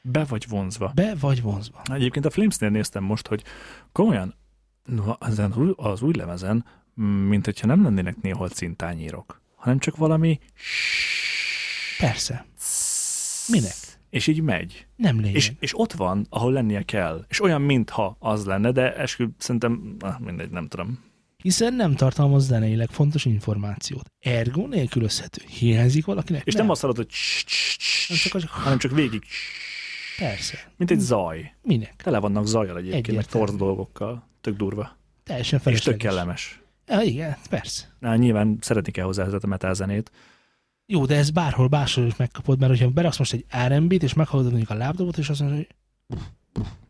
C: Be vagy vonzva.
B: Be vagy vonzva.
C: Egyébként a Flamesnél néztem most, hogy komolyan no, ezen, új- az új lemezen, mm, mint hogyha nem lennének néhol cintányírok, hanem csak valami
B: Persze. Minek?
C: és így megy.
B: Nem lényeg.
C: És, és ott van, ahol lennie kell. És olyan, mintha az lenne, de eskü szerintem, ah, mindegy, nem tudom.
B: Hiszen nem tartalmaz zeneileg fontos információt. Ergo nélkülözhető. Hiányzik valakinek?
C: És nem, nem azt hallod, hogy cs- cs- cs-
B: Nem csak az-
C: hanem csak végig, cs-
B: Persze.
C: mint egy zaj.
B: Minek?
C: Tele vannak zajjal egyébként, meg
B: Egyértelmű.
C: torz dolgokkal. Tök durva.
B: Teljesen
C: És
B: felesleges.
C: tök kellemes.
B: Ja, igen, persze.
C: Na, nyilván szeretni kell hozzá ezt a metal zenét,
B: Jó, de ez bárhol, máshol is megkapod, mert hogyha beraksz most egy R&B-t, és meghallod mondjuk a lábdobot, és azt mondod, hogy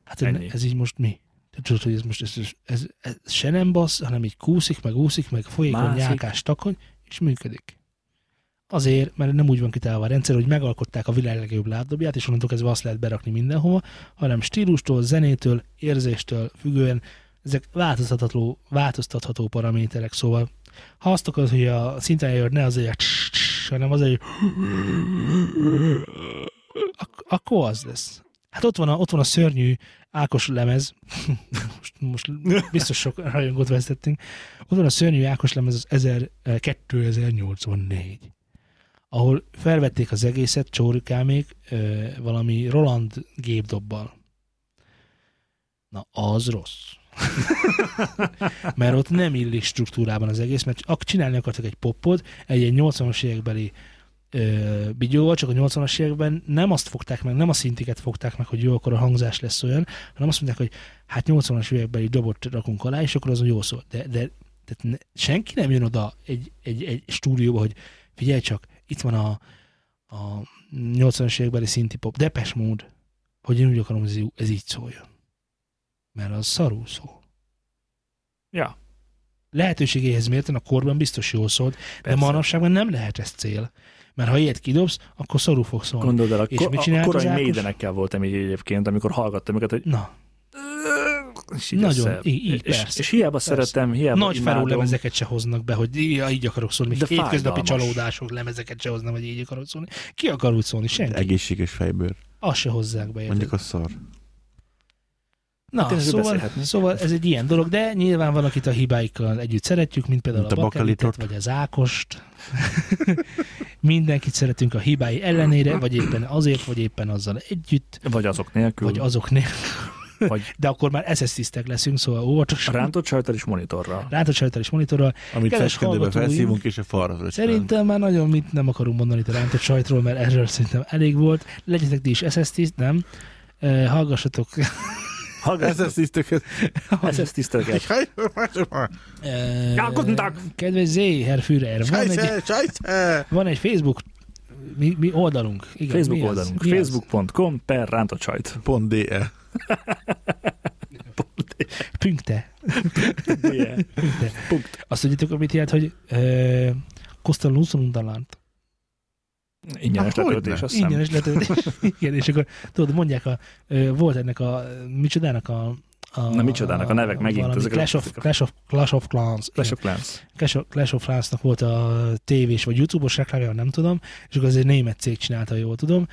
B: hát ez,
C: Ennyi.
B: ez így most mi? Te tudod, hogy ez most ez, ez, ez, ez se nem bassz, hanem így kúszik, meg úszik, meg folyékony
C: Mászik.
B: nyálkás takony, és működik. Azért, mert nem úgy van kitálva a rendszer, hogy megalkották a világ legjobb lábdobját, és onnantól kezdve azt lehet berakni mindenhova, hanem stílustól, zenétől, érzéstől függően ezek változtatható, változtatható paraméterek, szóval ha azt akarod, hogy a szinten jön, ne az egy a cs- cs- hanem az egy Ak- akkor az lesz. Hát ott van a, ott van a szörnyű Ákos lemez, most, most biztos sok rajongót vesztettünk, ott van a szörnyű Ákos lemez az 1000, eh, 2084, ahol felvették az egészet csórikámék eh, valami Roland gépdobbal. Na, az rossz. <laughs> mert ott nem illik struktúrában az egész, mert ak- csinálni akartak egy popot, egy, egy 80-as évekbeli ö, bigyóval, csak a 80-as években nem azt fogták meg, nem a szintiket fogták meg, hogy jó, akkor a hangzás lesz olyan, hanem azt mondták, hogy hát 80-as évekbeli dobot rakunk alá, és akkor azon jó szól. De, de tehát ne, senki nem jön oda egy, egy, egy stúdióba, hogy figyelj csak, itt van a, a 80-as évekbeli szinti pop, depes mód, hogy én úgy akarom, hogy ez í- ez így szóljon. Mert az szarul szól
C: Ja,
B: lehetőségéhez mérten a korban biztos jól szólt, de
C: Persze.
B: manapság már nem lehet ez cél. Mert ha ilyet kidobsz, akkor szorul fog szólni.
C: gondold el, a,
B: És
C: ko-
B: mit
C: a
B: csinált
C: korai
B: az Ákos?
C: médenekkel voltam így egyébként, amikor hallgattam őket, hogy
B: Na,
C: és így
B: Nagyon,
C: össze-
B: így- így,
C: és,
B: persze.
C: és hiába
B: Persze.
C: szeretem, hiába
B: nagy
C: imádom.
B: felú lemezeket se hoznak be, hogy ja, így akarok szólni,
C: De
B: még hétköznapi
C: fájdalmas.
B: csalódások lemezeket se hoznak, hogy így akarok szólni. Ki akar úgy szólni? Senki.
D: Egészséges fejbőr.
B: Azt se hozzák be. érted?
D: Mondjuk a szar.
B: Na,
C: Hát ezzel
B: szóval,
C: beszélhetnénk.
B: szóval ez egy ilyen dolog, de nyilván van, akit a hibáikkal együtt szeretjük, mint például
D: Mint
B: a,
D: a
B: a bakelitot,
D: bakelitot.
B: vagy az ákost. <laughs> Mindenkit szeretünk a hibái ellenére, vagy éppen azért, vagy éppen azzal együtt,
C: Vagy azok nélkül,
B: vagy azok nélkül.
C: vagy
B: de akkor már SS-tisztek leszünk, szóval óvatosan.
C: rántott sajtal és monitorral.
B: Rántosajtal és monitorral.
D: Amit
B: Kedves
D: feskendőbe
B: hallgatóim,
D: felszívunk, és a farra röccsön.
B: Szerintem már nagyon mit nem akarunk mondani itt a rántott sajtról, mert erről szerintem elég volt. Legyetek ti is SS-tiszt, nem? Ö, Hallgassatok,
D: Ez
C: Hallgassatok,
D: ezt is tökélet.
C: Hát ez ezt tisztelget.
B: ö,
C: Ja, guten Tag.
B: kedves Z, Herr Führer, van egy,
D: Sajce, sajce!
B: van egy Facebook mi, mi oldalunk. Igen, mi
C: Facebook
B: az?
C: oldalunk.
B: Mi az?
C: Facebook.com per rántott sajt.
D: Pont E. DE.
B: Pünkte.
C: Yeah.
B: Pünkte.
C: Punkt.
B: Azt tudjátok, amit jelent, hogy ö, Costa Lunzundalant.
C: Ingyenes
D: Na,
C: letöltés,
D: hogyne.
C: azt hiszem.
B: Hát Ingyenes letöltés. <laughs> Igen, és akkor tudod, mondják, a, ö, volt ennek a micsodának a, a
C: Na, micsodának, a nevek megint,
B: valami
C: ezek a-
B: Clash, of,
C: ezek a-
B: Clash, of, Clash of Clans.
C: Clash
B: Clash of,
C: of Clans.
B: Clash of, Clash of Clans-nak volt a tévés vagy YouTube-os reklámja, nem tudom, és akkor az egy német cég csinálta, ha jól tudom,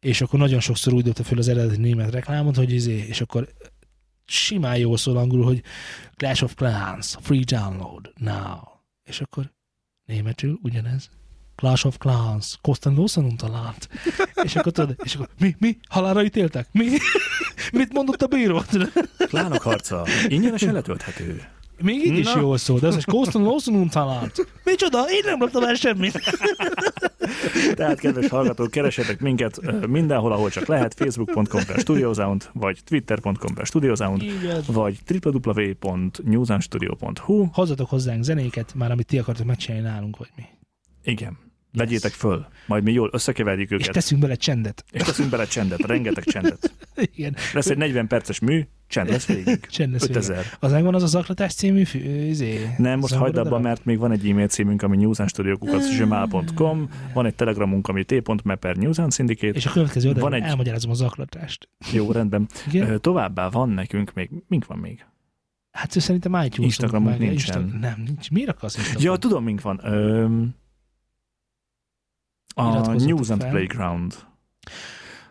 B: és akkor nagyon sokszor úgy dobta föl az eredeti német reklámot, hogy izé, és akkor simán jól szól angolul, hogy Clash of Clans, free download, now. És akkor németül ugyanez. Clash of Clans, Kosten Lószanuntalant. És akkor tudod, és akkor mi, mi, halára ítéltek? Mi? <laughs> Mit mondott a bíró? Tudod?
C: Klánok harca. Ingyenesen letölthető.
B: Még így is
C: Na.
B: jól szól, de az is Kosten Lószanuntalant. Micsoda, én nem loptam el semmit.
C: Tehát, kedves hallgatók, keresetek minket ö, mindenhol, ahol csak lehet, facebook.com per studiosound, vagy twitter.com per studiosound,
B: Így az.
C: vagy www.newsandstudio.hu.
B: Hozzatok hozzánk zenéket, már amit ti akartok megcsinálni nálunk, vagy mi.
C: Igen, vegyétek föl, majd mi jól összekeverjük
B: És
C: őket,
B: teszünk bele csendet.
C: és teszünk bele csendet, rengeteg csendet.
B: <laughs> Igen,
C: Lesz egy 40 perces mű, csend lesz végig.
B: csend lesz.
C: 5000.
B: Az megvan az a zaklatás című fű, izé,
C: Nem, most hagyd abba,
B: zongoradarab?
C: mert még van egy e-mail címünk, ami newsandstudio.gmail.com, van egy telegramunk, ami t.me per newsand syndicate.
B: És a következő oldalon
C: Van egy-
B: elmagyarázom a zaklatást.
C: Jó, rendben.
B: Igen?
C: Ö, Továbbá van nekünk még, mink van még?
B: Hát ő szerintem itunes
C: Instagramunk nincsen.
B: nem, nincs. Miért akarsz Instagram?
C: Ja, tudom, mink van. Öm, a
B: Iratkozzatok
C: News and
B: fel.
C: Playground.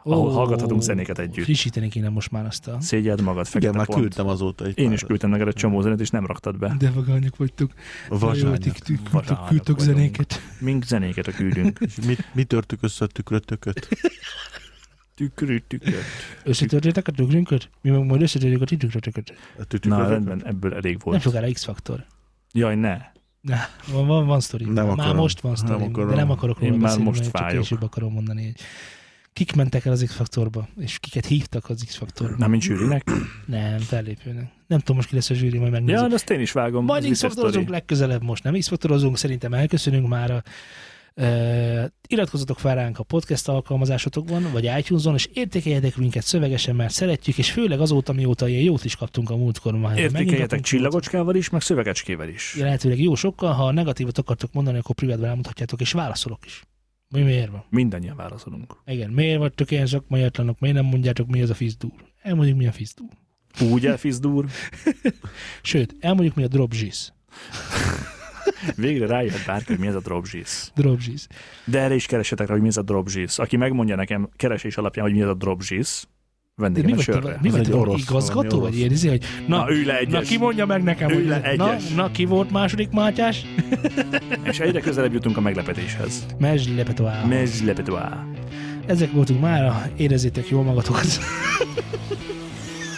C: ahol hallgathatunk zenéket együtt.
B: Frissíteni kéne most már azt a...
C: Szégyeld magad, fekete
D: Igen, már
C: pont.
D: küldtem azóta egy
C: Én
D: pár-
C: is küldtem neked egy csomó zenét, és nem raktad be.
B: De vagányok vagytok.
D: Vazsányat.
C: Vazsányok
B: Küldtök, küldtök
C: vagyunk.
B: zenéket.
C: Mink zenéket a
D: <laughs>
C: küldünk.
D: És mit, mit törtük össze a tükrötököt?
C: Tükrű, tükröt.
B: Összetörtétek a tükrünköt? Mi meg majd összetörjük a ti tükrötököt.
D: A tükrötököt?
C: Na, rendben, ebből elég
B: Nem
C: volt.
B: sokára X-faktor.
C: Jaj, ne.
B: Van, van, van sztori.
D: Nem
B: Már
D: akarom.
B: most van sztori,
D: Nem akarom.
B: de nem akarok róla
C: Én már
B: beszélni,
C: most
B: mert csak
C: fájok.
B: később akarom mondani. Hogy kik mentek el az X-faktorba, és kiket hívtak az X-faktorba.
C: Nem, mint zsűrinek.
B: Nem, fellépőnek. Nem tudom most ki lesz a zsűri, majd megnézzük.
C: Ja, de azt én is vágom.
B: Majd
C: ez vicces
B: x
C: sztori.
B: legközelebb most nem x szerintem elköszönünk már. Uh, iratkozzatok fel ránk a podcast alkalmazásotokban, vagy iTunes-on, és értékeljetek minket szövegesen, mert szeretjük, és főleg azóta, mióta ilyen jót is kaptunk a múltkor. Már
C: Értékeljetek csillagocskával is, meg szövegecskével is.
B: Ja, lehetőleg jó sokkal, ha negatívat akartok mondani, akkor privátban elmondhatjátok, és válaszolok is. Mi miért van?
C: Mindannyian válaszolunk.
B: Igen, miért vagytok ilyen szakmaiatlanok, miért nem mondjátok, mi az a fizdúr? Elmondjuk, mi a fizdúr.
C: Úgy elfizdúr.
B: Sőt, elmondjuk, mi a dropzsiz.
C: Végre rájött bárki, hogy mi ez a dropzsiz.
B: Dropzsiz.
C: De erre is keresetek rá, hogy mi ez a dropzsiz. Aki megmondja nekem keresés alapján, hogy mi ez a dropzsiz,
B: De mi
C: vendégem a
B: vagy
C: sörre.
B: te, mi
D: Ez
B: vagy
D: egy
B: te valami
D: orosz,
B: igazgató,
D: valami
B: vagy ilyen izé, hogy na,
C: Na,
B: na,
C: ő le egyes.
B: ki mondja meg nekem,
C: Ő
B: hogy
C: le
B: na,
C: egyes.
B: na, ki volt második Mátyás?
C: És egyre közelebb jutunk a meglepetéshez.
B: Mezsli Lepetoá.
C: Mezs lepetoá.
B: Ezek voltunk mára, érezzétek jól magatokat.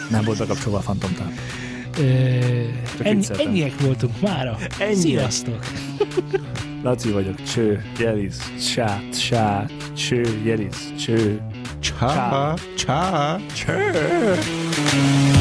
C: Nem volt bekapcsolva a fantomtáp.
B: Ö, ennyi,
C: vicceltem.
B: ennyiek voltunk mára.
C: Ennyiek.
B: Sziasztok!
C: Laci vagyok, cső, jelisz, sát, sát, cső, jelisz, cső.
D: Csá, csá.
C: Cső!